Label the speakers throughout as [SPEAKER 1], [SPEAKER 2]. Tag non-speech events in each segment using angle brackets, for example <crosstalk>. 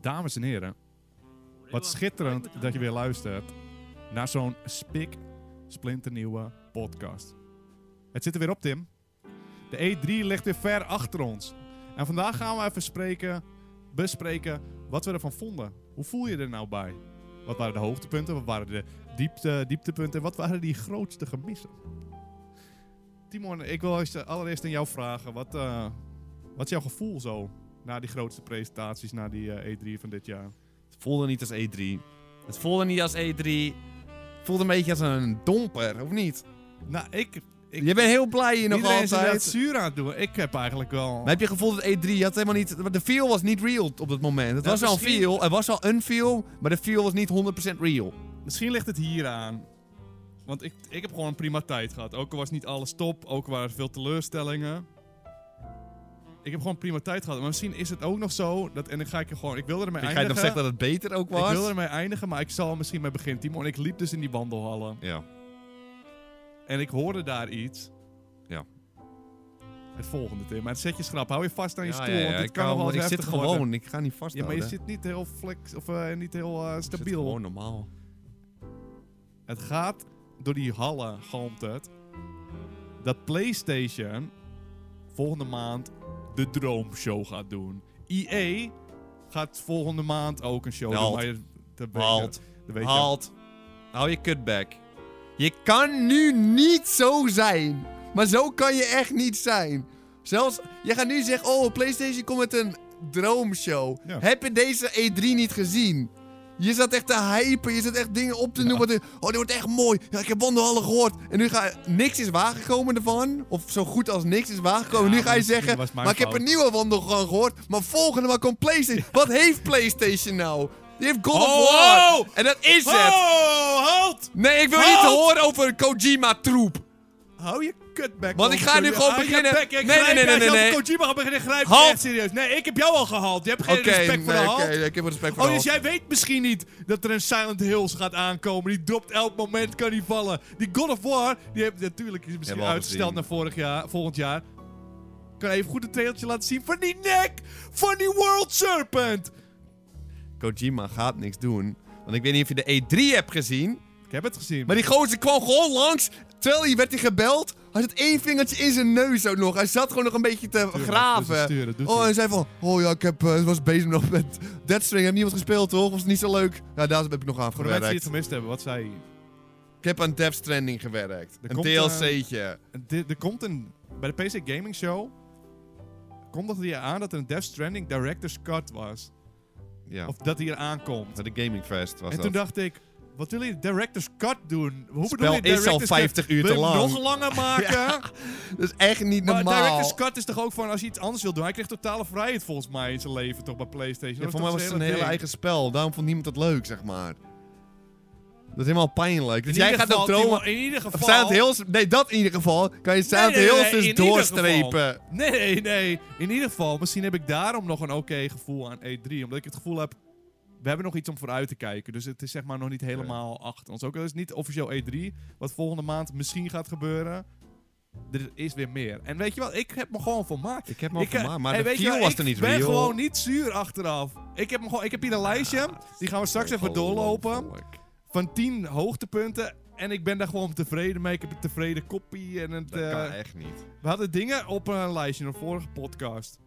[SPEAKER 1] Dames en heren, wat schitterend dat je weer luistert naar zo'n spik splinternieuwe podcast. Het zit er weer op, Tim. De E3 ligt weer ver achter ons. En vandaag gaan we even spreken, bespreken wat we ervan vonden. Hoe voel je er nou bij? Wat waren de hoogtepunten? Wat waren de diepte, dieptepunten? Wat waren die grootste gemissen? Timon, ik wil eerst- allereerst aan jou vragen. Wat, eh, wat is jouw gevoel zo na die grootste presentaties, na die eh, E3 van dit jaar?
[SPEAKER 2] Het voelde niet als E3. Het voelde niet als E3. Het voelde een beetje als een domper, of niet?
[SPEAKER 1] Nou, ik... ik
[SPEAKER 2] je bent heel blij hier nog
[SPEAKER 1] iedereen is inderdaad
[SPEAKER 2] altijd.
[SPEAKER 1] zuur aan het doen. Ik heb eigenlijk wel...
[SPEAKER 2] Maar heb je gevoeld dat E3 had helemaal niet... De feel was niet real op dat moment. Het
[SPEAKER 1] Ja,
[SPEAKER 2] was wel een
[SPEAKER 1] misschien-
[SPEAKER 2] feel, er was wel een feel, maar de feel was niet 100% real.
[SPEAKER 1] Misschien ligt het hier aan. Want ik, ik heb gewoon een prima tijd gehad. Ook al was niet alles top, ook al waren er veel teleurstellingen. Ik heb gewoon een prima tijd gehad. Maar misschien is het ook nog zo dat... En dan ga ik er gewoon... Ik wilde ermee
[SPEAKER 2] Ik ga je nog
[SPEAKER 1] eindigen.
[SPEAKER 2] zeggen dat het beter ook was?
[SPEAKER 1] ik wilde ermee eindigen, maar ik zal er misschien mee beginnen, Timon. Ik liep dus in die wandelhallen.
[SPEAKER 2] Ja.
[SPEAKER 1] En ik hoorde daar iets.
[SPEAKER 2] Ja.
[SPEAKER 1] Het volgende, Tim. Maar het zet je schrap. Hou je vast aan je stoel, want dit
[SPEAKER 2] ik,
[SPEAKER 1] kan nog wel
[SPEAKER 2] ik
[SPEAKER 1] eens
[SPEAKER 2] zit
[SPEAKER 1] heftig
[SPEAKER 2] gewoon,
[SPEAKER 1] worden.
[SPEAKER 2] ik ga niet
[SPEAKER 1] Ja, maar
[SPEAKER 2] vasthouden.
[SPEAKER 1] je zit niet heel flex of eh, niet heel eh,
[SPEAKER 2] Ik zit
[SPEAKER 1] stabiel.
[SPEAKER 2] gewoon normaal.
[SPEAKER 1] Het gaat door die hallen, galmt het. Dat PlayStation volgende maand de Droomshow gaat doen. EA gaat volgende maand ook een show
[SPEAKER 2] Halt.
[SPEAKER 1] doen. maar je- dat weet je-
[SPEAKER 2] Halt.
[SPEAKER 1] dat weet je.
[SPEAKER 2] Halt. Hou je kutback. Je kan nu niet zo zijn. Maar zo kan je echt niet zijn. Zelfs, je gaat nu zeggen, oh, PlayStation komt met een droomshow.
[SPEAKER 1] Ja.
[SPEAKER 2] Heb je deze E3 niet gezien? Je zat echt te hypen, je zat echt dingen op te noemen. wat er- Oh, dit wordt echt mooi. Ja, ik heb Wanderhallen gehoord. En nu ga niks is waargekomen ervan. Of zo goed als niks is waargekomen.
[SPEAKER 1] Ja,
[SPEAKER 2] nu ga
[SPEAKER 1] maar
[SPEAKER 2] je
[SPEAKER 1] misschien
[SPEAKER 2] zeggen,
[SPEAKER 1] was
[SPEAKER 2] maar
[SPEAKER 1] mijn
[SPEAKER 2] ik heb
[SPEAKER 1] fout."
[SPEAKER 2] een nieuwe Wandelgang gehoord. Maar volgende maar komt
[SPEAKER 1] <laughs>
[SPEAKER 2] PlayStation. Wat heeft PlayStation nou? Die heeft God
[SPEAKER 1] Oh,
[SPEAKER 2] of War.
[SPEAKER 1] wow!
[SPEAKER 2] En dat is het.
[SPEAKER 1] Oh, halt!
[SPEAKER 2] Nee, ik wil niet
[SPEAKER 1] Halt!
[SPEAKER 2] horen over een Kojima-troep.
[SPEAKER 1] Hou je kutback.
[SPEAKER 2] Want ik ga nu
[SPEAKER 1] Ah,
[SPEAKER 2] gewoon beginnen-
[SPEAKER 1] nee,
[SPEAKER 2] Nee, nee,
[SPEAKER 1] nee, nee, nee, nee.
[SPEAKER 2] nee.
[SPEAKER 1] Kojima gaat beginnen grijpen.
[SPEAKER 2] Halt.
[SPEAKER 1] Echt serieus. Nee, ik heb jou al gehaald. Je hebt geen
[SPEAKER 2] Oké,
[SPEAKER 1] respect voor de
[SPEAKER 2] nee,
[SPEAKER 1] halt.
[SPEAKER 2] oké, ik heb respect voor
[SPEAKER 1] Oh,
[SPEAKER 2] de
[SPEAKER 1] dus
[SPEAKER 2] halt.
[SPEAKER 1] jij weet misschien niet dat er een Silent Hills gaat aankomen. Die dropt elk moment, kan die vallen. Die God of War, die heeft natuurlijk is misschien
[SPEAKER 2] Hebben we al
[SPEAKER 1] uitgesteld
[SPEAKER 2] gezien.
[SPEAKER 1] naar vorig jaar, volgend jaar. Kan even goed een trailtje laten zien van die nek van die World Serpent.
[SPEAKER 2] Kojima gaat niks doen. Want ik weet niet of je de E3 hebt gezien.
[SPEAKER 1] Ik heb het gezien.
[SPEAKER 2] Maar die gozer kwam gewoon langs. Terwijl hij werd hij gebeld. Hij zat één vingertje in zijn neus ook nog. Hij zat gewoon nog een beetje te
[SPEAKER 1] Tuurlijk, dus
[SPEAKER 2] graven.
[SPEAKER 1] het sturen, doet
[SPEAKER 2] oh,
[SPEAKER 1] hij.
[SPEAKER 2] en zei van... Oh ja, ik heb, eh, was bezig nog met Deadstring. Heb niemand gespeeld, toch? Was niet zo leuk. Ja, daar heb ik nog aan
[SPEAKER 1] voor de mensen die het
[SPEAKER 2] gewerkt.
[SPEAKER 1] gemist hebben, wat zei hij?
[SPEAKER 2] Ik heb aan Death Stranding gewerkt.
[SPEAKER 1] Er
[SPEAKER 2] een
[SPEAKER 1] komt, eh,
[SPEAKER 2] DLC'tje.
[SPEAKER 1] Di- Er komt een... Bij de PC Gaming Show... Komt dat hier aan dat er een Death Stranding Director's Cut was?
[SPEAKER 2] Ja,
[SPEAKER 1] Of dat hij hier aankomt?
[SPEAKER 2] de Gaming Fest was
[SPEAKER 1] en toen dacht ik... Wat wil je Director's Cut doen? Hoe
[SPEAKER 2] Spel
[SPEAKER 1] bedoel je
[SPEAKER 2] is
[SPEAKER 1] Director's
[SPEAKER 2] al
[SPEAKER 1] Cut?
[SPEAKER 2] 50 uur
[SPEAKER 1] Wil je
[SPEAKER 2] te
[SPEAKER 1] hem
[SPEAKER 2] lang.
[SPEAKER 1] nog
[SPEAKER 2] <laughs>
[SPEAKER 1] langer maken?
[SPEAKER 2] Dat is echt niet
[SPEAKER 1] Maar
[SPEAKER 2] normaal.
[SPEAKER 1] Director's Cut is toch ook van als je iets anders wil doen? Hij kreeg totale vrijheid volgens mij in zijn leven toch bij Playstation?
[SPEAKER 2] Ja,
[SPEAKER 1] Dat
[SPEAKER 2] voor mij
[SPEAKER 1] toch
[SPEAKER 2] was het
[SPEAKER 1] zijn
[SPEAKER 2] een hele
[SPEAKER 1] ding?
[SPEAKER 2] eigen spel. Daarom vond niemand het leuk, zeg maar. Dat is helemaal pijnlijk. Dus
[SPEAKER 1] In
[SPEAKER 2] jij
[SPEAKER 1] ieder
[SPEAKER 2] gaat ook
[SPEAKER 1] geval,
[SPEAKER 2] dromen.
[SPEAKER 1] Timo, In ieder geval...
[SPEAKER 2] Of Silent Hills... Nee, dat in ieder geval. Kan je
[SPEAKER 1] Nee,
[SPEAKER 2] Silent
[SPEAKER 1] nee, nee,
[SPEAKER 2] Hills
[SPEAKER 1] nee,
[SPEAKER 2] dus
[SPEAKER 1] in ieder
[SPEAKER 2] doorstrepen.
[SPEAKER 1] geval. Nee, nee. In ieder geval, misschien heb ik daarom nog een oké gevoel aan E3. Omdat ik het gevoel heb, we hebben nog iets om vooruit te kijken. Dus het is zeg maar nog niet helemaal achter ons. Ook al is het niet officieel E3, wat volgende maand misschien gaat gebeuren. Er is weer meer. En weet je wat, ik heb me gewoon vermaakt.
[SPEAKER 2] Ik heb
[SPEAKER 1] Ik, eh, hey, weet je
[SPEAKER 2] view
[SPEAKER 1] wel, ik ben
[SPEAKER 2] real.
[SPEAKER 1] gewoon niet zuur achteraf. Ik heb, me gewoon, ik heb hier een lijstje, die gaan we straks even doorlopen,
[SPEAKER 2] Ah, Ongelooflijk.
[SPEAKER 1] van 10 hoogtepunten. En ik ben daar gewoon tevreden mee. Ik heb een tevreden kopie en het...
[SPEAKER 2] Dat
[SPEAKER 1] eh,
[SPEAKER 2] kan echt niet.
[SPEAKER 1] we hadden dingen op een lijstje in een vorige podcast.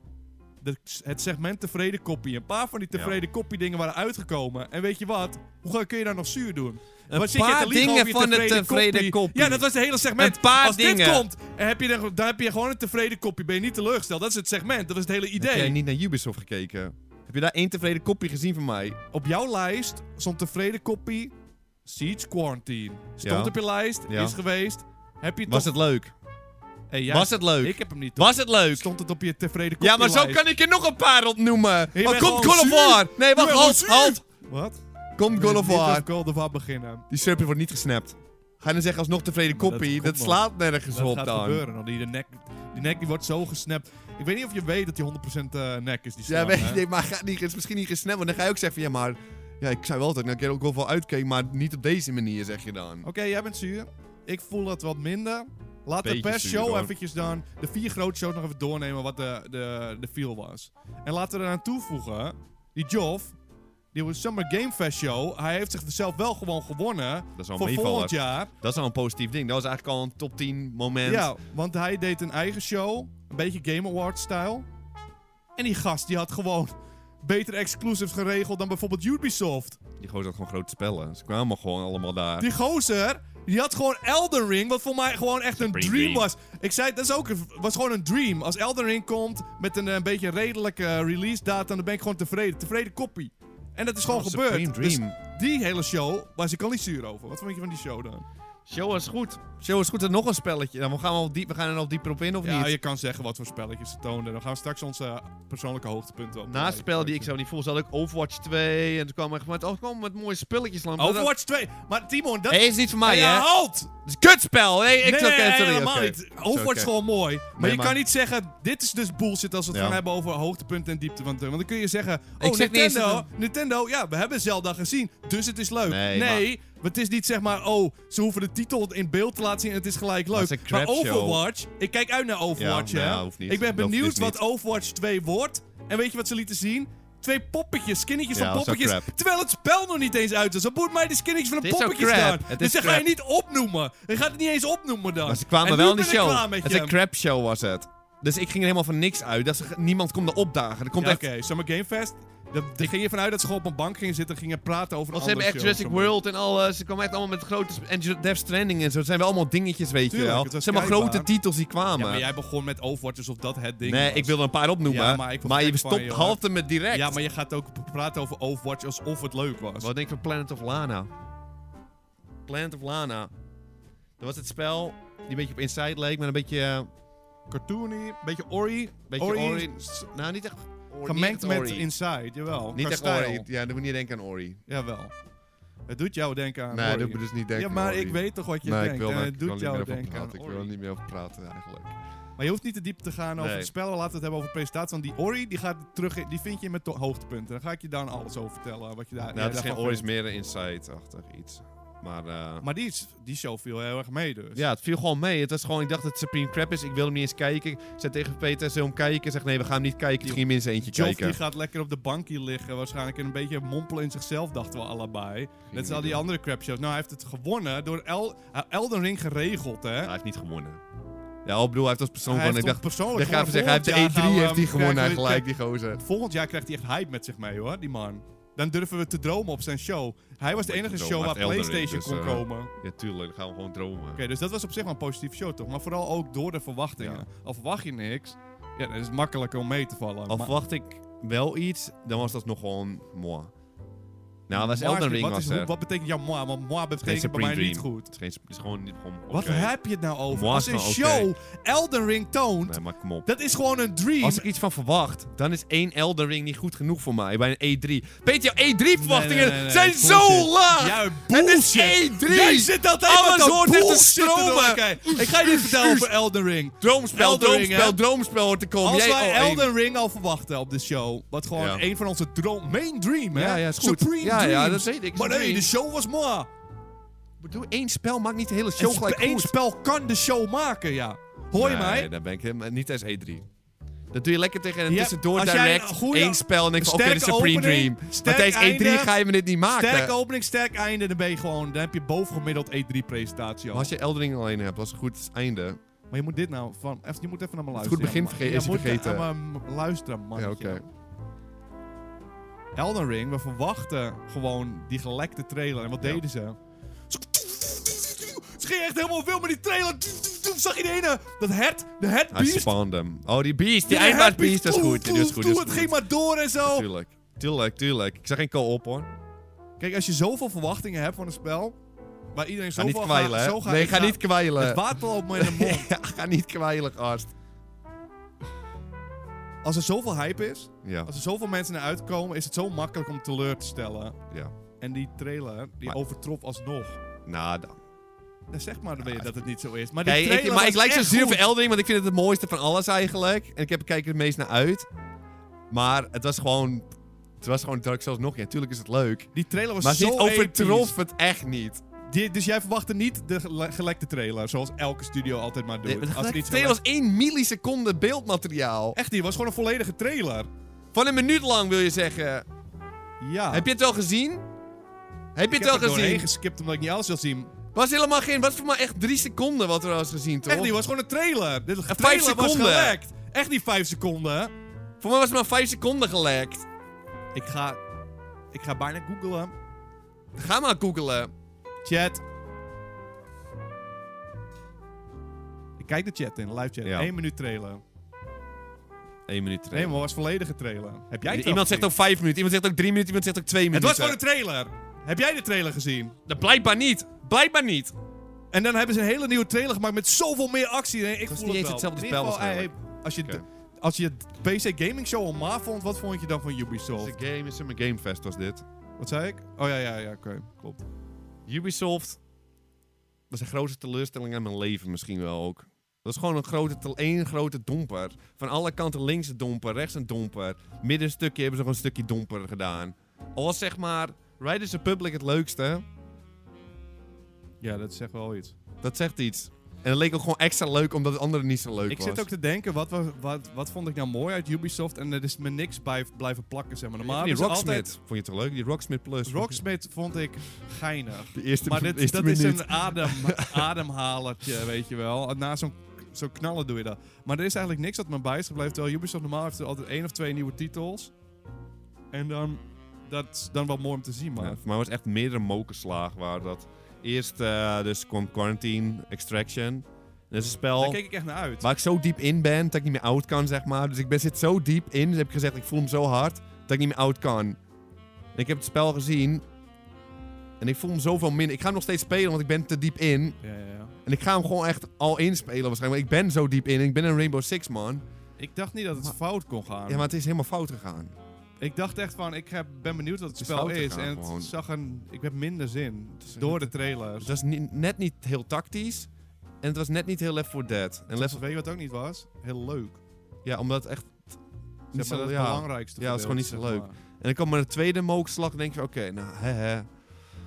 [SPEAKER 1] De- het segment tevreden koppie. Een paar van die tevreden koppie dingen waren uitgekomen. En weet je wat? Hoe ga- kun je daar nog zuur doen?
[SPEAKER 2] Een
[SPEAKER 1] Wat zit je
[SPEAKER 2] paar
[SPEAKER 1] te liegen
[SPEAKER 2] dingen
[SPEAKER 1] over je
[SPEAKER 2] van de tevreden koppie.
[SPEAKER 1] Ja, dat was het hele segment.
[SPEAKER 2] Een paar
[SPEAKER 1] Als dit
[SPEAKER 2] dingen.
[SPEAKER 1] komt, heb je dan, dan heb je gewoon een tevreden koppie. Ben je niet teleurgesteld. Dat is het segment. Dat is het hele idee.
[SPEAKER 2] Heb jij niet naar Ubisoft gekeken? Heb je daar één tevreden kopje gezien van mij?
[SPEAKER 1] Op jouw lijst stond tevreden koppie Siege Quarantine. Stond
[SPEAKER 2] Ja.
[SPEAKER 1] op je lijst,
[SPEAKER 2] Ja.
[SPEAKER 1] is geweest. Heb je
[SPEAKER 2] Was
[SPEAKER 1] toch-
[SPEAKER 2] het leuk?
[SPEAKER 1] Hey, jij-
[SPEAKER 2] Was het leuk?
[SPEAKER 1] Ik heb hem niet.
[SPEAKER 2] Was het leuk?
[SPEAKER 1] Stond het op je tevreden koppie
[SPEAKER 2] Ja, maar zo
[SPEAKER 1] lijst.
[SPEAKER 2] kan ik er nog een paar opnoemen.
[SPEAKER 1] bent
[SPEAKER 2] Oh, komt
[SPEAKER 1] gewoon
[SPEAKER 2] God of
[SPEAKER 1] zuur.
[SPEAKER 2] War. Nee, wacht,
[SPEAKER 1] Je bent
[SPEAKER 2] halt,
[SPEAKER 1] gewoon
[SPEAKER 2] halt.
[SPEAKER 1] Wat?
[SPEAKER 2] Komt God of
[SPEAKER 1] Niet
[SPEAKER 2] War.
[SPEAKER 1] als God of War beginnen.
[SPEAKER 2] Die serpent wordt niet gesnapt. Ga je dan zeggen alsnog tevreden
[SPEAKER 1] Maar dat
[SPEAKER 2] koppie?
[SPEAKER 1] komt
[SPEAKER 2] Dat,
[SPEAKER 1] nog.
[SPEAKER 2] slaat nergens
[SPEAKER 1] Dat
[SPEAKER 2] op
[SPEAKER 1] gaat
[SPEAKER 2] dan.
[SPEAKER 1] gebeuren. Dan. Die, de nek, die nek die wordt zo gesnapt. Ik weet niet of je weet dat die 100% eh nek is. Die
[SPEAKER 2] Ja,
[SPEAKER 1] slang,
[SPEAKER 2] weet
[SPEAKER 1] hè?
[SPEAKER 2] je, nee, maar ga niet, is misschien niet gesnapt. Want dan ga je ook zeggen van ja, maar... Ja, ik zei wel dat ik een keer ook wel veel uitkeek, maar niet op deze manier, zeg je dan.
[SPEAKER 1] Oké, jij bent zuur. Ik voel dat wat minder. Laat
[SPEAKER 2] Beetje
[SPEAKER 1] de per
[SPEAKER 2] zuur,
[SPEAKER 1] show
[SPEAKER 2] hoor.
[SPEAKER 1] eventjes dan... De vier grote shows nog even doornemen wat de, de, de feel was. En laten we eraan toevoegen... Die Joff, die Summer Game Fest show, hij heeft zichzelf wel gewoon gewonnen
[SPEAKER 2] Dat is al een
[SPEAKER 1] voor
[SPEAKER 2] meevaller.
[SPEAKER 1] volgend jaar.
[SPEAKER 2] Dat is al een positief ding. Dat was eigenlijk al een top 10 moment.
[SPEAKER 1] Ja, want hij deed een eigen show, een beetje Game Awards-stijl. En die gast die had gewoon beter exclusives geregeld dan bijvoorbeeld Ubisoft.
[SPEAKER 2] Die gozer had gewoon grote spellen. Ze kwamen gewoon allemaal daar.
[SPEAKER 1] Die gozer, die had gewoon Elden Ring, wat voor mij gewoon echt een
[SPEAKER 2] Pretty
[SPEAKER 1] dream
[SPEAKER 2] dream.
[SPEAKER 1] was. Ik zei, dat is ook een- was gewoon een dream. Als Elden Ring komt met een, eh, beetje redelijke eh, release data, dan ben ik gewoon tevreden. Tevreden koppie. En dat is gewoon
[SPEAKER 2] Oh,
[SPEAKER 1] gebeurd.
[SPEAKER 2] supreme
[SPEAKER 1] Dus
[SPEAKER 2] dream.
[SPEAKER 1] die hele show was ik al niet zuur over. Wat vond je van die show dan?
[SPEAKER 2] Show is goed. Show is goed. En nog een spelletje. Dan we gaan we, diep, we gaan er nog dieper op in, of
[SPEAKER 1] Ja,
[SPEAKER 2] niet?
[SPEAKER 1] je kan zeggen wat voor spelletjes ze toonden. Dan gaan we straks onze persoonlijke hoogtepunten op.
[SPEAKER 2] Naast spel die ik zo niet voel, zat ook Overwatch 2. En toen kwam echt met, oh, kom met mooie spulletjes langs.
[SPEAKER 1] Overwatch 2. Maar Timon, dat
[SPEAKER 2] Hé, is niet voor mij,
[SPEAKER 1] Nee,
[SPEAKER 2] hè?
[SPEAKER 1] halt!
[SPEAKER 2] Het is een kutspel. Hé, ik
[SPEAKER 1] nee,
[SPEAKER 2] zou
[SPEAKER 1] nee,
[SPEAKER 2] cancelen.
[SPEAKER 1] nee, helemaal
[SPEAKER 2] Oké.
[SPEAKER 1] niet. Overwatch
[SPEAKER 2] Oké.
[SPEAKER 1] is gewoon mooi. Maar
[SPEAKER 2] Nee,
[SPEAKER 1] je
[SPEAKER 2] maar-
[SPEAKER 1] kan niet zeggen, dit is dus bullshit als we het
[SPEAKER 2] Ja.
[SPEAKER 1] gaan hebben over hoogtepunten en dieptepunten. Want dan kun je zeggen, oh
[SPEAKER 2] Ik zeg niet eens
[SPEAKER 1] Nintendo,
[SPEAKER 2] dat
[SPEAKER 1] Nintendo, ja, we hebben Zelda gezien, dus het is leuk.
[SPEAKER 2] Nee,
[SPEAKER 1] want het is niet zeg maar, oh, ze hoeven de titel in beeld te laten zien en het is gelijk
[SPEAKER 2] het
[SPEAKER 1] leuk.
[SPEAKER 2] is een
[SPEAKER 1] maar
[SPEAKER 2] crapshow.
[SPEAKER 1] Overwatch, ik kijk uit naar Overwatch,
[SPEAKER 2] Ja,
[SPEAKER 1] hè.
[SPEAKER 2] nou, hoeft niet.
[SPEAKER 1] Ik ben
[SPEAKER 2] Dat hoeft
[SPEAKER 1] benieuwd
[SPEAKER 2] dus
[SPEAKER 1] wat
[SPEAKER 2] niet.
[SPEAKER 1] Overwatch 2 wordt. En weet je wat ze lieten zien? Twee poppetjes, skinnetjes
[SPEAKER 2] Ja,
[SPEAKER 1] van
[SPEAKER 2] dat is ook
[SPEAKER 1] poppetjes.
[SPEAKER 2] crap.
[SPEAKER 1] Terwijl het spel nog niet eens uit is. Dan moet mij de skinnetjes van de
[SPEAKER 2] Het is ook
[SPEAKER 1] poppetjes
[SPEAKER 2] crap.
[SPEAKER 1] staan.
[SPEAKER 2] Het
[SPEAKER 1] Dus
[SPEAKER 2] is
[SPEAKER 1] dan ga je
[SPEAKER 2] crap.
[SPEAKER 1] niet opnoemen. Je gaat het niet eens opnoemen dan.
[SPEAKER 2] Maar ze kwamen
[SPEAKER 1] En
[SPEAKER 2] wel
[SPEAKER 1] nu
[SPEAKER 2] in de
[SPEAKER 1] ben ik
[SPEAKER 2] show.
[SPEAKER 1] klaar met
[SPEAKER 2] het
[SPEAKER 1] je.
[SPEAKER 2] is een crap show was het. Dus ik ging er helemaal van niks uit. Dat ze, niemand kon er opdagen. Er komt
[SPEAKER 1] Ja,
[SPEAKER 2] echt...
[SPEAKER 1] Oké, Summer Game Fest. Daar daar ging je vanuit dat ze gewoon op een bank gingen zitten en gingen praten over
[SPEAKER 2] Want
[SPEAKER 1] een
[SPEAKER 2] ze hebben echt
[SPEAKER 1] andere
[SPEAKER 2] Jurassic
[SPEAKER 1] show.
[SPEAKER 2] World en alles. Ze kwamen echt allemaal met grote... sp- En Ju- Death Stranding en zo. Het zijn wel allemaal dingetjes, weet
[SPEAKER 1] Tuurlijk,
[SPEAKER 2] je wel.
[SPEAKER 1] het was
[SPEAKER 2] Het zijn maar
[SPEAKER 1] kijkbaar.
[SPEAKER 2] grote titels die
[SPEAKER 1] Ja,
[SPEAKER 2] kwamen.
[SPEAKER 1] maar jij begon met Overwatch alsof dat het ding
[SPEAKER 2] nee,
[SPEAKER 1] was.
[SPEAKER 2] ik wil er een paar opnoemen.
[SPEAKER 1] Ja, maar
[SPEAKER 2] maar
[SPEAKER 1] ik word gek van
[SPEAKER 2] je
[SPEAKER 1] je,
[SPEAKER 2] stopt
[SPEAKER 1] hoor.
[SPEAKER 2] half er met direct.
[SPEAKER 1] Ja, maar je gaat ook p- praten over Overwatch alsof het leuk was.
[SPEAKER 2] Wat denk je van Planet of Lana? Planet of Lana. Dat was het spel die een beetje op Inside leek, maar een beetje... eh,
[SPEAKER 1] Cartoony, beetje Ori.
[SPEAKER 2] beetje
[SPEAKER 1] Ori,
[SPEAKER 2] Ori. s- Nou, niet echt... Ori,
[SPEAKER 1] Gemengd
[SPEAKER 2] niet echt
[SPEAKER 1] met
[SPEAKER 2] Ori.
[SPEAKER 1] Inside, jawel.
[SPEAKER 2] Niet echt
[SPEAKER 1] Kasteel.
[SPEAKER 2] Ori. Ja, dan moet je niet denken aan Ori.
[SPEAKER 1] Jawel. Het doet jou denken aan
[SPEAKER 2] nee,
[SPEAKER 1] Ori.
[SPEAKER 2] dat moet je dus
[SPEAKER 1] Ja,
[SPEAKER 2] niet denken
[SPEAKER 1] maar
[SPEAKER 2] aan Ori.
[SPEAKER 1] ik weet toch wat je
[SPEAKER 2] nee,
[SPEAKER 1] denkt.
[SPEAKER 2] ik wil,
[SPEAKER 1] en
[SPEAKER 2] daar-
[SPEAKER 1] het
[SPEAKER 2] ik wil
[SPEAKER 1] doet
[SPEAKER 2] niet meer
[SPEAKER 1] jou
[SPEAKER 2] over
[SPEAKER 1] denken aan
[SPEAKER 2] praten. Ik wil er
[SPEAKER 1] Ori.
[SPEAKER 2] niet meer over praten eigenlijk.
[SPEAKER 1] Maar je hoeft niet te diep te gaan over
[SPEAKER 2] Nee.
[SPEAKER 1] het spel. Laten we het hebben over presentatie. Want die Ori, die, gaat terug in- die vind je met de hoogtepunten. Dan ga ik je dan alles over vertellen. Wat je daar,
[SPEAKER 2] nou,
[SPEAKER 1] jij
[SPEAKER 2] het is geen
[SPEAKER 1] daarvan
[SPEAKER 2] Ori, is
[SPEAKER 1] vindt.
[SPEAKER 2] meer een Inside-achtig iets. Maar... eh,
[SPEAKER 1] Maar die, is- die show viel heel erg mee dus.
[SPEAKER 2] Ja, het viel gewoon mee. Het was gewoon, ik dacht dat het Supreme Crap is. Ik wilde hem niet eens kijken. Ik zei tegen Peter, zullen we hem kijken? Hij zegt, nee, we gaan hem niet kijken.
[SPEAKER 1] Die-
[SPEAKER 2] Toen ging hem in zijn eentje
[SPEAKER 1] Joff die
[SPEAKER 2] kijken.
[SPEAKER 1] gaat lekker op de bankje liggen waarschijnlijk. En een beetje mompelen in zichzelf, dachten we allebei. Net als al die andere crapshows. Nou, hij heeft het gewonnen door El hij heeft Elden Ring geregeld, hè.
[SPEAKER 2] Hij heeft niet gewonnen. Ja, ik bedoel, hij heeft als persoon
[SPEAKER 1] Hij
[SPEAKER 2] gewoon...
[SPEAKER 1] heeft
[SPEAKER 2] Ik
[SPEAKER 1] hem
[SPEAKER 2] dacht,
[SPEAKER 1] persoonlijk
[SPEAKER 2] ik ga even
[SPEAKER 1] gewonnen. nou, ehm,
[SPEAKER 2] zeggen, hij heeft
[SPEAKER 1] Volgend jaar gaan we
[SPEAKER 2] de E3 heeft hij
[SPEAKER 1] hem-
[SPEAKER 2] gewonnen
[SPEAKER 1] krijgen we-
[SPEAKER 2] gelijk, die gozer.
[SPEAKER 1] Volgend jaar krijgt hij echt hype met zich mee, hoor, die man. Dan durven we te dromen op zijn show. Hij was de
[SPEAKER 2] Moet je
[SPEAKER 1] enige
[SPEAKER 2] dromen,
[SPEAKER 1] show
[SPEAKER 2] maar
[SPEAKER 1] waar
[SPEAKER 2] het Elden Ring,
[SPEAKER 1] PlayStation
[SPEAKER 2] dus,
[SPEAKER 1] kon
[SPEAKER 2] eh,
[SPEAKER 1] komen.
[SPEAKER 2] Ja, tuurlijk. Dan gaan we gewoon dromen.
[SPEAKER 1] Oké, dus dat was op zich wel een positieve show, toch? Maar vooral ook door de verwachtingen.
[SPEAKER 2] Ja.
[SPEAKER 1] Al verwacht je niks, ja, dan is het makkelijker om mee te vallen.
[SPEAKER 2] Al
[SPEAKER 1] Maar-
[SPEAKER 2] verwacht ik wel iets, dan was dat nog gewoon moi. Nou, was
[SPEAKER 1] maar
[SPEAKER 2] Elden Ring
[SPEAKER 1] wat,
[SPEAKER 2] was
[SPEAKER 1] is-
[SPEAKER 2] er.
[SPEAKER 1] wat betekent jouw moi? Want moi betekent bij
[SPEAKER 2] Supreme
[SPEAKER 1] mij niet
[SPEAKER 2] Dream.
[SPEAKER 1] goed.
[SPEAKER 2] Het is, geen, het is gewoon niet gewoon...
[SPEAKER 1] Wat
[SPEAKER 2] oké.
[SPEAKER 1] heb je het nou over?
[SPEAKER 2] Moi
[SPEAKER 1] Als
[SPEAKER 2] is
[SPEAKER 1] een
[SPEAKER 2] gewoon
[SPEAKER 1] show Elden Ring toont,
[SPEAKER 2] Nee, maar kom op.
[SPEAKER 1] dat is gewoon een dream.
[SPEAKER 2] Als ik iets van verwacht, dan is één Elden Ring niet goed genoeg voor mij bij een E E3. Peter, jouw E3-verwachtingen
[SPEAKER 1] Nee, nee, nee, nee,
[SPEAKER 2] zijn
[SPEAKER 1] bullshit.
[SPEAKER 2] zo laag!
[SPEAKER 1] Jij
[SPEAKER 2] Het is E
[SPEAKER 1] bullshit.
[SPEAKER 2] E3!
[SPEAKER 1] Jij zit altijd
[SPEAKER 2] Alles
[SPEAKER 1] met dat
[SPEAKER 2] hoort echt te
[SPEAKER 1] bullshit te doen.
[SPEAKER 2] stromen.
[SPEAKER 1] Oké, ik ga je dit vertellen over Elden Ring.
[SPEAKER 2] Droomspel,
[SPEAKER 1] Elden Ring,
[SPEAKER 2] droomspel,
[SPEAKER 1] hè?
[SPEAKER 2] droomspel hoort te komen.
[SPEAKER 1] Als
[SPEAKER 2] Jij-
[SPEAKER 1] wij
[SPEAKER 2] oh, één.
[SPEAKER 1] Elden Ring al verwachten op de show, wat gewoon
[SPEAKER 2] Ja.
[SPEAKER 1] een van onze droom, main dream, hè?
[SPEAKER 2] Ja, ja, is goed.
[SPEAKER 1] Supreme
[SPEAKER 2] Ja, ja,
[SPEAKER 1] dreams.
[SPEAKER 2] dat weet ik, is
[SPEAKER 1] Maar
[SPEAKER 2] een
[SPEAKER 1] nee,
[SPEAKER 2] dream.
[SPEAKER 1] de show was moi.
[SPEAKER 2] Ik bedoel, één spel maakt niet de hele
[SPEAKER 1] Een
[SPEAKER 2] show
[SPEAKER 1] sp-
[SPEAKER 2] gelijk
[SPEAKER 1] één
[SPEAKER 2] goed.
[SPEAKER 1] spel kan de show maken, ja. Hoor je
[SPEAKER 2] nee,
[SPEAKER 1] mij?
[SPEAKER 2] Nee, daar ben ik helemaal niet eens E3. Dat doe je lekker tegen en
[SPEAKER 1] Ja,
[SPEAKER 2] tussendoor
[SPEAKER 1] als jij een
[SPEAKER 2] direct
[SPEAKER 1] goede-
[SPEAKER 2] één spel en ik van oké,
[SPEAKER 1] sterke
[SPEAKER 2] de Supreme
[SPEAKER 1] opening,
[SPEAKER 2] Dream. Maar
[SPEAKER 1] sterk
[SPEAKER 2] tijdens
[SPEAKER 1] einde,
[SPEAKER 2] E3 ga je me dit niet maken.
[SPEAKER 1] Sterk opening, sterk einde, dan ben je gewoon, dan heb je bovengemiddeld E3-presentatie
[SPEAKER 2] Maar
[SPEAKER 1] al.
[SPEAKER 2] als je Elden Ring alleen hebt, als een goed einde.
[SPEAKER 1] Maar je moet dit nou van, even, je moet even naar me
[SPEAKER 2] Het
[SPEAKER 1] luisteren.
[SPEAKER 2] goed begin
[SPEAKER 1] man.
[SPEAKER 2] verge- is
[SPEAKER 1] je
[SPEAKER 2] je
[SPEAKER 1] moet
[SPEAKER 2] vergeten.
[SPEAKER 1] naar me luisteren, man.
[SPEAKER 2] Ja, oké.
[SPEAKER 1] Elden Ring, we verwachten gewoon die gelekte trailer. En wat
[SPEAKER 2] Ja.
[SPEAKER 1] deden ze? Ze ze gingen echt helemaal veel met die trailer. Toen zag je die ene, dat hert, de
[SPEAKER 2] Hij
[SPEAKER 1] hertbeest.
[SPEAKER 2] spawned hem. Oh, die beast, die
[SPEAKER 1] Ja,
[SPEAKER 2] eindbaar
[SPEAKER 1] Happy
[SPEAKER 2] beast, dat is
[SPEAKER 1] Toe,
[SPEAKER 2] goed.
[SPEAKER 1] toe,
[SPEAKER 2] Die is goed,
[SPEAKER 1] toe,
[SPEAKER 2] die is
[SPEAKER 1] het
[SPEAKER 2] goed.
[SPEAKER 1] ging maar door en zo.
[SPEAKER 2] Tuurlijk, tuurlijk, tuurlijk. Ik zag geen co-op hoor.
[SPEAKER 1] Kijk, als je zoveel verwachtingen hebt van een spel, waar iedereen
[SPEAKER 2] Ga niet
[SPEAKER 1] zoveel
[SPEAKER 2] kwijlen,
[SPEAKER 1] gaat,
[SPEAKER 2] hè?
[SPEAKER 1] zo gaat
[SPEAKER 2] nee, ga niet
[SPEAKER 1] Het
[SPEAKER 2] <laughs> kwijlen.
[SPEAKER 1] water loopt me in de mond.
[SPEAKER 2] Ja, ga niet kwijlen, gast.
[SPEAKER 1] Als er zoveel hype is,
[SPEAKER 2] Ja,
[SPEAKER 1] als er zoveel mensen naar uitkomen, is het zo makkelijk om teleur te stellen.
[SPEAKER 2] ja.
[SPEAKER 1] En die trailer, die
[SPEAKER 2] Maar-
[SPEAKER 1] overtrof alsnog.
[SPEAKER 2] Nou, dan.
[SPEAKER 1] Ja, zeg maar weer dat het niet zo is. Maar die
[SPEAKER 2] Kijk, ik-
[SPEAKER 1] trailer
[SPEAKER 2] maar
[SPEAKER 1] was
[SPEAKER 2] ik lijk zo
[SPEAKER 1] echt
[SPEAKER 2] zuur
[SPEAKER 1] goed.
[SPEAKER 2] voor Eldering, want ik vind het het mooiste van alles eigenlijk. En ik heb er kijk er het meest naar uit. Maar het was gewoon... Het was gewoon Dark Souls nog. Ja, tuurlijk is het leuk.
[SPEAKER 1] Die trailer was
[SPEAKER 2] Maar
[SPEAKER 1] zo
[SPEAKER 2] dit
[SPEAKER 1] episch.
[SPEAKER 2] overtrof het echt niet.
[SPEAKER 1] Die- dus jij verwachtte niet de gele- gelekte trailer, zoals elke studio altijd maar doet. Als het
[SPEAKER 2] Het
[SPEAKER 1] niet
[SPEAKER 2] trailer
[SPEAKER 1] gelekt-
[SPEAKER 2] was 1 milliseconde beeldmateriaal.
[SPEAKER 1] Echt, die was gewoon een volledige trailer.
[SPEAKER 2] Van een minuut lang, wil je zeggen.
[SPEAKER 1] Ja.
[SPEAKER 2] Heb je het al gezien? Heb je
[SPEAKER 1] ik
[SPEAKER 2] het al
[SPEAKER 1] heb er doorheen
[SPEAKER 2] gezien?
[SPEAKER 1] geskipt omdat ik niet alles wil zien.
[SPEAKER 2] Was helemaal geen. Was voor maar echt drie seconden wat we al eens gezien, toch?
[SPEAKER 1] Echt niet, het was gewoon een trailer. Dit trailer
[SPEAKER 2] vijf
[SPEAKER 1] was
[SPEAKER 2] seconden.
[SPEAKER 1] gelekt. Echt niet vijf seconden.
[SPEAKER 2] Voor mij was het maar vijf seconden gelekt.
[SPEAKER 1] Ik ga, ik ga bijna googlen.
[SPEAKER 2] Ga maar googelen.
[SPEAKER 1] Chat. Ik kijk de chat in, live chat.
[SPEAKER 2] Ja.
[SPEAKER 1] Eén minuut trailer.
[SPEAKER 2] Eén minuut
[SPEAKER 1] Nee, maar het was volledige trailer. Heb jij het wel
[SPEAKER 2] Iemand zegt
[SPEAKER 1] gezien?
[SPEAKER 2] ook vijf minuten, iemand zegt ook drie minuten, iemand zegt ook twee
[SPEAKER 1] Het
[SPEAKER 2] minuten.
[SPEAKER 1] was gewoon een trailer. Heb jij de trailer gezien?
[SPEAKER 2] Dat Blijkbaar niet. Blijkbaar niet.
[SPEAKER 1] En dan hebben ze een hele nieuwe trailer gemaakt met zoveel meer actie. Nee, ik
[SPEAKER 2] was
[SPEAKER 1] voel
[SPEAKER 2] niet
[SPEAKER 1] het
[SPEAKER 2] eens
[SPEAKER 1] wel.
[SPEAKER 2] hetzelfde
[SPEAKER 1] In ieder
[SPEAKER 2] spel
[SPEAKER 1] geval, hey, als je
[SPEAKER 2] Oké.
[SPEAKER 1] de- Als je het PC Gaming Show al maar vond, wat vond je dan van Ubisoft?
[SPEAKER 2] game, is een gamefest was dit.
[SPEAKER 1] Wat zei ik? Oh ja, ja, ja, oké. Klopt.
[SPEAKER 2] Ubisoft was een grote teleurstelling in mijn leven misschien wel ook. Dat is gewoon een grote, tel- één grote domper. Van alle kanten links een domper, rechts een domper. Midden een stukje hebben ze gewoon een stukje domper gedaan. Al was zeg maar Riders Republic het leukste,
[SPEAKER 1] Ja, dat zegt wel iets.
[SPEAKER 2] dat zegt iets. En het leek ook gewoon extra leuk omdat het andere niet zo leuk
[SPEAKER 1] Ik
[SPEAKER 2] was.
[SPEAKER 1] zit ook te denken, wat, wa- wat, wat vond ik nou mooi uit Ubisoft? En er is me niks bij blijven plakken, zeg maar. Normaal
[SPEAKER 2] die
[SPEAKER 1] is
[SPEAKER 2] Rocksmith,
[SPEAKER 1] altijd...
[SPEAKER 2] vond je toch leuk? Die Rocksmith Plus.
[SPEAKER 1] Rocksmith vond ik geinig.
[SPEAKER 2] De eerste,
[SPEAKER 1] Maar dit,
[SPEAKER 2] eerste
[SPEAKER 1] dat is
[SPEAKER 2] minuut.
[SPEAKER 1] een adem,
[SPEAKER 2] <laughs>
[SPEAKER 1] ademhalertje, weet je wel. Na zo'n zo knallen doe je dat. Maar er is eigenlijk niks dat me bij is gebleven. Terwijl Ubisoft normaal heeft altijd één of twee nieuwe titels. En dan, dat is dan wel mooi om te zien, man.
[SPEAKER 2] Ja, voor mij was het echt meerdere mokerslaag waar dat... Eerst eh, dus kwam Quarantine, Extraction. Dat is een
[SPEAKER 1] Daar
[SPEAKER 2] spel
[SPEAKER 1] keek ik echt naar uit.
[SPEAKER 2] waar ik zo diep in ben dat ik niet meer out kan, zeg maar. Dus ik ben, zit zo diep in, dus heb ik gezegd, ik voel hem zo hard, dat ik niet meer out kan. En ik heb het spel gezien en ik voel hem zoveel minder. Ik ga hem nog steeds spelen, want ik ben te diep in.
[SPEAKER 1] Ja, ja, ja.
[SPEAKER 2] En ik ga hem gewoon echt al inspelen waarschijnlijk. want Ik ben zo diep in en ik ben een Rainbow Six, man.
[SPEAKER 1] Ik dacht niet dat het
[SPEAKER 2] Maar-
[SPEAKER 1] fout kon gaan.
[SPEAKER 2] Ja, maar het is helemaal fout gegaan.
[SPEAKER 1] Ik dacht echt van, ik heb, ben benieuwd wat het,
[SPEAKER 2] Het is
[SPEAKER 1] spel
[SPEAKER 2] fout
[SPEAKER 1] is.
[SPEAKER 2] gegaan
[SPEAKER 1] En het
[SPEAKER 2] gewoon.
[SPEAKER 1] zag een, ik heb minder zin. Door de trailers.
[SPEAKER 2] Dus dat is ni- net niet heel tactisch. En het was net niet heel Left 4 Dead. En Left
[SPEAKER 1] Dus weet je wat ook niet was? Heel leuk.
[SPEAKER 2] Ja, omdat het echt...
[SPEAKER 1] Zeg
[SPEAKER 2] niet
[SPEAKER 1] maar,
[SPEAKER 2] zo-
[SPEAKER 1] dat is het
[SPEAKER 2] ja.
[SPEAKER 1] belangrijkste.
[SPEAKER 2] Ja, dat is gewoon niet zo
[SPEAKER 1] gedeelte, zeg
[SPEAKER 2] leuk. En dan kwam er een tweede mokerslag en denk je van, oké, nou, hè, hè.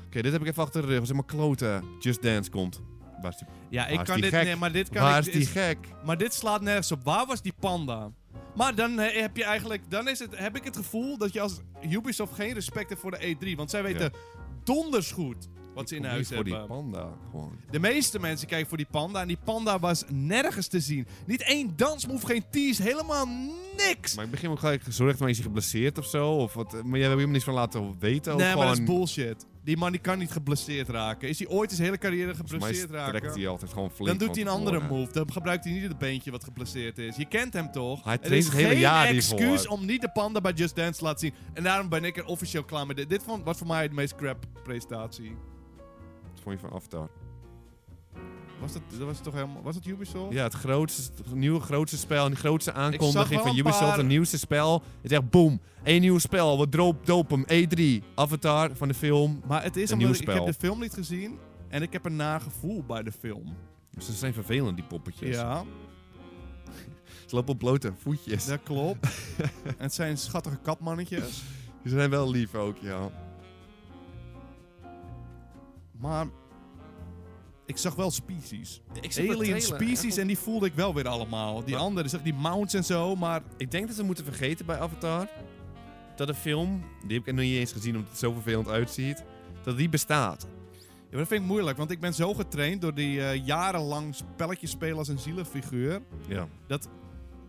[SPEAKER 2] Oké, dit heb ik even achter de rug. Dat is helemaal kloten. Just Dance komt. Waar is die,
[SPEAKER 1] maar. Ja, ik
[SPEAKER 2] Waar is
[SPEAKER 1] kan
[SPEAKER 2] die
[SPEAKER 1] dit...
[SPEAKER 2] gek?
[SPEAKER 1] Nee, maar dit kan
[SPEAKER 2] waar
[SPEAKER 1] ik...
[SPEAKER 2] is die
[SPEAKER 1] is-
[SPEAKER 2] gek?
[SPEAKER 1] Maar dit slaat nergens op. Waar was die panda? Maar dan he- heb je eigenlijk, dan is het, heb ik het gevoel dat je als Ubisoft geen respect hebt voor de E3. Want zij weten donders goed wat ze in
[SPEAKER 2] Kom
[SPEAKER 1] huis
[SPEAKER 2] hier voor
[SPEAKER 1] hebben.
[SPEAKER 2] die panda, gewoon.
[SPEAKER 1] De meeste mensen kijken voor die panda en die panda was nergens te zien. Niet één dansmove, geen tease, helemaal niks.
[SPEAKER 2] Maar ik begin me ook gelijk gezorgd, maar is hij geblesseerd of zo? Of wat? Maar jij hebt helemaal niks van laten weten.
[SPEAKER 1] nee,
[SPEAKER 2] of
[SPEAKER 1] maar dat is
[SPEAKER 2] gewoon-
[SPEAKER 1] bullshit. Die man die kan niet geblesseerd raken. Is hij ooit zijn hele carrière
[SPEAKER 2] Volgens
[SPEAKER 1] geblesseerd
[SPEAKER 2] mij trekt
[SPEAKER 1] raken?
[SPEAKER 2] hij altijd gewoon flink
[SPEAKER 1] Dan doet hij een
[SPEAKER 2] van
[SPEAKER 1] andere
[SPEAKER 2] tevoren.
[SPEAKER 1] move. Dan gebruikt hij niet het beentje wat geblesseerd is. Je kent hem toch?
[SPEAKER 2] Hij
[SPEAKER 1] er is
[SPEAKER 2] traint het hele
[SPEAKER 1] geen
[SPEAKER 2] jaar hiervoor.
[SPEAKER 1] excuus om niet de panda bij Just Dance te laten zien. En daarom ben ik er officieel klaar mee. Dit, dit vond, was voor mij de meest crap presentatie.
[SPEAKER 2] Wat vond je van Avatar?
[SPEAKER 1] Was dat, dat was toch helemaal... Was dat Ubisoft?
[SPEAKER 2] Ja, het grootste, het nieuwe grootste spel en de grootste aankondiging
[SPEAKER 1] wel
[SPEAKER 2] van
[SPEAKER 1] een
[SPEAKER 2] Ubisoft,
[SPEAKER 1] paar-
[SPEAKER 2] het nieuwste spel. Het is echt boom, één nieuw spel, wat droop, doop hem, E3, Avatar van de film.
[SPEAKER 1] Maar het is
[SPEAKER 2] Een
[SPEAKER 1] omdat ik,
[SPEAKER 2] nieuw
[SPEAKER 1] ik heb
[SPEAKER 2] spel.
[SPEAKER 1] de film niet gezien. En ik heb een nagevoel bij de film.
[SPEAKER 2] Ze zijn vervelend, die poppetjes.
[SPEAKER 1] Ja,
[SPEAKER 2] Ze lopen op blote voetjes.
[SPEAKER 1] dat
[SPEAKER 2] <laughs>
[SPEAKER 1] klopt. en het zijn schattige katmannetjes.
[SPEAKER 2] Ze zijn wel lief ook, ja.
[SPEAKER 1] Maar ik zag wel species.
[SPEAKER 2] Ik
[SPEAKER 1] Alien species en die voelde ik wel weer allemaal. Die
[SPEAKER 2] Maar-
[SPEAKER 1] andere, zeg die mounts en zo, maar
[SPEAKER 2] Ik denk dat ze moeten vergeten bij Avatar dat de film, die heb ik nog niet eens gezien omdat het zo vervelend uitziet, dat die bestaat.
[SPEAKER 1] Ja, maar dat vind ik moeilijk, want ik ben zo getraind door die eh, jarenlang spelletjes spelen als een zielenfiguur.
[SPEAKER 2] Ja.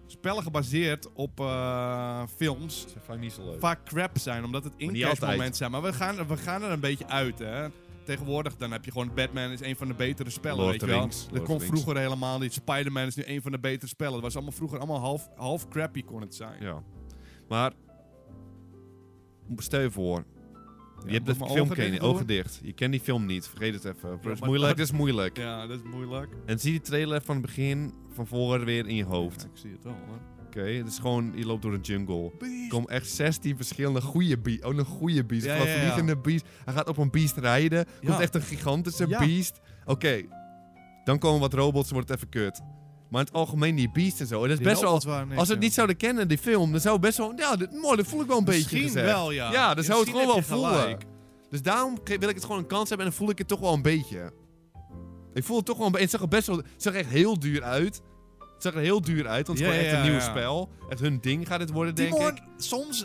[SPEAKER 1] Spellen gebaseerd op eh, films
[SPEAKER 2] Dat is vaak niet zo leuk.
[SPEAKER 1] vaak crap zijn, omdat het
[SPEAKER 2] niet
[SPEAKER 1] inkerstmoment
[SPEAKER 2] altijd.
[SPEAKER 1] zijn. Maar we gaan, we gaan er een beetje uit, hè. Tegenwoordig dan heb je gewoon Batman is een van de betere spellen,
[SPEAKER 2] Lord
[SPEAKER 1] weet
[SPEAKER 2] of
[SPEAKER 1] je wel.
[SPEAKER 2] the Rings,
[SPEAKER 1] Dat
[SPEAKER 2] Lord
[SPEAKER 1] kon
[SPEAKER 2] of the Rings.
[SPEAKER 1] vroeger helemaal niet. Spider-Man is nu een van de betere spellen. Dat was allemaal vroeger allemaal half, half crappy kon het zijn.
[SPEAKER 2] Ja. Maar, stel je voor, je hebt
[SPEAKER 1] moet
[SPEAKER 2] de
[SPEAKER 1] mijn
[SPEAKER 2] film
[SPEAKER 1] ogen
[SPEAKER 2] ken je,
[SPEAKER 1] dicht doen?
[SPEAKER 2] ogen dicht. Je kent die film niet, vergeet het even. Het is
[SPEAKER 1] maar-
[SPEAKER 2] moeilijk, het is moeilijk.
[SPEAKER 1] Ja, dat is moeilijk.
[SPEAKER 2] En zie die trailer van het begin van voren weer in je hoofd.
[SPEAKER 1] Ja, ik zie het wel, hoor.
[SPEAKER 2] Oké, het is gewoon, je loopt door een jungle. Er komen echt 16 verschillende goede beests. Oh, een goede beest.
[SPEAKER 1] Ja,
[SPEAKER 2] Ja,
[SPEAKER 1] ja, ja.
[SPEAKER 2] vliegende beest. Hij gaat op een beest rijden. Komt
[SPEAKER 1] Ja.
[SPEAKER 2] echt een gigantische
[SPEAKER 1] Ja.
[SPEAKER 2] beest. Oké, dan komen wat robots en wordt het even kut. Maar in het algemeen die beest en zo. En dat is
[SPEAKER 1] Die
[SPEAKER 2] best wel...
[SPEAKER 1] robots waren niks,
[SPEAKER 2] Als we het
[SPEAKER 1] ja.
[SPEAKER 2] niet zouden kennen, die film, dan zou het best wel... Ja, dit, mooi, dat voel ik wel een beetje
[SPEAKER 1] Misschien
[SPEAKER 2] gezegd.
[SPEAKER 1] wel, ja.
[SPEAKER 2] Ja, dan zou het
[SPEAKER 1] Misschien
[SPEAKER 2] gewoon wel
[SPEAKER 1] heb je
[SPEAKER 2] voelen.
[SPEAKER 1] gelijk.
[SPEAKER 2] Dus daarom ge- wil ik het gewoon een kans hebben en dan voel ik het toch wel een beetje. Ik voel het toch wel een beetje. Het zag er best wel. Het zag er echt heel duur uit. Het zag er heel duur uit, want het is
[SPEAKER 1] Ja,
[SPEAKER 2] gewoon echt
[SPEAKER 1] ja,
[SPEAKER 2] een nieuw
[SPEAKER 1] ja.
[SPEAKER 2] spel. Echt hun ding gaat het worden, denk
[SPEAKER 1] Timon,
[SPEAKER 2] ik.
[SPEAKER 1] soms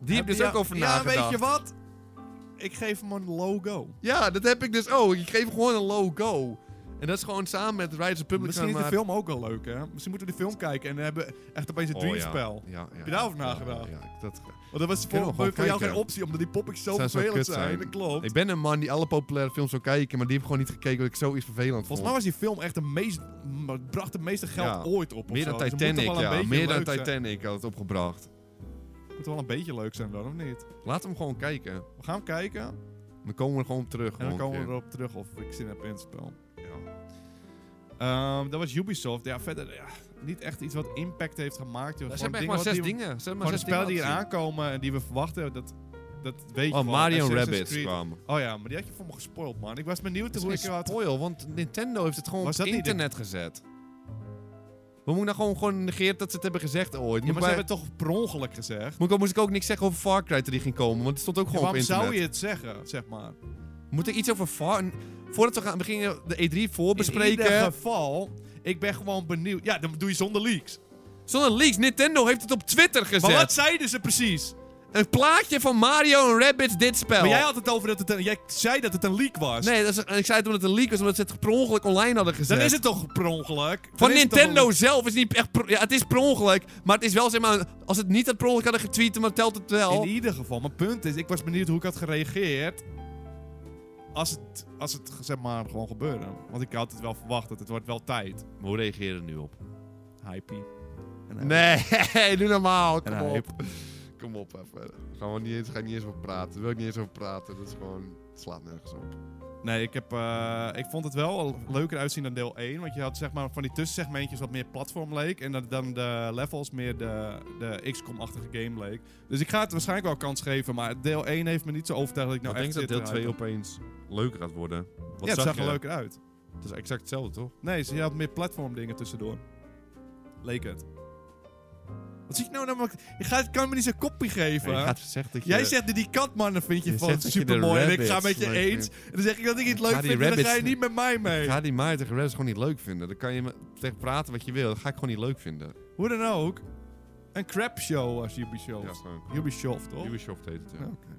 [SPEAKER 2] Die heb
[SPEAKER 1] Heb
[SPEAKER 2] dus
[SPEAKER 1] je-
[SPEAKER 2] ook over
[SPEAKER 1] Ja,
[SPEAKER 2] nagedacht.
[SPEAKER 1] weet je wat? Ik geef hem een logo.
[SPEAKER 2] Ja, dat heb ik dus ook. Ik geef gewoon een logo. En dat is gewoon samen met Riders Republic.
[SPEAKER 1] Misschien is de film ook wel leuk, hè? Misschien moeten we de film kijken en dan hebben we echt opeens een dreamspel.
[SPEAKER 2] Oh, Ja. Ja, ja,
[SPEAKER 1] Heb je daarover
[SPEAKER 2] ja,
[SPEAKER 1] nagedacht?
[SPEAKER 2] Ja, ja, dat...
[SPEAKER 1] Want dat was
[SPEAKER 2] Kunnen we
[SPEAKER 1] voor, voor
[SPEAKER 2] gewoon
[SPEAKER 1] jou geen
[SPEAKER 2] kijken.
[SPEAKER 1] optie, omdat die poppetjes zo
[SPEAKER 2] Zou zo
[SPEAKER 1] vervelend
[SPEAKER 2] kut
[SPEAKER 1] zijn.
[SPEAKER 2] zijn.
[SPEAKER 1] Dat klopt.
[SPEAKER 2] Ik ben een man die alle populaire films wil kijken, maar die heb ik gewoon niet gekeken omdat ik zoiets vervelend
[SPEAKER 1] Volgens mij
[SPEAKER 2] vond.
[SPEAKER 1] was die film echt de meest... m- bracht de meeste geld
[SPEAKER 2] Ja.
[SPEAKER 1] ooit op. of
[SPEAKER 2] Meer
[SPEAKER 1] zo.
[SPEAKER 2] dan
[SPEAKER 1] Dus het moet toch
[SPEAKER 2] Titanic,
[SPEAKER 1] wel een
[SPEAKER 2] ja.
[SPEAKER 1] beetje
[SPEAKER 2] Meer dan
[SPEAKER 1] leuk zijn.
[SPEAKER 2] Titanic had het opgebracht.
[SPEAKER 1] Het moet wel een beetje leuk zijn dan, of niet?
[SPEAKER 2] Laten we hem gewoon kijken.
[SPEAKER 1] We gaan hem kijken en
[SPEAKER 2] Dan komen we er gewoon op terug.
[SPEAKER 1] dan
[SPEAKER 2] gewoon
[SPEAKER 1] komen we
[SPEAKER 2] een
[SPEAKER 1] erop terug of ik zin heb in het spel.
[SPEAKER 2] keer. Ja.
[SPEAKER 1] Ehm, dat was Ubisoft. Ja, verder ja, niet echt iets wat impact heeft gemaakt. Joh.
[SPEAKER 2] Ze
[SPEAKER 1] Gewoon
[SPEAKER 2] hebben echt maar
[SPEAKER 1] wat
[SPEAKER 2] zes
[SPEAKER 1] die we-
[SPEAKER 2] dingen. Ze hebben
[SPEAKER 1] Gewoon
[SPEAKER 2] maar
[SPEAKER 1] de
[SPEAKER 2] zes
[SPEAKER 1] spellen die
[SPEAKER 2] dingen
[SPEAKER 1] eraan
[SPEAKER 2] laten
[SPEAKER 1] komen en die we verwachten, dat, dat weet je
[SPEAKER 2] zien. Oh,
[SPEAKER 1] wel.
[SPEAKER 2] Mario
[SPEAKER 1] Assassin's
[SPEAKER 2] Rabbits
[SPEAKER 1] Creed.
[SPEAKER 2] kwamen.
[SPEAKER 1] Oh ja, maar die had je voor me gespoild, man. Ik was benieuwd
[SPEAKER 2] Dat
[SPEAKER 1] hoe ik
[SPEAKER 2] is
[SPEAKER 1] er
[SPEAKER 2] geen
[SPEAKER 1] had...
[SPEAKER 2] spoil, want Nintendo heeft het gewoon
[SPEAKER 1] Was
[SPEAKER 2] op
[SPEAKER 1] dat niet
[SPEAKER 2] internet gezet. We moeten nou gewoon, gewoon negeren dat ze het hebben gezegd ooit.
[SPEAKER 1] Ja, maar
[SPEAKER 2] Moet, ik
[SPEAKER 1] ze
[SPEAKER 2] bij-
[SPEAKER 1] hebben het toch per ongeluk gezegd?
[SPEAKER 2] moet ik ook- moest ik ook niks zeggen over Far Cry 3 ging komen, want het stond ook
[SPEAKER 1] Ja,
[SPEAKER 2] gewoon op
[SPEAKER 1] waarom
[SPEAKER 2] internet.
[SPEAKER 1] zou je het zeggen, zeg maar?
[SPEAKER 2] Moet er iets over Far... n- Voordat we gaan beginnen de E3
[SPEAKER 1] In ieder
[SPEAKER 2] voorbespreken...
[SPEAKER 1] geval, ik ben gewoon benieuwd. Ja, dan doe je zonder leaks.
[SPEAKER 2] Zonder leaks, Nintendo heeft het op Twitter gezet.
[SPEAKER 1] Maar wat zeiden ze precies?
[SPEAKER 2] Een plaatje van Mario en Rabbids dit spel.
[SPEAKER 1] Maar jij had het over dat het een, jij zei dat het een leak was.
[SPEAKER 2] Nee, dat is, en ik zei het omdat het een leak was, omdat ze het per ongeluk online hadden gezet.
[SPEAKER 1] Dan is het toch per ongeluk? Dan
[SPEAKER 2] Van
[SPEAKER 1] is het toch
[SPEAKER 2] Nintendo
[SPEAKER 1] een-
[SPEAKER 2] zelf is niet echt... per- Ja, het is per ongeluk, maar het is wel zeg maar... Als het niet dat per ongeluk hadden getweeten, maar telt het wel.
[SPEAKER 1] In ieder geval, mijn punt is, ik was benieuwd hoe ik had gereageerd. Als het, als het zeg maar, gewoon gebeurde. Want ik had het wel verwacht, dat het wordt wel tijd.
[SPEAKER 2] Hoe reageer je er nu op?
[SPEAKER 1] Hypie. eh,
[SPEAKER 2] Nee, <laughs> doe normaal.
[SPEAKER 1] En
[SPEAKER 2] Kom
[SPEAKER 1] hij-
[SPEAKER 2] op. Kom op even. Gaan we niet eens, ga ik niet eens over praten. Daar wil ik niet eens over praten. Dat is gewoon... Het slaat nergens op.
[SPEAKER 1] Nou, Nee, ik, heb, eh, ik vond het wel leuker uitzien dan deel 1. Want je had zeg maar van die tussensegmentjes wat meer platform leek. En dat dan de levels meer de, de XCOM-achtige game leek. Dus ik ga het waarschijnlijk wel kans geven. Maar deel 1 heeft me niet zo overtuigd dat ik nou
[SPEAKER 2] ik
[SPEAKER 1] echt
[SPEAKER 2] denk dat
[SPEAKER 1] zit
[SPEAKER 2] deel
[SPEAKER 1] te
[SPEAKER 2] 2
[SPEAKER 1] hypen.
[SPEAKER 2] opeens leuker gaat worden. Wat
[SPEAKER 1] Ja, het zag
[SPEAKER 2] je?
[SPEAKER 1] er leuker uit.
[SPEAKER 2] Het is exact hetzelfde, toch?
[SPEAKER 1] Nee, ze je had meer platform dingen tussendoor. Leek het. Wat zie ik nou namelijk? Je gaat, kan me niet zijn kopie geven. hè?
[SPEAKER 2] zeggen dat
[SPEAKER 1] Jij zegt dat die katmannen vind je,
[SPEAKER 2] Je
[SPEAKER 1] van
[SPEAKER 2] zegt dat je de
[SPEAKER 1] super mooi en ik
[SPEAKER 2] rabbits
[SPEAKER 1] ga met je
[SPEAKER 2] leuk
[SPEAKER 1] eens. En dan zeg ik dat ik het leuk
[SPEAKER 2] Ja, die
[SPEAKER 1] vind en dan ga je
[SPEAKER 2] rabbits-
[SPEAKER 1] niet met mij mee.
[SPEAKER 2] Ik ga die Mario tegen Rabbids gewoon niet leuk vinden. Dan kan je me tegen praten wat je wil. Dat ga ik gewoon niet leuk vinden.
[SPEAKER 1] Hoe dan ook, een crap show was Ubisoft.
[SPEAKER 2] gewoon.
[SPEAKER 1] Ubisoft, toch?
[SPEAKER 2] Ubisoft heet het, ja.
[SPEAKER 1] Ja, oké.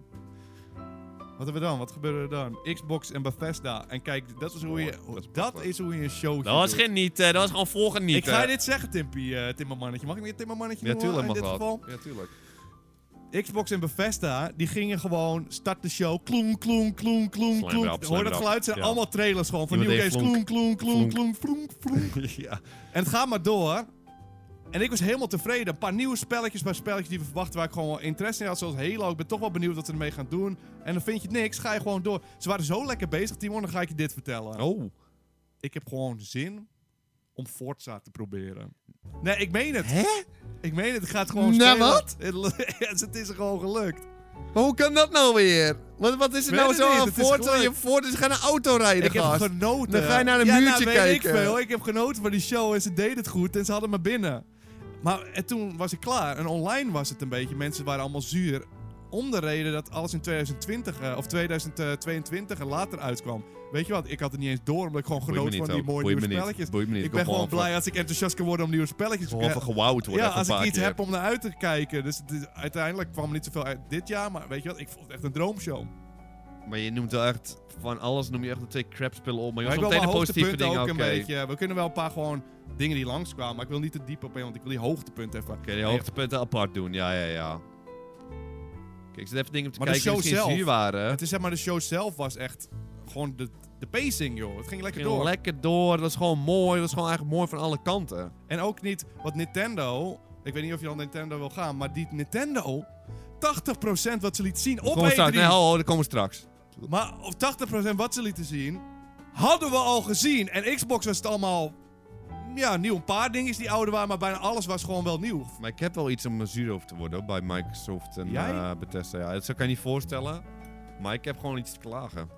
[SPEAKER 1] Wat hebben we dan? Wat gebeurde er dan? Xbox en Bethesda. En kijk, dat is hoe je,
[SPEAKER 2] Mooi, Oh, dat is
[SPEAKER 1] dat
[SPEAKER 2] prachtig.
[SPEAKER 1] is hoe je een show
[SPEAKER 2] Dat was geen niet, eh, dat was gewoon volgen niet.
[SPEAKER 1] Ik ga je dit zeggen, Timpie, eh Timmermannetje. Mag ik niet Timmermannetje
[SPEAKER 2] Ja,
[SPEAKER 1] noemen
[SPEAKER 2] tuurlijk
[SPEAKER 1] in
[SPEAKER 2] mag
[SPEAKER 1] dit
[SPEAKER 2] dat.
[SPEAKER 1] geval?
[SPEAKER 2] Ja, tuurlijk.
[SPEAKER 1] Xbox en Bethesda, die gingen gewoon start de show. Kloen, kloen, kloen, kloen,
[SPEAKER 2] Slam
[SPEAKER 1] kloen.
[SPEAKER 2] erop, slam
[SPEAKER 1] Hoor dat
[SPEAKER 2] erop.
[SPEAKER 1] geluid? zijn
[SPEAKER 2] Ja.
[SPEAKER 1] allemaal trailers gewoon van
[SPEAKER 2] Iemand
[SPEAKER 1] nieuwe
[SPEAKER 2] deed
[SPEAKER 1] games. Kloen, kloen, kloen,
[SPEAKER 2] Vloenk.
[SPEAKER 1] kloen, vloenk, vloenk.
[SPEAKER 2] <laughs> ja.
[SPEAKER 1] En het gaat maar door. En ik was helemaal tevreden. Een paar nieuwe spelletjes, maar spelletjes die we verwachten waar ik gewoon wel interesse in had. Zoals Halo. Ik ben toch wel benieuwd wat ze ermee gaan doen. En dan vind je niks, ga je gewoon door. Ze waren zo lekker bezig, Timon, dan ga ik je dit vertellen.
[SPEAKER 2] Oh.
[SPEAKER 1] Ik heb gewoon zin om Forza te proberen. Nee, ik meen het.
[SPEAKER 2] Hè?
[SPEAKER 1] Ik meen het. Ik ga het gewoon
[SPEAKER 2] Nou,
[SPEAKER 1] spelen.
[SPEAKER 2] wat?
[SPEAKER 1] <laughs> Het, het is gewoon gelukt.
[SPEAKER 2] Maar hoe kan dat nou weer? Wat, wat is er
[SPEAKER 1] Weet
[SPEAKER 2] nou
[SPEAKER 1] het
[SPEAKER 2] zo
[SPEAKER 1] niet,
[SPEAKER 2] aan
[SPEAKER 1] het is
[SPEAKER 2] voort?
[SPEAKER 1] geluk.
[SPEAKER 2] Je voort is gaan een auto rijden,
[SPEAKER 1] ik heb
[SPEAKER 2] gast.
[SPEAKER 1] genoten.
[SPEAKER 2] Dan ga je naar een
[SPEAKER 1] ja, nou,
[SPEAKER 2] muurtje
[SPEAKER 1] weet
[SPEAKER 2] kijken.
[SPEAKER 1] ik veel. Ik heb genoten van die show en ze deden het goed en ze hadden me binnen. Maar en toen was ik klaar. En online was het een beetje. Mensen waren allemaal zuur. Om de reden dat alles in 2020 eh, of 2022 en later uitkwam. Weet je wat? Ik had het niet eens door omdat ik gewoon
[SPEAKER 2] Boeit me
[SPEAKER 1] genoot
[SPEAKER 2] niet
[SPEAKER 1] van die
[SPEAKER 2] ook.
[SPEAKER 1] mooie
[SPEAKER 2] Boeit
[SPEAKER 1] nieuwe
[SPEAKER 2] me niet.
[SPEAKER 1] spelletjes.
[SPEAKER 2] Boeit me niet.
[SPEAKER 1] Ik
[SPEAKER 2] Ik
[SPEAKER 1] ben
[SPEAKER 2] wil
[SPEAKER 1] gewoon
[SPEAKER 2] gewoon
[SPEAKER 1] blij als ik enthousiast kan worden om nieuwe spelletjes
[SPEAKER 2] Gewoon van
[SPEAKER 1] te
[SPEAKER 2] gewauwd worden.
[SPEAKER 1] ja,
[SPEAKER 2] even
[SPEAKER 1] als
[SPEAKER 2] een
[SPEAKER 1] ik
[SPEAKER 2] paar
[SPEAKER 1] iets
[SPEAKER 2] keer.
[SPEAKER 1] heb om naar uit te kijken. Dus het is- uiteindelijk kwam er niet zoveel uit dit jaar. Maar weet je wat? Ik vond het echt een droomshow.
[SPEAKER 2] Maar je noemt wel echt van alles noem je echt de twee crapspullen op. Maar je
[SPEAKER 1] Maar
[SPEAKER 2] was
[SPEAKER 1] ik
[SPEAKER 2] wel
[SPEAKER 1] wil mijn
[SPEAKER 2] meteen de positieve
[SPEAKER 1] hoogtepunten
[SPEAKER 2] dingen.
[SPEAKER 1] ook
[SPEAKER 2] Oké,
[SPEAKER 1] een beetje... We kunnen wel een paar gewoon dingen die langskwamen, maar ik wil niet te diep op in, want ik wil die hoogtepunten even...
[SPEAKER 2] Oké, die hoogtepunten apart doen. Ja, ja, ja. Kijk, ik zit even dingen op te
[SPEAKER 1] Maar de
[SPEAKER 2] kijken die
[SPEAKER 1] show
[SPEAKER 2] misschien
[SPEAKER 1] zelf,
[SPEAKER 2] zuur waren.
[SPEAKER 1] Het is zeg maar, de show zelf was echt gewoon de, de pacing, joh. Het ging lekker
[SPEAKER 2] ging
[SPEAKER 1] door.
[SPEAKER 2] lekker door. Dat was gewoon mooi. Dat was gewoon eigenlijk mooi van alle kanten.
[SPEAKER 1] en ook niet, wat Nintendo... Ik weet niet of je dan Nintendo wil gaan, maar die Nintendo... 80% wat ze liet zien op
[SPEAKER 2] Komen we
[SPEAKER 1] E3...
[SPEAKER 2] straks. Nee, ho, ho, daar komen we straks.
[SPEAKER 1] maar of 80% wat ze lieten zien... Hadden we al gezien. En Xbox was het allemaal... Ja, nieuw. Een paar dingetjes die ouder waren, maar bijna alles was gewoon wel nieuw.
[SPEAKER 2] Maar ik heb wel iets om eh, zuur over te worden hoor, bij Microsoft en
[SPEAKER 1] Jij?
[SPEAKER 2] eh, Bethesda. Ja, dat zou ik je niet voorstellen. Maar ik heb gewoon iets te klagen.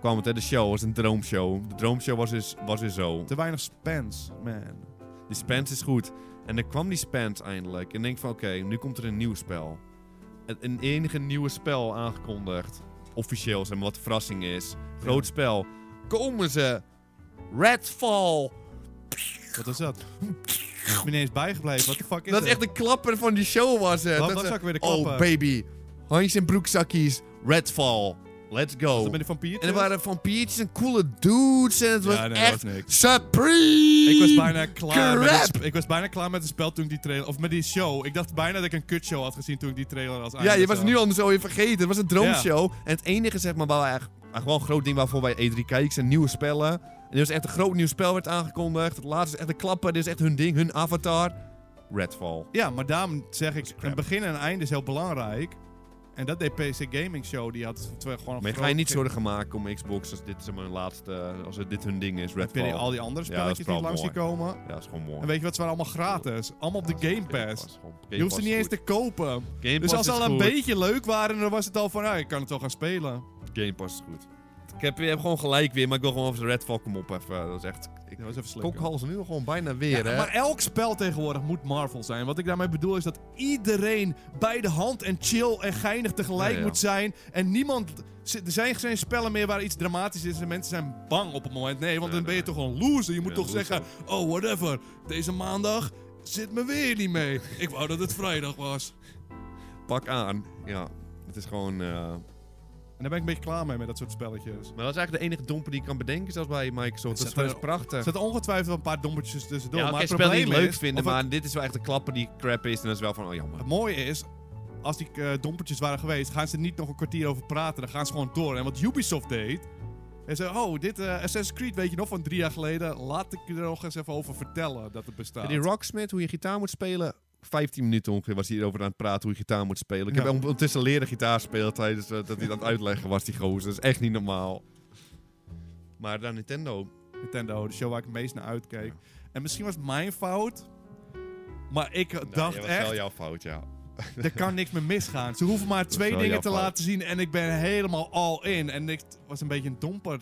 [SPEAKER 2] Kwam het, hè? De show was een droomshow. De droomshow was dus, was dus zo.
[SPEAKER 1] Te weinig spans, man.
[SPEAKER 2] Die Spence is goed. En dan kwam die Spence eindelijk. En denk van, oké, nu komt er een nieuw spel. Een- Een enige nieuwe spel aangekondigd. Officieel, zeg maar, wat de verrassing is. Groot spel. Komen ze. Redfall.
[SPEAKER 1] Wat is dat? Ik ben niet eens bijgebleven. Wat de fuck is
[SPEAKER 2] Dat is echt de klapper van die show was het.
[SPEAKER 1] Wat
[SPEAKER 2] Dat
[SPEAKER 1] was
[SPEAKER 2] ze-
[SPEAKER 1] ook weer de klapper?
[SPEAKER 2] Oh baby, handjes en broekzakjes, Redfall, let's go.
[SPEAKER 1] Dat ben ik van Piet.
[SPEAKER 2] En er waren vampiertjes en coole dudes en het was
[SPEAKER 1] nee, dat
[SPEAKER 2] echt
[SPEAKER 1] was niks.
[SPEAKER 2] supreme.
[SPEAKER 1] Ik was bijna klaar. Met het,
[SPEAKER 2] crap.
[SPEAKER 1] sp- ik was bijna klaar met het spel toen ik die trailer. Of met die show. Ik dacht bijna dat ik een kutshow had gezien toen ik die trailer als
[SPEAKER 2] Ja,
[SPEAKER 1] einde
[SPEAKER 2] je was
[SPEAKER 1] zag.
[SPEAKER 2] het nu al zo weer vergeten. Het was een droomshow. En het enige zeg maar waar wij echt, echt wel een groot ding waarvoor wij E3 kijken zijn nieuwe spellen. En er was echt een groot nieuw spel werd aangekondigd. Het laatste is echt de klapper. Dit is echt hun ding, hun avatar. Redfall.
[SPEAKER 1] Ja, maar daarom zeg ik,
[SPEAKER 2] crap.
[SPEAKER 1] een begin en een einde is heel belangrijk. En dat deed PC Gaming Show, die had twee gewoon een
[SPEAKER 2] Maar ik ga
[SPEAKER 1] groot-
[SPEAKER 2] je niet zorgen maken om Xbox als dit zeg maar, hun laatste, als het dit hun ding is,
[SPEAKER 1] Heb je die-
[SPEAKER 2] Redfall.
[SPEAKER 1] al die andere
[SPEAKER 2] Ja, dat is
[SPEAKER 1] spelletjes die
[SPEAKER 2] vooral
[SPEAKER 1] langs die komen?
[SPEAKER 2] Ja, dat is gewoon mooi.
[SPEAKER 1] En weet je wat, ze waren allemaal gratis. Allemaal op
[SPEAKER 2] Ah,
[SPEAKER 1] de Game Pass. Je hoeft
[SPEAKER 2] hoeft
[SPEAKER 1] ze niet eens te kopen. Dus
[SPEAKER 2] Game Pass
[SPEAKER 1] als ze
[SPEAKER 2] is
[SPEAKER 1] al een
[SPEAKER 2] goed.
[SPEAKER 1] beetje leuk waren, dan was het al van, nou, ik kan het wel gaan spelen.
[SPEAKER 2] Game Pass is goed. Ik heb, je hebt gewoon gelijk weer, maar ik wil gewoon over de Redfall kom op even. Dat is echt... Ik
[SPEAKER 1] Dat was even slikken.
[SPEAKER 2] kokhalzen nu gewoon bijna weer,
[SPEAKER 1] Ja,
[SPEAKER 2] hè.
[SPEAKER 1] maar elk spel tegenwoordig moet Marvel zijn. Wat ik daarmee bedoel is dat iedereen bij de hand en chill en geinig tegelijk
[SPEAKER 2] Ja, ja.
[SPEAKER 1] moet zijn. En niemand. Er zijn geen spellen meer waar iets dramatisch is en mensen zijn bang op het moment. Nee, want
[SPEAKER 2] Nee,
[SPEAKER 1] dan ben je
[SPEAKER 2] nee.
[SPEAKER 1] toch gewoon loser. Je moet
[SPEAKER 2] Ja,
[SPEAKER 1] toch
[SPEAKER 2] loser.
[SPEAKER 1] zeggen: oh, whatever, deze maandag zit me weer niet mee. <laughs> ik wou dat het vrijdag was.
[SPEAKER 2] Pak aan. Ja, het is gewoon... eh,
[SPEAKER 1] En daar ben ik een beetje klaar mee met dat soort spelletjes.
[SPEAKER 2] Maar dat is eigenlijk de enige domper die ik kan bedenken, zelfs bij Microsoft. Dat is
[SPEAKER 1] Zet er-
[SPEAKER 2] gewoon prachtig.
[SPEAKER 1] Er zitten ongetwijfeld wel een paar dompertjes tussendoor.
[SPEAKER 2] ja, oké,
[SPEAKER 1] maar het
[SPEAKER 2] spel
[SPEAKER 1] probleem
[SPEAKER 2] die ik leuk
[SPEAKER 1] is, of
[SPEAKER 2] vinden,
[SPEAKER 1] het-
[SPEAKER 2] maar dit is wel echt een klapper die crap is. En dat is wel van, oh jammer.
[SPEAKER 1] Het mooie is, als die eh, dompertjes waren geweest, gaan ze er niet nog een kwartier over praten. Dan gaan ze gewoon door. En wat Ubisoft deed, is ze, oh, dit eh, Assassin's Creed weet je nog van drie jaar geleden. Laat ik je er nog eens even over vertellen dat het bestaat.
[SPEAKER 2] Die Rocksmith, hoe je gitaar moet spelen. 15 minuten ongeveer was hij hierover aan het praten hoe je gitaar moet spelen. Ik
[SPEAKER 1] Ja.
[SPEAKER 2] heb ondertussen leren gitaar spelen tijdens eh, dat hij dat aan het uitleggen was, die gozer. Dat is echt niet normaal. Maar dan Nintendo.
[SPEAKER 1] Nou, Nintendo, de show waar ik het meest naar uitkeek. En misschien was het mijn fout, maar ik eh, dacht
[SPEAKER 2] dat
[SPEAKER 1] echt,
[SPEAKER 2] wel jouw fout, ja.
[SPEAKER 1] er kan niks meer misgaan. Ze hoeven maar twee
[SPEAKER 2] wel
[SPEAKER 1] dingen
[SPEAKER 2] jouw
[SPEAKER 1] te
[SPEAKER 2] fout.
[SPEAKER 1] laten zien en ik ben helemaal all in. En ik was een beetje een domper.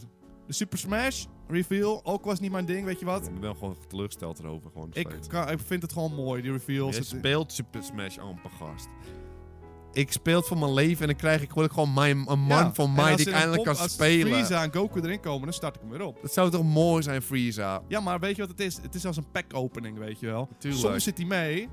[SPEAKER 1] De Super Smash reveal, ook was niet mijn ding, weet je wat?
[SPEAKER 2] Ik ben gewoon teleurgesteld erover. Gewoon nog
[SPEAKER 1] Ik,
[SPEAKER 2] steeds.
[SPEAKER 1] kan, ik vind het gewoon mooi, die reveals.
[SPEAKER 2] Jij
[SPEAKER 1] Het-
[SPEAKER 2] speelt Super Smash amper, gast. Ik speel het voor mijn leven en dan krijg ik word ik gewoon mijn, een man
[SPEAKER 1] Ja,
[SPEAKER 2] van
[SPEAKER 1] en
[SPEAKER 2] mij
[SPEAKER 1] als
[SPEAKER 2] die ik
[SPEAKER 1] er een
[SPEAKER 2] eindelijk
[SPEAKER 1] pop-
[SPEAKER 2] kan
[SPEAKER 1] Als
[SPEAKER 2] spelen.
[SPEAKER 1] Frieza en Goku erin komen, dan start ik hem weer op.
[SPEAKER 2] Dat zou toch mooi zijn, Frieza?
[SPEAKER 1] Ja, maar weet je wat het is? Het is als een pack opening, weet je wel.
[SPEAKER 2] Tuurlijk.
[SPEAKER 1] Soms zit hij mee,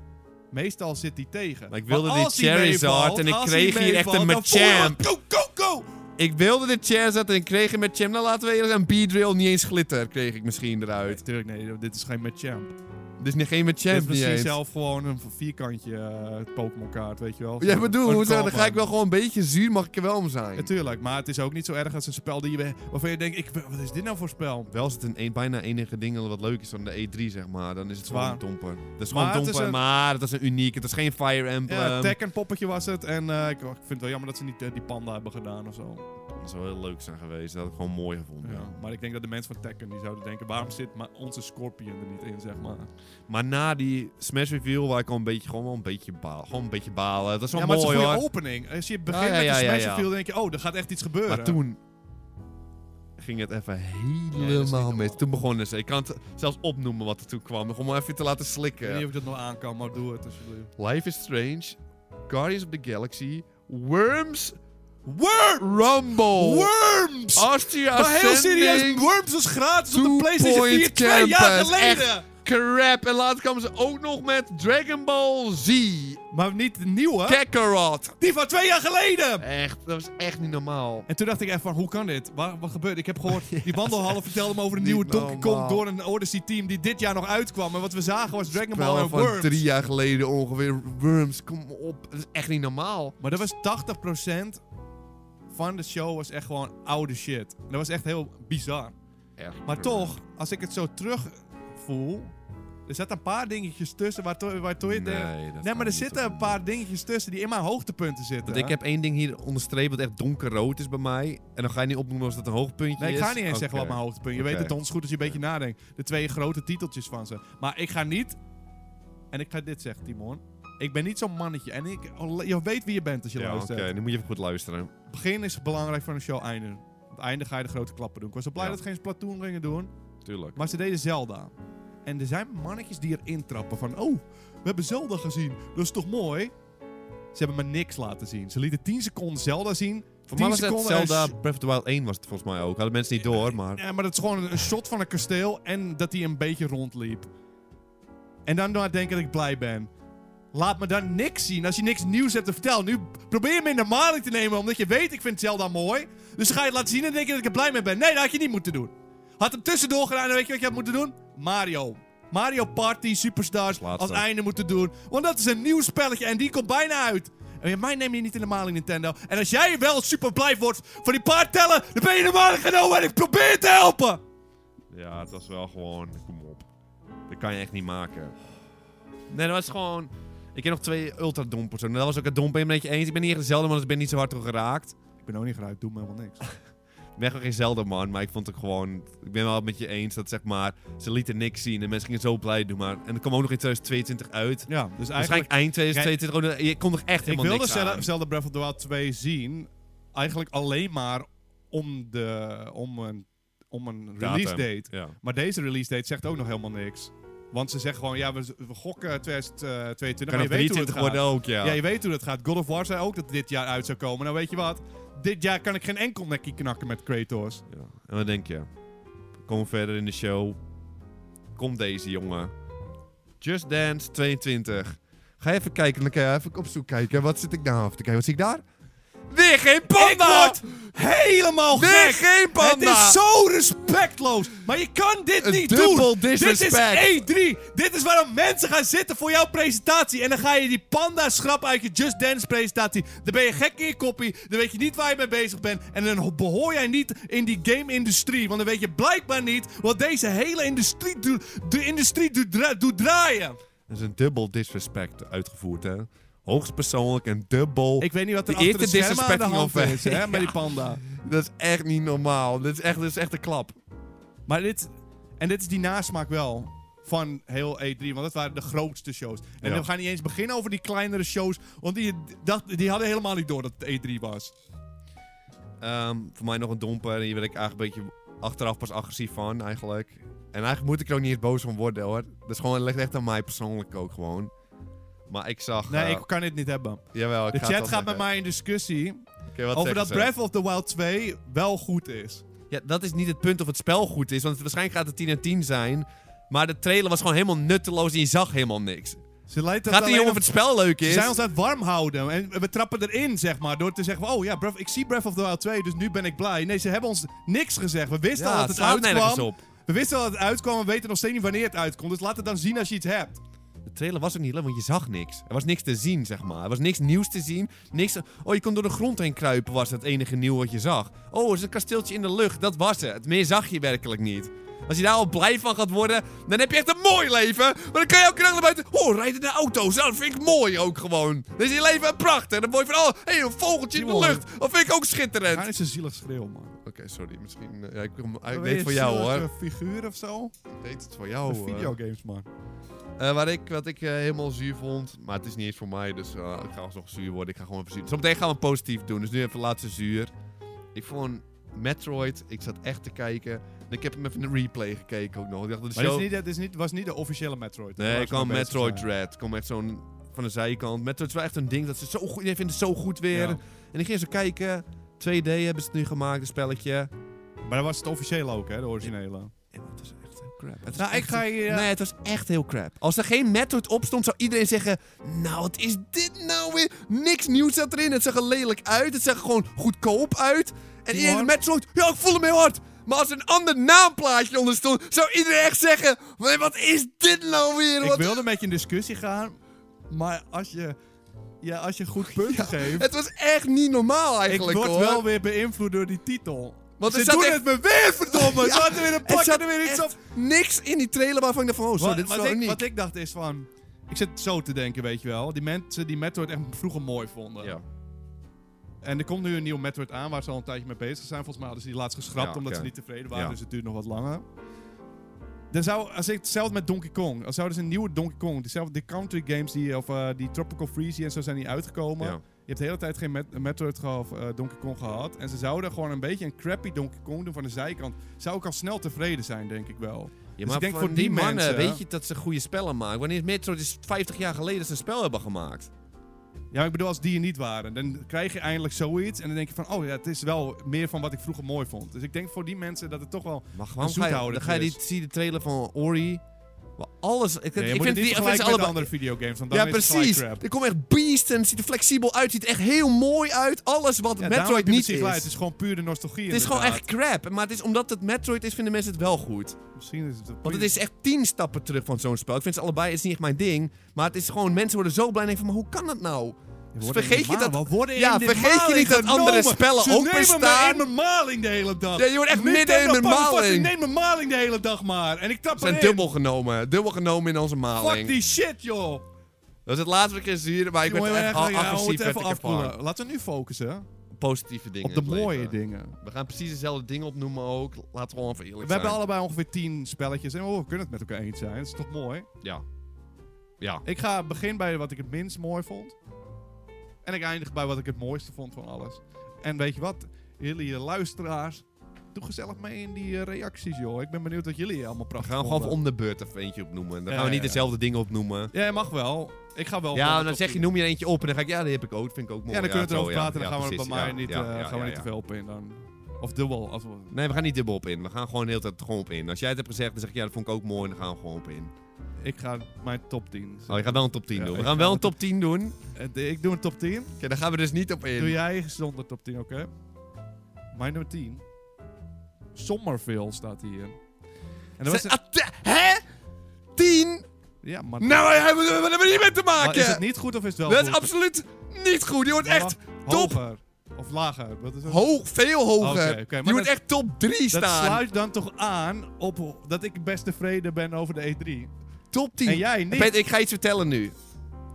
[SPEAKER 1] meestal zit hij tegen.
[SPEAKER 2] Maar ik wilde
[SPEAKER 1] Maar
[SPEAKER 2] die
[SPEAKER 1] als hij
[SPEAKER 2] Charizard
[SPEAKER 1] meevalt,
[SPEAKER 2] en ik
[SPEAKER 1] als
[SPEAKER 2] kreeg
[SPEAKER 1] hij
[SPEAKER 2] hier echt een
[SPEAKER 1] meevalt, dan voel je
[SPEAKER 2] Machamp.
[SPEAKER 1] Go, go, go!
[SPEAKER 2] Ik wilde de chair zetten en kreeg hem met Cham. Nou, laten we eerlijk zijn. B-drill, niet eens glitter kreeg ik misschien eruit.
[SPEAKER 1] Natuurlijk, nee, dit is geen Machamp.
[SPEAKER 2] Dus niet geen met
[SPEAKER 1] Dit is
[SPEAKER 2] Cham niet
[SPEAKER 1] precies
[SPEAKER 2] eens.
[SPEAKER 1] zelf gewoon een vierkantje eh, Pokémon kaart, weet je wel.
[SPEAKER 2] Jij bedoelt,
[SPEAKER 1] Een
[SPEAKER 2] hoe zeg, dan
[SPEAKER 1] combo.
[SPEAKER 2] ga ik wel gewoon een beetje zuur, mag ik er wel om zijn.
[SPEAKER 1] Natuurlijk, maar het is ook niet zo erg als een spel die je, waarvan je denkt, ik, wat is dit nou voor spel?
[SPEAKER 2] Wel is het een, een- bijna enige ding wat leuk is van de E3, zeg maar. Dan is het gewoon
[SPEAKER 1] Waar?
[SPEAKER 2] een domper. Dat is
[SPEAKER 1] Maar
[SPEAKER 2] gewoon
[SPEAKER 1] het is
[SPEAKER 2] domper,
[SPEAKER 1] een-
[SPEAKER 2] maar het is een uniek. Het is geen Fire Emblem.
[SPEAKER 1] Ja, Tekken eh, poppetje was het en eh, ik, ik vind het wel jammer dat ze niet eh, die panda hebben gedaan of zo.
[SPEAKER 2] Dat zou heel leuk zijn geweest. Dat had ik gewoon mooi gevonden.
[SPEAKER 1] Ja,
[SPEAKER 2] ja.
[SPEAKER 1] maar ik denk dat de mensen van Tekken die zouden denken, waarom zit maar onze Scorpion er niet in, zeg maar.
[SPEAKER 2] Maar na die Smash Reveal waar ik al een beetje, gewoon wel een beetje balen. Gewoon een beetje balen. Dat is wel
[SPEAKER 1] ja, maar het is
[SPEAKER 2] mooi
[SPEAKER 1] een goede
[SPEAKER 2] hoor.
[SPEAKER 1] opening. Als je begint
[SPEAKER 2] Ja, ja, ja,
[SPEAKER 1] met de
[SPEAKER 2] ja,
[SPEAKER 1] Smash
[SPEAKER 2] ja.
[SPEAKER 1] Reveal, denk je, oh, er gaat echt iets gebeuren.
[SPEAKER 2] Maar toen ging het even
[SPEAKER 1] Ja, dat is niet
[SPEAKER 2] helemaal
[SPEAKER 1] normaal.
[SPEAKER 2] mis. Toen begonnen ze. Ik kan het zelfs opnoemen wat er toen kwam. Gewoon om even te laten
[SPEAKER 1] Ik weet niet
[SPEAKER 2] slikken.
[SPEAKER 1] of ik dat nog aan kan, maar doe het alsjeblieft.
[SPEAKER 2] Life is Strange. Guardians of the Galaxy. Worms. Worm! Rumble.
[SPEAKER 1] Worms!
[SPEAKER 2] Astria
[SPEAKER 1] maar heel serieus,
[SPEAKER 2] Oh. Ascending.
[SPEAKER 1] Worms was gratis op de
[SPEAKER 2] Two
[SPEAKER 1] PlayStation 4
[SPEAKER 2] Point
[SPEAKER 1] twee jaar
[SPEAKER 2] Campus, echt.
[SPEAKER 1] geleden!
[SPEAKER 2] Crap. En later kwamen ze ook nog met Dragon Ball Z.
[SPEAKER 1] Maar niet de nieuwe,
[SPEAKER 2] Kakarot.
[SPEAKER 1] die van twee jaar geleden!
[SPEAKER 2] Echt, dat was echt niet normaal.
[SPEAKER 1] En toen dacht ik echt van, hoe kan dit? Waar, wat gebeurt? Ik heb gehoord,
[SPEAKER 2] <laughs>
[SPEAKER 1] die wandelhalve vertelde me over een
[SPEAKER 2] Niet
[SPEAKER 1] nieuwe Donkey Kong
[SPEAKER 2] normaal.
[SPEAKER 1] door een Odyssey team die dit jaar nog uitkwam. En wat we zagen was Dragon Ball
[SPEAKER 2] Wel
[SPEAKER 1] en
[SPEAKER 2] van
[SPEAKER 1] Worms.
[SPEAKER 2] drie jaar geleden ongeveer. Worms, kom op. Dat is echt niet normaal.
[SPEAKER 1] Maar dat was 80% van de show was echt gewoon oude shit. En dat was echt heel bizar.
[SPEAKER 2] Echt.
[SPEAKER 1] Maar toch, als ik het zo terugvoel... Er zaten een paar dingetjes tussen waardoor, waardoor je... denkt-
[SPEAKER 2] Nee, dat
[SPEAKER 1] nee,
[SPEAKER 2] kan
[SPEAKER 1] maar er
[SPEAKER 2] niet
[SPEAKER 1] zitten
[SPEAKER 2] toch?
[SPEAKER 1] een paar dingetjes tussen die in mijn hoogtepunten zitten.
[SPEAKER 2] Want ik heb één ding hier onderstrepen dat echt donkerrood is bij mij. En dan ga je niet opnoemen als dat een hoogpuntje
[SPEAKER 1] Nee,
[SPEAKER 2] is.
[SPEAKER 1] ik ga niet eens
[SPEAKER 2] Oké.
[SPEAKER 1] zeggen wat mijn hoogtepunt. Je
[SPEAKER 2] Oké.
[SPEAKER 1] weet het donders goed als je een beetje nadenkt. De twee grote titeltjes van ze. Maar ik ga niet... En ik ga dit zeggen, Timon. Ik ben niet zo'n mannetje. En ik, oh, je weet wie je bent als je
[SPEAKER 2] Ja, oké.
[SPEAKER 1] luistert.
[SPEAKER 2] Nu moet je even goed luisteren.
[SPEAKER 1] Het begin is belangrijk van een show, einde. Aan het einde ga je de grote klappen doen. Ik was wel blij
[SPEAKER 2] Ja.
[SPEAKER 1] dat ze geen Splatoon gingen doen.
[SPEAKER 2] Tuurlijk.
[SPEAKER 1] Maar ze deden Zelda. En er zijn mannetjes die erin trappen van... Oh, we hebben Zelda gezien. Dat is toch mooi? Ze hebben me niks laten zien. Ze lieten 10 seconden Zelda zien.
[SPEAKER 2] Voor
[SPEAKER 1] 10
[SPEAKER 2] mij was het
[SPEAKER 1] seconden
[SPEAKER 2] Zelda
[SPEAKER 1] en sh-
[SPEAKER 2] Breath of the Wild 1 was het volgens mij ook. Hadden mensen niet door, maar...
[SPEAKER 1] Ja, maar dat is gewoon een shot van een kasteel en dat hij een beetje rondliep. En dan maar denken dat ik blij ben. Laat me dan niks zien als je niks nieuws hebt te vertellen. Nu probeer je me in de maling te nemen omdat je weet ik vind Zelda mooi. Dus dan ga je het laten zien en denk je dat ik er blij mee ben. Nee, dat had je niet moeten doen. Had hem tussendoor gedaan en weet je wat je had moeten doen? Mario. Mario Party Superstars
[SPEAKER 2] Laatste.
[SPEAKER 1] als einde moeten doen. Want dat is een nieuw spelletje en die komt bijna uit. En mij neem je niet in de maling, Nintendo. En als jij wel super blij wordt van die paar tellen, dan ben je in de maling genomen en ik probeer je te helpen.
[SPEAKER 2] Ja, het was wel gewoon. Kom op. Dat kan je echt niet maken. Nee, dat was gewoon. Ik heb nog twee ultradompers. En dat was ook het domper een beetje eens. Ik ben niet echt een Zelda man, dus ik ben niet zo hard door geraakt.
[SPEAKER 1] Ik ben ook niet geraakt, doe me helemaal niks.
[SPEAKER 2] Ik ben gewoon geen Zelda man, maar ik vond het gewoon. Ik ben wel met je eens dat zeg maar. Ze lieten niks zien en mensen gingen zo blij doen. Maar, en dat kwam ook nog in 2022 uit.
[SPEAKER 1] Ja, dus eigenlijk...
[SPEAKER 2] Waarschijnlijk eind 2022. ook nog- Je kon nog echt
[SPEAKER 1] Ik
[SPEAKER 2] helemaal
[SPEAKER 1] wilde
[SPEAKER 2] niks
[SPEAKER 1] Zelda,
[SPEAKER 2] aan.
[SPEAKER 1] Zelda Breath of the Wild 2 zien eigenlijk alleen maar om, de, om een, om een
[SPEAKER 2] Datum.
[SPEAKER 1] release date.
[SPEAKER 2] Ja.
[SPEAKER 1] Maar deze release date zegt ook nog helemaal niks. Want ze zeggen gewoon, ja, we, we gokken 2022,
[SPEAKER 2] Kan
[SPEAKER 1] maar
[SPEAKER 2] nog
[SPEAKER 1] je weet hoe het
[SPEAKER 2] 23
[SPEAKER 1] gaat.
[SPEAKER 2] worden ook, ja.
[SPEAKER 1] Ja, je weet hoe dat gaat. God of War zei ook dat dit jaar uit zou komen. Nou, weet je wat? Dit jaar kan ik geen enkel nekkie knakken met Kratos.
[SPEAKER 2] Ja. En wat denk je? Kom verder in de show. Komt deze jongen. Just Dance 22. Ga even kijken, dan kan je even op zoek kijken. Wat zit ik nou af te kijken? Wat zie ik daar? Weer geen panda!
[SPEAKER 1] Ik word helemaal
[SPEAKER 2] Weer
[SPEAKER 1] gek!
[SPEAKER 2] geen panda!
[SPEAKER 1] Het is zo respectloos. Maar je kan dit
[SPEAKER 2] Een
[SPEAKER 1] niet
[SPEAKER 2] dubbel
[SPEAKER 1] doen.
[SPEAKER 2] disrespect.
[SPEAKER 1] Dit is E3. Dit is waarom mensen gaan zitten voor jouw presentatie. En dan ga je die panda schrappen uit je Just Dance presentatie. Dan ben je gek in je koppie. Dan weet je niet waar je mee bezig bent. En dan ho- behoor jij niet in die game-industrie. Want dan weet je blijkbaar niet wat deze hele industrie, doet- de industrie doet, dra- doet draaien.
[SPEAKER 2] Dat is een dubbel disrespect uitgevoerd, hè? Hoogst persoonlijk en dubbel.
[SPEAKER 1] Ik weet niet wat er
[SPEAKER 2] De
[SPEAKER 1] achter de
[SPEAKER 2] eerste
[SPEAKER 1] schermen aan de
[SPEAKER 2] disrespecting
[SPEAKER 1] hand
[SPEAKER 2] of-
[SPEAKER 1] is
[SPEAKER 2] <laughs>
[SPEAKER 1] hè, met die panda.
[SPEAKER 2] Dat is echt niet normaal. Dat is echt, dat is echt een klap.
[SPEAKER 1] Maar dit, en dit is die nasmaak wel van heel E3, want dat waren de grootste shows. En
[SPEAKER 2] Ja.
[SPEAKER 1] we gaan niet eens beginnen over die kleinere shows, want die, dacht, die hadden helemaal niet door dat het E3 was.
[SPEAKER 2] Ehm, voor mij nog een domper. Hier werd ik eigenlijk een beetje achteraf pas agressief van, eigenlijk. En eigenlijk moet ik er ook niet eens boos van worden, hoor. Dat is gewoon, het ligt echt aan mij persoonlijk ook gewoon. Maar ik zag...
[SPEAKER 1] Nee,
[SPEAKER 2] eh,
[SPEAKER 1] ik kan dit niet hebben.
[SPEAKER 2] jawel, ik
[SPEAKER 1] De
[SPEAKER 2] ga
[SPEAKER 1] chat
[SPEAKER 2] het wel
[SPEAKER 1] gaat met
[SPEAKER 2] zeggen.
[SPEAKER 1] mij in discussie
[SPEAKER 2] Oké,
[SPEAKER 1] over
[SPEAKER 2] wat zeggen
[SPEAKER 1] dat
[SPEAKER 2] ze?
[SPEAKER 1] Breath of the Wild 2 wel goed is.
[SPEAKER 2] Ja, dat is niet het punt of het spel goed is. Want waarschijnlijk gaat het 10 en 10 zijn. Maar de trailer was gewoon helemaal nutteloos en je zag helemaal niks.
[SPEAKER 1] Ze leidt dat
[SPEAKER 2] gaat het niet
[SPEAKER 1] alleen
[SPEAKER 2] om of
[SPEAKER 1] op-
[SPEAKER 2] het spel leuk
[SPEAKER 1] Ze
[SPEAKER 2] is?
[SPEAKER 1] zijn ons aan het warm houden en we trappen erin, zeg maar, door te zeggen, van, oh ja, Breath- ik zie Breath of the Wild 2, dus nu ben ik blij. Nee, ze hebben ons niks gezegd. We wisten al
[SPEAKER 2] ja,
[SPEAKER 1] dat
[SPEAKER 2] het
[SPEAKER 1] het
[SPEAKER 2] slaat nergens
[SPEAKER 1] uitkwam.
[SPEAKER 2] op.
[SPEAKER 1] We wisten al dat het uitkwam, we weten nog steeds niet wanneer het uitkomt. Dus laat het dan zien als je iets hebt.
[SPEAKER 2] De trailer was ook niet leuk, want je zag niks. Er was niks te zien, zeg maar. Er was niks nieuws te zien. Niks... Oh, je kon door de grond heen kruipen, was het enige nieuw wat je zag. Oh, er is een kasteeltje in de lucht. Dat was het. Meer zag je werkelijk niet. Als je daar al blij van gaat worden, dan heb je echt een mooi leven. Maar dan kan je ook naar buiten. Oh, rijden naar auto's. Nou, dat vind ik mooi ook gewoon. Dan is je leven prachtig. Dan word je van, oh, hey, een vogeltje in de
[SPEAKER 1] Jongen.
[SPEAKER 2] lucht. Dat vind ik ook schitterend.
[SPEAKER 1] Hij is een zielig schreeuw, man.
[SPEAKER 2] Oké, sorry. Misschien... eh, Ja, ik, ik
[SPEAKER 1] Ben je
[SPEAKER 2] deed het voor jou,
[SPEAKER 1] een
[SPEAKER 2] hoor. Oh,
[SPEAKER 1] zielige figuur of zo?
[SPEAKER 2] Ik deed het voor jou, eh.
[SPEAKER 1] Een
[SPEAKER 2] hoor.
[SPEAKER 1] videogames, man.
[SPEAKER 2] Eh, wat ik, wat ik eh, helemaal zuur vond, maar het is niet eens voor mij, dus eh, ik ga alsnog zuur worden. Ik ga gewoon even zuur. Zometeen gaan we positief doen, dus nu even het laatste zuur. Ik vond Metroid, ik zat echt te kijken. En ik heb hem even een replay gekeken ook nog. Ik dacht, de
[SPEAKER 1] Maar dit
[SPEAKER 2] show...
[SPEAKER 1] is niet, Oh, dit is niet, was niet de officiële Metroid.
[SPEAKER 2] Nee, ik kwam Metroid
[SPEAKER 1] Dread.
[SPEAKER 2] Dread. Ik kwam echt zo'n... Van de zijkant. Metroid is wel echt een ding dat ze zo goed... Die vinden het zo goed weer.
[SPEAKER 1] Ja.
[SPEAKER 2] En ik ging zo kijken. 2D hebben ze het nu gemaakt, een spelletje.
[SPEAKER 1] Maar dat was het officiële ook, hè, de originele.
[SPEAKER 2] En het was echt heel crap. Het was
[SPEAKER 1] Nou, ik
[SPEAKER 2] echt
[SPEAKER 1] ga je... eh,
[SPEAKER 2] Nee, het was echt heel crap. Als er geen Metroid op stond, zou iedereen zeggen... Nou, wat is dit nou weer? Niks nieuws zat erin. Het zag er lelijk uit. Het zag er gewoon goedkoop uit. En iedereen
[SPEAKER 1] hard?
[SPEAKER 2] Metroid... Ja, ik voel hem heel hard. Maar als er een ander naamplaatje onder stond... zou iedereen echt zeggen... "Wat- Wat is dit nou weer?
[SPEAKER 1] ik
[SPEAKER 2] Wat...
[SPEAKER 1] wilde met je in discussie gaan, maar als je, ja, als je een
[SPEAKER 2] <laughs>
[SPEAKER 1] goed punt geeft...
[SPEAKER 2] Het was echt niet normaal
[SPEAKER 1] Ik
[SPEAKER 2] eigenlijk,
[SPEAKER 1] word
[SPEAKER 2] hoor.
[SPEAKER 1] wel weer beïnvloed door die titel.
[SPEAKER 2] Want er
[SPEAKER 1] Ze
[SPEAKER 2] zat
[SPEAKER 1] doen
[SPEAKER 2] echt-
[SPEAKER 1] het me weer, verdomme!
[SPEAKER 2] <laughs> Ja,
[SPEAKER 1] Ze hadden weer een
[SPEAKER 2] Er
[SPEAKER 1] pak
[SPEAKER 2] zat
[SPEAKER 1] en weer iets
[SPEAKER 2] echt
[SPEAKER 1] op.
[SPEAKER 2] niks in die trailer waarvan ik dacht van... Oh, zo,
[SPEAKER 1] Wat-
[SPEAKER 2] dit is
[SPEAKER 1] wat,
[SPEAKER 2] wel
[SPEAKER 1] ik,
[SPEAKER 2] uniek.
[SPEAKER 1] wat ik dacht is van... Ik zit zo te denken, weet je wel. Die mensen die Metroid echt vroeger mooi vonden. En er komt nu een nieuw Metroid aan waar ze al een tijdje mee bezig zijn. Volgens mij hadden ze die laatst geschrapt
[SPEAKER 2] Ja,
[SPEAKER 1] omdat
[SPEAKER 2] oké.
[SPEAKER 1] ze niet tevreden waren.
[SPEAKER 2] Ja.
[SPEAKER 1] Dus het duurt nog wat langer. Dan zou, als ik hetzelfde met Donkey Kong. Als zouden ze een nieuwe Donkey Kong. Diezelfde die country games die, of eh, die Tropical Freeze en zo zijn die uitgekomen.
[SPEAKER 2] Ja.
[SPEAKER 1] Je hebt de hele tijd geen Met- Metroid geha- of eh, Donkey Kong gehad. En ze zouden gewoon een beetje een crappy Donkey Kong doen van de zijkant. Zou ik al snel tevreden zijn, denk ik wel.
[SPEAKER 2] Ja,
[SPEAKER 1] Dus
[SPEAKER 2] maar
[SPEAKER 1] ik denk
[SPEAKER 2] van
[SPEAKER 1] voor
[SPEAKER 2] die,
[SPEAKER 1] die
[SPEAKER 2] mannen
[SPEAKER 1] mensen-
[SPEAKER 2] weet je dat ze goede spellen maken. Wanneer is Metroid is 50 jaar geleden dat ze een spel hebben gemaakt.
[SPEAKER 1] Ja, maar ik bedoel, als die er niet waren, dan krijg je eindelijk zoiets. En dan denk je van, oh ja, het is wel meer van wat ik vroeger mooi vond. Dus ik denk voor die mensen dat het toch wel...
[SPEAKER 2] Maar waarom
[SPEAKER 1] Een
[SPEAKER 2] ga je,
[SPEAKER 1] zoethouder
[SPEAKER 2] dan ga je
[SPEAKER 1] dus.
[SPEAKER 2] die, zie je de trailer van Ori. Maar alles... Ik,
[SPEAKER 1] Nee, je
[SPEAKER 2] ik
[SPEAKER 1] moet het
[SPEAKER 2] vind
[SPEAKER 1] niet
[SPEAKER 2] die ik vind
[SPEAKER 1] vergelijken
[SPEAKER 2] ze
[SPEAKER 1] met
[SPEAKER 2] allebei...
[SPEAKER 1] andere videogames, want dan
[SPEAKER 2] Ja,
[SPEAKER 1] is het gelijk
[SPEAKER 2] precies.
[SPEAKER 1] crap.
[SPEAKER 2] Er komt echt beast en het ziet er flexibel uit. ziet er echt heel mooi uit. Alles
[SPEAKER 1] Ja,
[SPEAKER 2] wat
[SPEAKER 1] daarom heb
[SPEAKER 2] Metroid
[SPEAKER 1] je
[SPEAKER 2] niet
[SPEAKER 1] precies
[SPEAKER 2] is.
[SPEAKER 1] gelijk. Het is gewoon puur de nostalgie
[SPEAKER 2] Het is gewoon echt crap. Maar het is omdat het Metroid is, vinden mensen het wel goed.
[SPEAKER 1] Misschien is het een
[SPEAKER 2] Want het
[SPEAKER 1] puur-
[SPEAKER 2] is echt tien stappen terug van zo'n spel. Ik vind ze allebei, het is niet echt mijn ding. Maar het is gewoon, mensen worden zo blij en denken van, maar hoe kan dat nou?
[SPEAKER 1] We worden
[SPEAKER 2] vergeet
[SPEAKER 1] in
[SPEAKER 2] je
[SPEAKER 1] de
[SPEAKER 2] dat-
[SPEAKER 1] maling. We worden
[SPEAKER 2] ja,
[SPEAKER 1] in de
[SPEAKER 2] vergeet je
[SPEAKER 1] maling
[SPEAKER 2] niet dat andere
[SPEAKER 1] genomen.
[SPEAKER 2] spellen
[SPEAKER 1] Ze
[SPEAKER 2] ook
[SPEAKER 1] nemen me
[SPEAKER 2] bestaan.
[SPEAKER 1] in mijn maling de hele dag.
[SPEAKER 2] Ja, je wordt echt
[SPEAKER 1] Nintendo
[SPEAKER 2] midden in mijn
[SPEAKER 1] motherfucking
[SPEAKER 2] maling.
[SPEAKER 1] neemt mijn maling de hele dag maar. En ik trap
[SPEAKER 2] We zijn
[SPEAKER 1] erin.
[SPEAKER 2] dubbel genomen. Dubbel genomen in onze
[SPEAKER 1] Fuck
[SPEAKER 2] maling.
[SPEAKER 1] die shit, joh.
[SPEAKER 2] Dat is het laatste wat ik eens hier, maar ik ben
[SPEAKER 1] Jongen,
[SPEAKER 2] echt al
[SPEAKER 1] ja, we moeten
[SPEAKER 2] agressief werd
[SPEAKER 1] even
[SPEAKER 2] ik ervan.
[SPEAKER 1] afkoelen. Laten we nu focussen
[SPEAKER 2] Positieve dingen
[SPEAKER 1] op de
[SPEAKER 2] in het
[SPEAKER 1] mooie
[SPEAKER 2] leven.
[SPEAKER 1] dingen.
[SPEAKER 2] We gaan precies dezelfde dingen opnoemen ook. Laten we gewoon even eerlijk
[SPEAKER 1] We
[SPEAKER 2] zijn.
[SPEAKER 1] hebben allebei ongeveer tien spelletjes en oh, we kunnen het met elkaar eens zijn. Dat is toch mooi?
[SPEAKER 2] Ja. Ja.
[SPEAKER 1] Ik ga beginnen bij wat ik het minst mooi vond. En ik eindig bij wat ik het mooiste vond van alles. En weet je wat? Jullie eh, luisteraars, doe gezellig mee in die eh, reacties, joh. Ik ben benieuwd wat jullie allemaal
[SPEAKER 2] We
[SPEAKER 1] prachtig
[SPEAKER 2] gaan gewoon
[SPEAKER 1] vonden.
[SPEAKER 2] even om de beurt even eentje opnoemen.
[SPEAKER 1] Ja,
[SPEAKER 2] Dan gaan we niet
[SPEAKER 1] ja, ja.
[SPEAKER 2] dezelfde dingen opnoemen.
[SPEAKER 1] Ja, je mag wel. Ik ga wel.
[SPEAKER 2] Ja, nou,
[SPEAKER 1] gewoon
[SPEAKER 2] dan
[SPEAKER 1] op
[SPEAKER 2] zeg je,
[SPEAKER 1] die-
[SPEAKER 2] noem je er eentje op. En dan ga ik, ja, die heb ik ook. vind ik ook mooi.
[SPEAKER 1] Ja, dan kunnen we
[SPEAKER 2] zo,
[SPEAKER 1] erover
[SPEAKER 2] ja.
[SPEAKER 1] praten.
[SPEAKER 2] Ja,
[SPEAKER 1] Dan gaan we
[SPEAKER 2] precies.
[SPEAKER 1] er bij mij
[SPEAKER 2] Ja,
[SPEAKER 1] niet,
[SPEAKER 2] ja,
[SPEAKER 1] eh,
[SPEAKER 2] ja,
[SPEAKER 1] gaan we
[SPEAKER 2] ja,
[SPEAKER 1] niet te
[SPEAKER 2] ja.
[SPEAKER 1] veel op in dan. Of dubbel. Als we...
[SPEAKER 2] Nee, we gaan niet dubbel op in. We gaan gewoon de hele tijd gewoon op in. Als jij het hebt gezegd, dan zeg ik, ja, dat vond ik ook mooi. En dan gaan we gewoon op in.
[SPEAKER 1] Ik ga mijn top 10.
[SPEAKER 2] Oh, je gaat wel een top 10
[SPEAKER 1] Ja,
[SPEAKER 2] doen. We
[SPEAKER 1] ik
[SPEAKER 2] gaan
[SPEAKER 1] ga
[SPEAKER 2] wel
[SPEAKER 1] wel
[SPEAKER 2] een top 10 doen. Oké,
[SPEAKER 1] Eh, de- Ik doe een top 10.
[SPEAKER 2] daar gaan we dus niet op in.
[SPEAKER 1] Doe jij zonder top 10, oké? Mijn nummer 10. Somerville staat hier. En dat was
[SPEAKER 2] Zijn- Atte- Ah, Hè? 10?
[SPEAKER 1] Ja, maar...
[SPEAKER 2] Nou, we hebben we hebben er niet mee te
[SPEAKER 1] Maar is het
[SPEAKER 2] maken.
[SPEAKER 1] niet goed of is het wel
[SPEAKER 2] Dat is
[SPEAKER 1] goed?
[SPEAKER 2] absoluut niet goed. Je wordt
[SPEAKER 1] Maar
[SPEAKER 2] echt top.
[SPEAKER 1] Hoger. Of lager. Wat is het?
[SPEAKER 2] hoog, veel hoger.
[SPEAKER 1] Oké, oké, maar
[SPEAKER 2] je wordt
[SPEAKER 1] dat-
[SPEAKER 2] echt top
[SPEAKER 1] dat
[SPEAKER 2] 3 staan.
[SPEAKER 1] sluit dan toch aan op ho- dat ik best tevreden ben over de E E3.
[SPEAKER 2] Top 10.
[SPEAKER 1] En jij niet.
[SPEAKER 2] Pet, ik ga iets vertellen nu.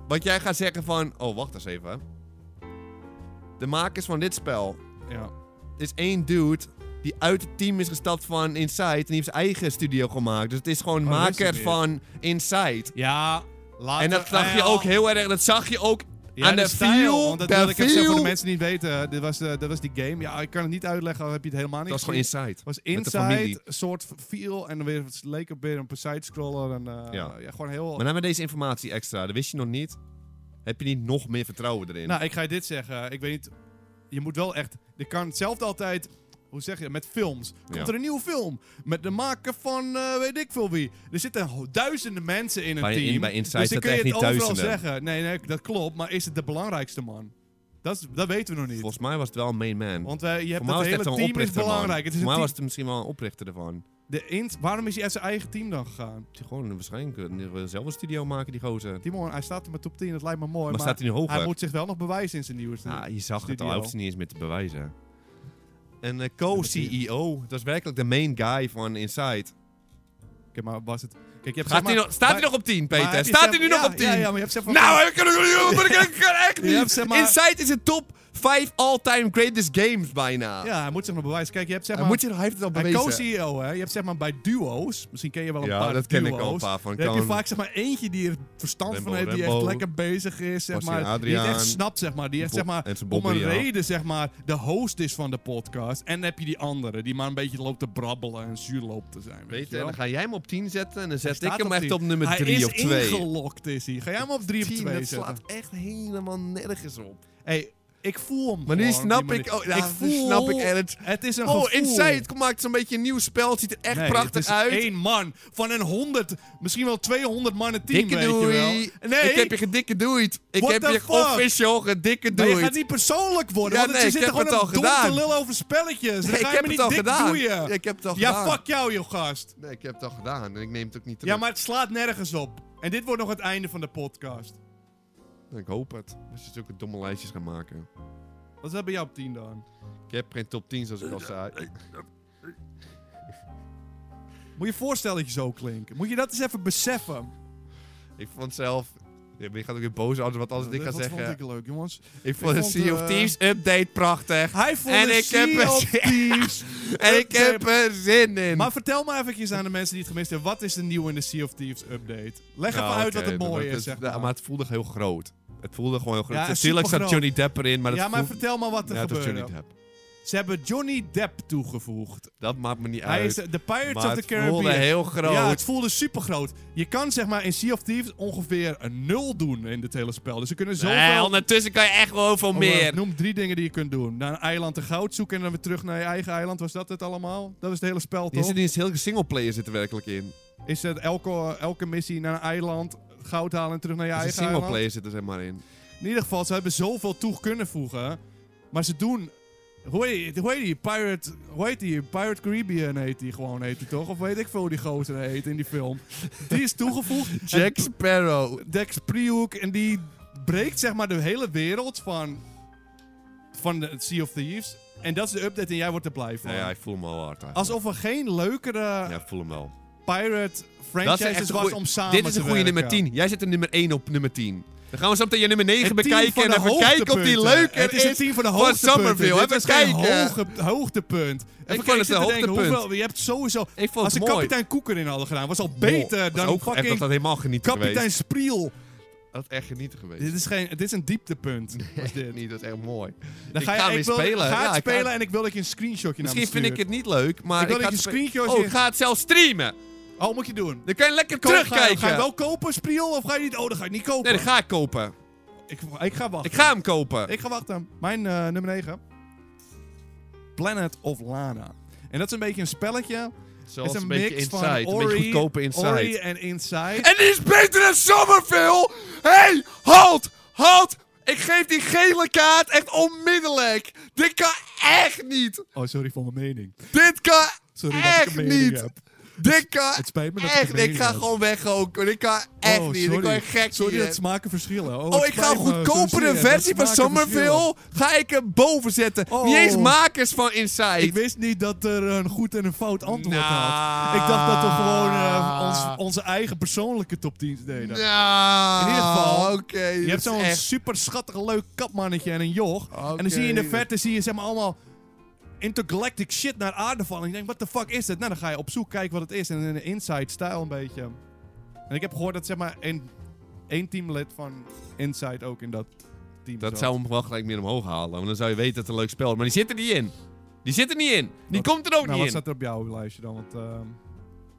[SPEAKER 2] Want jij gaat zeggen van... Oh, wacht eens even. De makers van dit spel
[SPEAKER 1] Ja.
[SPEAKER 2] is één dude... die uit het team is gestapt van Inside... en die heeft zijn eigen studio gemaakt. Dus het is gewoon
[SPEAKER 1] Oh, dat wist ik
[SPEAKER 2] maker
[SPEAKER 1] niet.
[SPEAKER 2] van Inside.
[SPEAKER 1] Ja, later... Ah,
[SPEAKER 2] en dat zag je
[SPEAKER 1] ja.
[SPEAKER 2] ook heel erg... Dat zag je ook
[SPEAKER 1] Ja,
[SPEAKER 2] aan de,
[SPEAKER 1] stijl,
[SPEAKER 2] feel.
[SPEAKER 1] Want dat
[SPEAKER 2] de
[SPEAKER 1] wil ik even zeggen voor de
[SPEAKER 2] feel.
[SPEAKER 1] mensen die het weten. Dit was, eh, dat was die game. Ja, ik kan het niet uitleggen, dan heb je het helemaal niet
[SPEAKER 2] Dat was gewoon
[SPEAKER 1] gezien.
[SPEAKER 2] Inside.
[SPEAKER 1] Het was
[SPEAKER 2] Met de
[SPEAKER 1] Inside,
[SPEAKER 2] familie.
[SPEAKER 1] een soort feel en dan weer, het leek op weer een side-scroller. En, eh, ja.
[SPEAKER 2] Ja.
[SPEAKER 1] gewoon heel...
[SPEAKER 2] Maar dan met deze informatie extra. Dat wist je nog niet. Heb je niet nog meer vertrouwen erin.
[SPEAKER 1] Nou, ik ga je dit zeggen. Ik weet niet... Je moet wel echt... Je kan hetzelfde altijd... Hoe zeg je? Met films. Komt
[SPEAKER 2] Ja.
[SPEAKER 1] er een nieuwe film? Met de maker van eh, weet ik veel wie. Er zitten ho- duizenden mensen in een
[SPEAKER 2] Bij-
[SPEAKER 1] team.
[SPEAKER 2] in- bij Inside
[SPEAKER 1] dus dan
[SPEAKER 2] staat
[SPEAKER 1] kun je
[SPEAKER 2] echt
[SPEAKER 1] het
[SPEAKER 2] niet
[SPEAKER 1] overal
[SPEAKER 2] duizenden.
[SPEAKER 1] zeggen. Nee, nee, dat klopt. Maar is het de belangrijkste man? Dat, is, dat weten we nog niet.
[SPEAKER 2] Volgens mij was het wel een main man.
[SPEAKER 1] Want wij, je hebt
[SPEAKER 2] Voor
[SPEAKER 1] het
[SPEAKER 2] mij was het
[SPEAKER 1] hele
[SPEAKER 2] echt wel een
[SPEAKER 1] team is
[SPEAKER 2] oprichter, man.
[SPEAKER 1] belangrijk. Het is
[SPEAKER 2] Voor mij
[SPEAKER 1] een
[SPEAKER 2] was
[SPEAKER 1] team-
[SPEAKER 2] het misschien wel een oprichter ervan.
[SPEAKER 1] de ins- Waarom is hij uit zijn eigen team dan gegaan?
[SPEAKER 2] Die gewoon waarschijnlijk een- zelf een studio maken, die gozer.
[SPEAKER 1] Timon, hij staat in mijn top 10, dat lijkt me mooi. Maar,
[SPEAKER 2] maar, staat hij nu hoger?
[SPEAKER 1] hij moet zich wel nog bewijzen in zijn nieuwe team.
[SPEAKER 2] Ah, je zag het al,
[SPEAKER 1] Studio.
[SPEAKER 2] hij hoeft het niet eens meer te bewijzen. En eh,
[SPEAKER 1] E
[SPEAKER 2] co-CEO, dat is werkelijk de main guy van Inside.
[SPEAKER 1] Oké, maar was het... Kijk, je hebt
[SPEAKER 2] Gaat
[SPEAKER 1] zeg
[SPEAKER 2] hij
[SPEAKER 1] maar-
[SPEAKER 2] nog, staat hij
[SPEAKER 1] maar-
[SPEAKER 2] nog op 10,
[SPEAKER 1] maar heb
[SPEAKER 2] Peter?
[SPEAKER 1] je
[SPEAKER 2] Staat
[SPEAKER 1] zeg-
[SPEAKER 2] hij nu
[SPEAKER 1] ja,
[SPEAKER 2] nog op 10?
[SPEAKER 1] Ja, ja, maar je hebt zeg maar...
[SPEAKER 2] Nou, ik kan ik kan echt
[SPEAKER 1] Je hebt
[SPEAKER 2] niet.
[SPEAKER 1] zeg maar-
[SPEAKER 2] Inside is de top 5 all-time greatest games bijna.
[SPEAKER 1] Ja, hij moet zich nog bewijzen. Kijk, je hebt zeg
[SPEAKER 2] Hij,
[SPEAKER 1] maar...
[SPEAKER 2] moet je, hij heeft het al
[SPEAKER 1] hij E
[SPEAKER 2] bewezen.
[SPEAKER 1] co-CEO, hè. Je hebt zeg maar bij duo's... Misschien ken je wel een
[SPEAKER 2] Ja,
[SPEAKER 1] paar
[SPEAKER 2] dat ken ik
[SPEAKER 1] duo's.
[SPEAKER 2] al een paar van.
[SPEAKER 1] Dan heb je
[SPEAKER 2] Kan-
[SPEAKER 1] vaak zeg maar eentje die er verstand
[SPEAKER 2] Rembo,
[SPEAKER 1] van heeft, die echt
[SPEAKER 2] Rembo.
[SPEAKER 1] lekker bezig is, zeg
[SPEAKER 2] Bastiaan
[SPEAKER 1] maar. die
[SPEAKER 2] Adriaan.
[SPEAKER 1] het echt snapt, zeg maar. Die echt
[SPEAKER 2] Bob-
[SPEAKER 1] zeg maar
[SPEAKER 2] en zijn
[SPEAKER 1] om een
[SPEAKER 2] Bobby, ja.
[SPEAKER 1] reden, zeg maar, de host is van de podcast. En dan heb je die andere, die maar een beetje loopt te brabbelen en zuur loopt te zijn. Weet,
[SPEAKER 2] Weet
[SPEAKER 1] je
[SPEAKER 2] je, en
[SPEAKER 1] wel?
[SPEAKER 2] dan ga jij hem op 10 zetten en dan zet ik
[SPEAKER 1] staat
[SPEAKER 2] hem
[SPEAKER 1] op
[SPEAKER 2] echt
[SPEAKER 1] 10.
[SPEAKER 2] op nummer 3 of
[SPEAKER 1] Hij
[SPEAKER 2] 2.
[SPEAKER 1] is ingelokt, is hij. Ga jij hem op 3 of
[SPEAKER 2] 10,
[SPEAKER 1] 2
[SPEAKER 2] dat
[SPEAKER 1] zetten?
[SPEAKER 2] slaat echt helemaal nergens op.
[SPEAKER 1] Hey, ik voel hem
[SPEAKER 2] Maar nu
[SPEAKER 1] gewoon op
[SPEAKER 2] snap
[SPEAKER 1] die
[SPEAKER 2] ik...
[SPEAKER 1] manier.
[SPEAKER 2] Oh, ja,
[SPEAKER 1] ik
[SPEAKER 2] nu
[SPEAKER 1] voel...
[SPEAKER 2] snap ik het.
[SPEAKER 1] Het is een
[SPEAKER 2] Oh,
[SPEAKER 1] gevoel.
[SPEAKER 2] Inside maakt zo'n beetje een nieuw spel. Het ziet er echt
[SPEAKER 1] Nee,
[SPEAKER 2] prachtig
[SPEAKER 1] het is
[SPEAKER 2] uit.
[SPEAKER 1] één man van een 100, misschien wel 200 mannen team,
[SPEAKER 2] Dikke
[SPEAKER 1] weet
[SPEAKER 2] doei.
[SPEAKER 1] je wel. Nee,
[SPEAKER 2] Ik heb je gedikke doeit. Ik
[SPEAKER 1] What
[SPEAKER 2] heb
[SPEAKER 1] the
[SPEAKER 2] je
[SPEAKER 1] fuck?
[SPEAKER 2] official gedikke
[SPEAKER 1] maar
[SPEAKER 2] doeit.
[SPEAKER 1] je gaat niet persoonlijk worden,
[SPEAKER 2] Ja,
[SPEAKER 1] want
[SPEAKER 2] nee,
[SPEAKER 1] ze
[SPEAKER 2] ik
[SPEAKER 1] zitten
[SPEAKER 2] heb
[SPEAKER 1] gewoon
[SPEAKER 2] het
[SPEAKER 1] een
[SPEAKER 2] al
[SPEAKER 1] dom te
[SPEAKER 2] gedaan.
[SPEAKER 1] lullen over
[SPEAKER 2] <laughs>
[SPEAKER 1] spelletjes. Dan
[SPEAKER 2] Nee,
[SPEAKER 1] ga
[SPEAKER 2] ik
[SPEAKER 1] je
[SPEAKER 2] heb
[SPEAKER 1] me niet
[SPEAKER 2] het al
[SPEAKER 1] dik
[SPEAKER 2] gedaan.
[SPEAKER 1] doeien.
[SPEAKER 2] Ja, ik heb het al
[SPEAKER 1] ja,
[SPEAKER 2] gedaan.
[SPEAKER 1] fuck jou, joh, gast.
[SPEAKER 2] Nee, ik heb het al gedaan en ik neem het ook niet terug.
[SPEAKER 1] Ja, maar het slaat nergens op. En dit wordt nog het einde van de podcast.
[SPEAKER 2] Ik hoop het. Als je zulke domme lijstjes gaan maken.
[SPEAKER 1] Wat is dat bij jou op 10 dan?
[SPEAKER 2] Ik heb geen top 10 zoals ik al zei.
[SPEAKER 1] Moet je je voorstellen dat je zo klinkt. Moet je dat eens even beseffen.
[SPEAKER 2] Ik vond zelf... Ja, maar je gaat ook weer boos worden wat als ik dit ga
[SPEAKER 1] dat
[SPEAKER 2] zeggen.
[SPEAKER 1] vond ik leuk, jongens.
[SPEAKER 2] Ik vond de
[SPEAKER 1] vond,
[SPEAKER 2] Sea of
[SPEAKER 1] eh,
[SPEAKER 2] Thieves update prachtig.
[SPEAKER 1] Hij vond
[SPEAKER 2] En
[SPEAKER 1] de
[SPEAKER 2] ik heb
[SPEAKER 1] Sea
[SPEAKER 2] een-
[SPEAKER 1] of Thieves.
[SPEAKER 2] <laughs> En ik heb er zin in.
[SPEAKER 1] Maar vertel maar eventjes aan de mensen die het gemist hebben. Wat is de nieuwe in de Sea of Thieves update? Leg
[SPEAKER 2] Nou,
[SPEAKER 1] even uit
[SPEAKER 2] oké,
[SPEAKER 1] wat het
[SPEAKER 2] dan
[SPEAKER 1] mooie
[SPEAKER 2] wordt
[SPEAKER 1] is,
[SPEAKER 2] het-
[SPEAKER 1] zeg
[SPEAKER 2] ja,
[SPEAKER 1] maar.
[SPEAKER 2] maar het voelde heel groot. Het voelde gewoon heel groot.
[SPEAKER 1] Ja,
[SPEAKER 2] Natuurlijk zat
[SPEAKER 1] supergroot.
[SPEAKER 2] Johnny Depp erin, maar dat
[SPEAKER 1] ja, maar
[SPEAKER 2] voelde...
[SPEAKER 1] vertel maar wat er
[SPEAKER 2] Ja, het was
[SPEAKER 1] gebeurde.
[SPEAKER 2] Johnny Depp.
[SPEAKER 1] Ze hebben Johnny Depp toegevoegd.
[SPEAKER 2] Dat maakt me niet
[SPEAKER 1] Hij is
[SPEAKER 2] uit.
[SPEAKER 1] de Pirates
[SPEAKER 2] maar
[SPEAKER 1] of the
[SPEAKER 2] het voelde
[SPEAKER 1] Caribbean.
[SPEAKER 2] heel groot.
[SPEAKER 1] Ja, het voelde super groot. Je kan zeg maar in Sea of Thieves ongeveer een nul doen in dit hele spel. Dus ze kunnen zoveel...
[SPEAKER 2] Nee, ondertussen kan je echt wel veel
[SPEAKER 1] Oh, maar
[SPEAKER 2] meer.
[SPEAKER 1] Noem drie dingen die je kunt doen. Naar een eiland en goud zoeken en dan weer terug naar je eigen eiland. Was dat het allemaal? Dat is het hele spel,
[SPEAKER 2] Je
[SPEAKER 1] toch?
[SPEAKER 2] zit in een heel singleplayer zit er werkelijk in.
[SPEAKER 1] Is het elke, elke missie naar een eiland, goud halen en terug naar je
[SPEAKER 2] Ja, de
[SPEAKER 1] eigen eiland?
[SPEAKER 2] singleplayer zit er zeg maar in.
[SPEAKER 1] In ieder geval, ze hebben zoveel toe kunnen voegen. Maar ze doen... Hoe heet, hoe heet die? Pirate... Hoe heet die? Pirate Caribbean heet die gewoon, heet die toch? Of weet ik veel hoe die gozer heet in die film. Die is toegevoegd.
[SPEAKER 2] <laughs> Jack Sparrow.
[SPEAKER 1] Dex Priehoek. En die breekt zeg maar de hele wereld van... Van de Sea of Thieves. En dat is de update en jij wordt er blij van.
[SPEAKER 2] Nou ja, ik voel hem al hard. eigenlijk.
[SPEAKER 1] Alsof er geen leukere
[SPEAKER 2] Ja, ik voel hem wel.
[SPEAKER 1] pirate
[SPEAKER 2] Dat is echt
[SPEAKER 1] franchises
[SPEAKER 2] een
[SPEAKER 1] was
[SPEAKER 2] goeie-
[SPEAKER 1] om samen
[SPEAKER 2] Dit is een
[SPEAKER 1] te
[SPEAKER 2] goede
[SPEAKER 1] werken.
[SPEAKER 2] nummer 10. Jij zet hem nummer 1 op nummer 10. Dan gaan we zo meteen je nummer 9
[SPEAKER 1] Het team
[SPEAKER 2] bekijken
[SPEAKER 1] van
[SPEAKER 2] en
[SPEAKER 1] de
[SPEAKER 2] even kijken of die
[SPEAKER 1] hoogtepunten.
[SPEAKER 2] leuker
[SPEAKER 1] Het is het team van de
[SPEAKER 2] van
[SPEAKER 1] hoogtepunten.
[SPEAKER 2] Somerville.
[SPEAKER 1] Dit
[SPEAKER 2] Even
[SPEAKER 1] is geen
[SPEAKER 2] kijken.
[SPEAKER 1] hoge- hoogtepunt. Even
[SPEAKER 2] vond
[SPEAKER 1] kijken,
[SPEAKER 2] het
[SPEAKER 1] ik zit
[SPEAKER 2] een
[SPEAKER 1] te denken,
[SPEAKER 2] hoogtepunt.
[SPEAKER 1] hoeveel- je hebt sowieso...
[SPEAKER 2] Ik vond
[SPEAKER 1] Als
[SPEAKER 2] het
[SPEAKER 1] ze
[SPEAKER 2] mooi.
[SPEAKER 1] kapitein Koeken in hadden gedaan, was al
[SPEAKER 2] Wow,
[SPEAKER 1] beter
[SPEAKER 2] dat is
[SPEAKER 1] dan
[SPEAKER 2] ook echt-
[SPEAKER 1] fucking
[SPEAKER 2] dat had helemaal genieten
[SPEAKER 1] kapitein
[SPEAKER 2] geweest.
[SPEAKER 1] Spriel.
[SPEAKER 2] Dat had echt genieten geweest.
[SPEAKER 1] Dit is, geen, dit is een dieptepunt. was
[SPEAKER 2] <laughs>
[SPEAKER 1] dit.
[SPEAKER 2] niet, dat is echt mooi.
[SPEAKER 1] Dan
[SPEAKER 2] Ik
[SPEAKER 1] ga je,
[SPEAKER 2] ga
[SPEAKER 1] ik
[SPEAKER 2] weer
[SPEAKER 1] wil-
[SPEAKER 2] spelen.
[SPEAKER 1] Ga
[SPEAKER 2] Ja,
[SPEAKER 1] het
[SPEAKER 2] ik ga-
[SPEAKER 1] spelen en ik wil dat je een screenshotje naar me
[SPEAKER 2] Misschien vind ik
[SPEAKER 1] stuurt.
[SPEAKER 2] het niet leuk, maar
[SPEAKER 1] Ik wil
[SPEAKER 2] ik ga
[SPEAKER 1] dat je
[SPEAKER 2] het spe-
[SPEAKER 1] screenshotje-
[SPEAKER 2] Oh, ik ga het zelf streamen.
[SPEAKER 1] Oh, moet je doen.
[SPEAKER 2] Dan kan je lekker
[SPEAKER 1] Koop- ga je-
[SPEAKER 2] terugkijken.
[SPEAKER 1] Ga, je wel kopen, Spriel, of ga je niet? Oh, dan ga je niet kopen.
[SPEAKER 2] Nee, dat ga ik kopen.
[SPEAKER 1] ik, ik ga wachten.
[SPEAKER 2] Ik ga hem kopen.
[SPEAKER 1] Ik ga wachten. Mijn eh, nummer 9. Planet of Lana. En dat is een beetje een spelletje.
[SPEAKER 2] Zoals
[SPEAKER 1] het is
[SPEAKER 2] een
[SPEAKER 1] een,
[SPEAKER 2] beetje
[SPEAKER 1] mix
[SPEAKER 2] Inside.
[SPEAKER 1] van
[SPEAKER 2] Een beetje
[SPEAKER 1] Ori,
[SPEAKER 2] goedkope Inside.
[SPEAKER 1] Ori en Inside.
[SPEAKER 2] <laughs> En die is beter dan Somerville! Hé, hey, halt! Halt! Ik geef die gele kaart echt onmiddellijk! Dit kan echt niet!
[SPEAKER 1] Oh, sorry voor mijn mening.
[SPEAKER 2] Dit kan
[SPEAKER 1] Sorry dat ik
[SPEAKER 2] echt
[SPEAKER 1] een mening
[SPEAKER 2] niet!
[SPEAKER 1] heb.
[SPEAKER 2] Dit kan
[SPEAKER 1] Het spijt me dat ik
[SPEAKER 2] echt
[SPEAKER 1] een
[SPEAKER 2] niet! Ik
[SPEAKER 1] mening
[SPEAKER 2] ga
[SPEAKER 1] heb.
[SPEAKER 2] gewoon weg ook. hoor. Dit kan echt
[SPEAKER 1] oh,
[SPEAKER 2] niet.
[SPEAKER 1] Sorry.
[SPEAKER 2] Ik word gek
[SPEAKER 1] Sorry
[SPEAKER 2] hier.
[SPEAKER 1] dat smaken verschillen. Oh,
[SPEAKER 2] Oh,
[SPEAKER 1] het
[SPEAKER 2] ik ga
[SPEAKER 1] spijt
[SPEAKER 2] een
[SPEAKER 1] me. Sorry,
[SPEAKER 2] goedkopere
[SPEAKER 1] eh, dat
[SPEAKER 2] versie van
[SPEAKER 1] smaken verschillen.
[SPEAKER 2] Somerville ga ik er boven zetten. Niet eens
[SPEAKER 1] Oh.
[SPEAKER 2] makers van Inside.
[SPEAKER 1] Ik wist niet dat er een goed en een fout antwoord
[SPEAKER 2] Nou.
[SPEAKER 1] had. Ik dacht dat we gewoon eh, ons, onze eigen persoonlijke top 10 deden.
[SPEAKER 2] Nou,
[SPEAKER 1] In ieder geval,
[SPEAKER 2] oké.
[SPEAKER 1] Je
[SPEAKER 2] dit
[SPEAKER 1] hebt
[SPEAKER 2] is
[SPEAKER 1] zo'n
[SPEAKER 2] echt-
[SPEAKER 1] super schattig leuk kapmannetje en een joch. En
[SPEAKER 2] Oké.
[SPEAKER 1] dan zie je in de verte zie je zeg maar allemaal intergalactic shit naar aarde vallen. En je denkt, wat de fuck is dit? Nou, dan ga je op zoek kijken wat het is. En in de inside stijl een beetje. En ik heb gehoord dat zeg maar één, één teamlid van Inside ook in dat team
[SPEAKER 2] Dat
[SPEAKER 1] zat.
[SPEAKER 2] zou hem wel gelijk meer omhoog halen. Want dan zou je weten dat het een leuk spel is. Maar die zit er niet in. Die zit er niet in. Die
[SPEAKER 1] Wat-
[SPEAKER 2] komt er ook
[SPEAKER 1] Nou,
[SPEAKER 2] niet
[SPEAKER 1] wat
[SPEAKER 2] in.
[SPEAKER 1] staat er op jouw lijstje dan? Want ehm,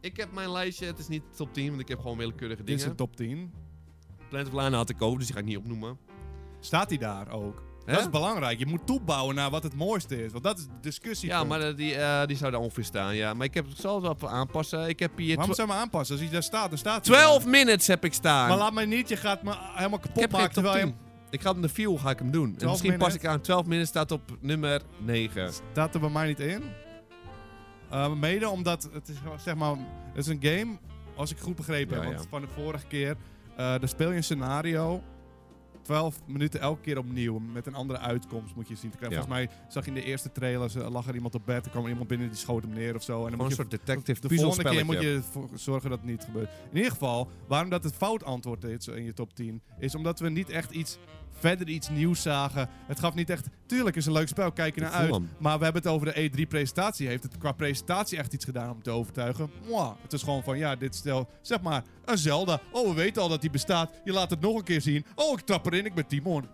[SPEAKER 2] Ik heb mijn lijstje. Het is niet top 10, want ik heb gewoon willekeurige
[SPEAKER 1] dit is
[SPEAKER 2] dingen.
[SPEAKER 1] een top 10.
[SPEAKER 2] Planet of Lana had ik ook, dus die ga ik niet opnoemen.
[SPEAKER 1] Staat hij daar ook?
[SPEAKER 2] Hè?
[SPEAKER 1] Dat is belangrijk. Je moet toebouwen naar wat het mooiste is. Want dat is de discussie.
[SPEAKER 2] Ja, maar eh, die, eh, die zou daar ongeveer staan. Ja, maar ik heb, ik zal het wel even aanpassen. Ik heb hier
[SPEAKER 1] Waarom
[SPEAKER 2] twa-
[SPEAKER 1] zou je hem aanpassen? Als hij daar staat, dan staat hij
[SPEAKER 2] 12
[SPEAKER 1] daar.
[SPEAKER 2] minutes heb ik staan.
[SPEAKER 1] Maar laat mij niet, je gaat me helemaal
[SPEAKER 2] ik
[SPEAKER 1] kapot
[SPEAKER 2] heb
[SPEAKER 1] maken
[SPEAKER 2] geen top
[SPEAKER 1] terwijl je
[SPEAKER 2] 10. Ik ga op de view ga ik hem doen. En
[SPEAKER 1] 12
[SPEAKER 2] misschien pas ik
[SPEAKER 1] minutes.
[SPEAKER 2] aan. 12 minutes staat op nummer 9.
[SPEAKER 1] staat er bij mij niet in. Eh, mede omdat het is zeg maar, het is een game, als ik goed begrepen
[SPEAKER 2] Ja,
[SPEAKER 1] heb, want
[SPEAKER 2] ja.
[SPEAKER 1] van de vorige keer, eh daar speel je een scenario. 12 minuten elke keer opnieuw. Met een andere uitkomst moet je zien te krijgen.
[SPEAKER 2] Ja.
[SPEAKER 1] Volgens mij zag je in de eerste trailers eh, lag er iemand op bed. Er kwam iemand binnen die schoot hem neer of zo. En dan
[SPEAKER 2] Gewoon
[SPEAKER 1] moet
[SPEAKER 2] een
[SPEAKER 1] je
[SPEAKER 2] soort detective
[SPEAKER 1] de volgende keer moet
[SPEAKER 2] puzzelspelletje.
[SPEAKER 1] je ervoor zorgen dat het niet gebeurt. In ieder geval, waarom dat het fout antwoord is in je top 10, is omdat we niet echt iets verder iets nieuws zagen. Het gaf niet echt. Tuurlijk is een leuk spel, kijk er
[SPEAKER 2] Ik
[SPEAKER 1] naar
[SPEAKER 2] voel
[SPEAKER 1] uit.
[SPEAKER 2] hem.
[SPEAKER 1] Maar we hebben het over de E3-presentatie. Heeft het qua presentatie echt iets gedaan om te overtuigen? Mwah. Het is gewoon van, ja, dit stel, zeg maar, een Zelda. Oh, we weten al dat die bestaat. Je laat het nog een keer zien. Oh, ik trap erin, ik ben Timon.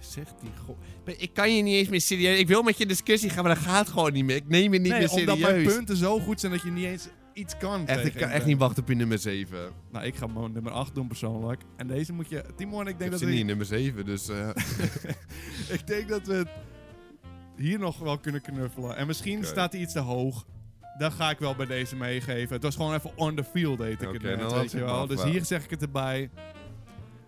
[SPEAKER 2] Zeg die go- Ben- Ik kan je niet eens meer serieus. Ik wil met je discussie gaan, maar dat gaat gewoon niet meer. Ik neem je niet meer
[SPEAKER 1] nee,
[SPEAKER 2] serieus.
[SPEAKER 1] omdat mijn punten zo goed zijn dat je niet eens iets kan.
[SPEAKER 2] Echt, ik
[SPEAKER 1] tegen
[SPEAKER 2] kan
[SPEAKER 1] hem.
[SPEAKER 2] echt niet wachten op je nummer 7. Ik
[SPEAKER 1] Nou, ik ga mijn nummer 8 doen persoonlijk. En deze moet je... Timon, ik
[SPEAKER 2] heb
[SPEAKER 1] denk dat
[SPEAKER 2] ze
[SPEAKER 1] we
[SPEAKER 2] niet in nummer 7, dus... eh,
[SPEAKER 1] Ik denk dat we het hier nog wel kunnen knuffelen. En misschien
[SPEAKER 2] Oké.
[SPEAKER 1] staat hij iets te hoog. Dan ga ik wel bij deze meegeven. Het was gewoon even on the field, heet ik
[SPEAKER 2] Oké,
[SPEAKER 1] het
[SPEAKER 2] dan
[SPEAKER 1] net,
[SPEAKER 2] had
[SPEAKER 1] weet
[SPEAKER 2] ik
[SPEAKER 1] je
[SPEAKER 2] het
[SPEAKER 1] wel.
[SPEAKER 2] nog
[SPEAKER 1] Dus
[SPEAKER 2] wel.
[SPEAKER 1] hier zeg ik het erbij.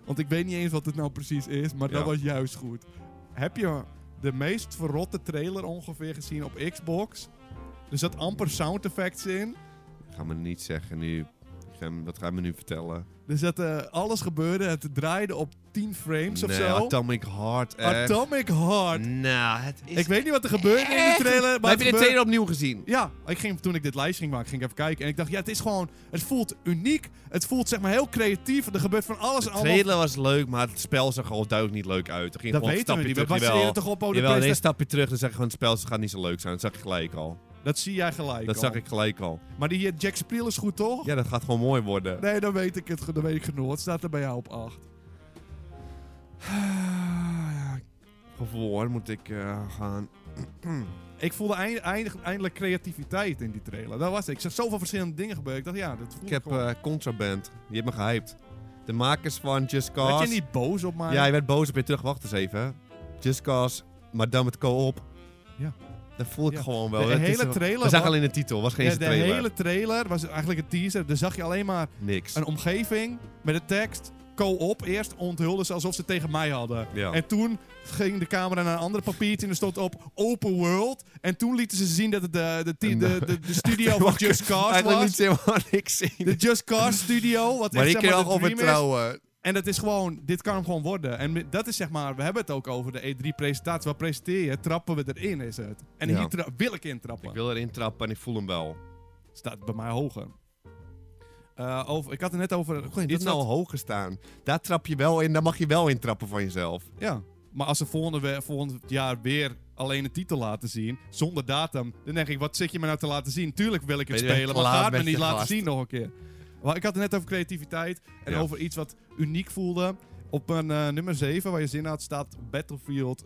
[SPEAKER 1] Want ik weet niet eens wat het nou precies is, maar
[SPEAKER 2] Ja.
[SPEAKER 1] dat was juist goed. Heb je de meest verrotte trailer ongeveer gezien op Xbox? Er zat amper sound effects in.
[SPEAKER 2] ga me niet zeggen nu. Ik ga, wat ga je me nu vertellen?
[SPEAKER 1] Er zat, eh, alles gebeurde. Het draaide op 10 frames of
[SPEAKER 2] nee,
[SPEAKER 1] zo.
[SPEAKER 2] Atomic Heart, echt.
[SPEAKER 1] Atomic Heart.
[SPEAKER 2] Nou, het is...
[SPEAKER 1] Ik weet niet wat er gebeurde in de
[SPEAKER 2] echt-
[SPEAKER 1] trailer.
[SPEAKER 2] Maar
[SPEAKER 1] Maar het
[SPEAKER 2] heb je de
[SPEAKER 1] gebeurde-
[SPEAKER 2] trailer opnieuw gezien?
[SPEAKER 1] Ja, ik ging, toen ik dit lijstje ging maken, ging ik even kijken. En ik dacht, ja, het is gewoon... Het voelt uniek. Het voelt, zeg maar, heel creatief. Er gebeurt van alles
[SPEAKER 2] De
[SPEAKER 1] en allemaal.
[SPEAKER 2] trailer was leuk, maar het spel zag gewoon duidelijk niet leuk uit. Er ging
[SPEAKER 1] Dat
[SPEAKER 2] gewoon een
[SPEAKER 1] weten we
[SPEAKER 2] stapje
[SPEAKER 1] niet. We
[SPEAKER 2] terug.
[SPEAKER 1] baseren
[SPEAKER 2] Jawel,
[SPEAKER 1] toch op... Oh, de
[SPEAKER 2] jawel,
[SPEAKER 1] beste-
[SPEAKER 2] een stapje terug, dan zeg je gewoon, het spel gaat niet zo leuk zijn. Dat zag ik gelijk al.
[SPEAKER 1] Dat zie jij gelijk
[SPEAKER 2] Dat
[SPEAKER 1] al.
[SPEAKER 2] zag ik gelijk al.
[SPEAKER 1] Maar die eh, Jack Spiel is goed, toch?
[SPEAKER 2] Ja, dat gaat gewoon mooi worden.
[SPEAKER 1] Nee, dan weet ik het. ge- Dan weet ik genoeg. Wat staat er bij jou op 8?
[SPEAKER 2] Ja, Gevoel hoor, moet ik eh, gaan.
[SPEAKER 1] <sighs> Ik voelde eind- eind- eindelijk creativiteit in die trailer. Dat was ik. Ik zag zoveel verschillende dingen gebeuren. Ik dacht, ja, dat voelt
[SPEAKER 2] Ik heb
[SPEAKER 1] gewoon...
[SPEAKER 2] eh, Contraband. Die heeft me gehyped. De makers van Just Cause.
[SPEAKER 1] Werd je niet boos op mij?
[SPEAKER 2] Ja, hij werd boos op je terug. Wacht eens even. Just Cause, maar dan met co-op.
[SPEAKER 1] Ja.
[SPEAKER 2] Dat voel ik
[SPEAKER 1] Ja.
[SPEAKER 2] gewoon wel.
[SPEAKER 1] De
[SPEAKER 2] Dat is
[SPEAKER 1] hele
[SPEAKER 2] wel-
[SPEAKER 1] trailer
[SPEAKER 2] We zagen
[SPEAKER 1] was-
[SPEAKER 2] alleen de titel, was geen
[SPEAKER 1] Ja,
[SPEAKER 2] eens
[SPEAKER 1] de
[SPEAKER 2] de trailer.
[SPEAKER 1] hele trailer was eigenlijk een teaser. Dan zag je alleen maar
[SPEAKER 2] Niks.
[SPEAKER 1] een omgeving met de tekst. Co-op eerst onthulden ze alsof ze tegen mij hadden.
[SPEAKER 2] Ja.
[SPEAKER 1] En toen ging de camera naar een ander papiertje en er stond op Open World. En toen lieten ze zien dat het de, de, de,
[SPEAKER 2] eh,
[SPEAKER 1] de, de, de
[SPEAKER 2] <laughs>
[SPEAKER 1] studio van Just Cars
[SPEAKER 2] Eigenlijk
[SPEAKER 1] was.
[SPEAKER 2] niet helemaal <laughs> niks zien.
[SPEAKER 1] De Just Cars studio. Wat
[SPEAKER 2] Maar
[SPEAKER 1] echt,
[SPEAKER 2] ik
[SPEAKER 1] zeg
[SPEAKER 2] kan
[SPEAKER 1] maar,
[SPEAKER 2] wel
[SPEAKER 1] de
[SPEAKER 2] gewoon
[SPEAKER 1] dream is.
[SPEAKER 2] vertrouwen.
[SPEAKER 1] En dat is gewoon, dit kan hem gewoon worden. En mi- dat is zeg maar, we hebben het ook over de E3-presentatie. Wat presenteer je? Trappen we erin is het. En
[SPEAKER 2] Ja.
[SPEAKER 1] hier tra- wil ik intrappen.
[SPEAKER 2] Ik wil erin trappen en ik voel hem wel.
[SPEAKER 1] Staat bij mij hoger. Eh, over, ik had het net over...
[SPEAKER 2] Dit
[SPEAKER 1] iets
[SPEAKER 2] is nou
[SPEAKER 1] wat-
[SPEAKER 2] hoger staan. Daar trap je wel in, daar mag je wel in trappen van jezelf.
[SPEAKER 1] Ja. Maar als ze volgende, we- volgend jaar weer alleen de titel laten zien, zonder datum, dan denk ik, wat zit je me nou te laten zien? Tuurlijk wil ik het
[SPEAKER 2] Ben je
[SPEAKER 1] spelen, maar
[SPEAKER 2] klaar
[SPEAKER 1] ga het me
[SPEAKER 2] met
[SPEAKER 1] niet
[SPEAKER 2] je
[SPEAKER 1] laten
[SPEAKER 2] gast?
[SPEAKER 1] zien nog een keer. Maar ik had het net over creativiteit en
[SPEAKER 2] Ja.
[SPEAKER 1] over iets wat uniek voelde. Op een eh, nummer 7, waar je zin had, staat
[SPEAKER 2] <laughs>
[SPEAKER 1] Battlefield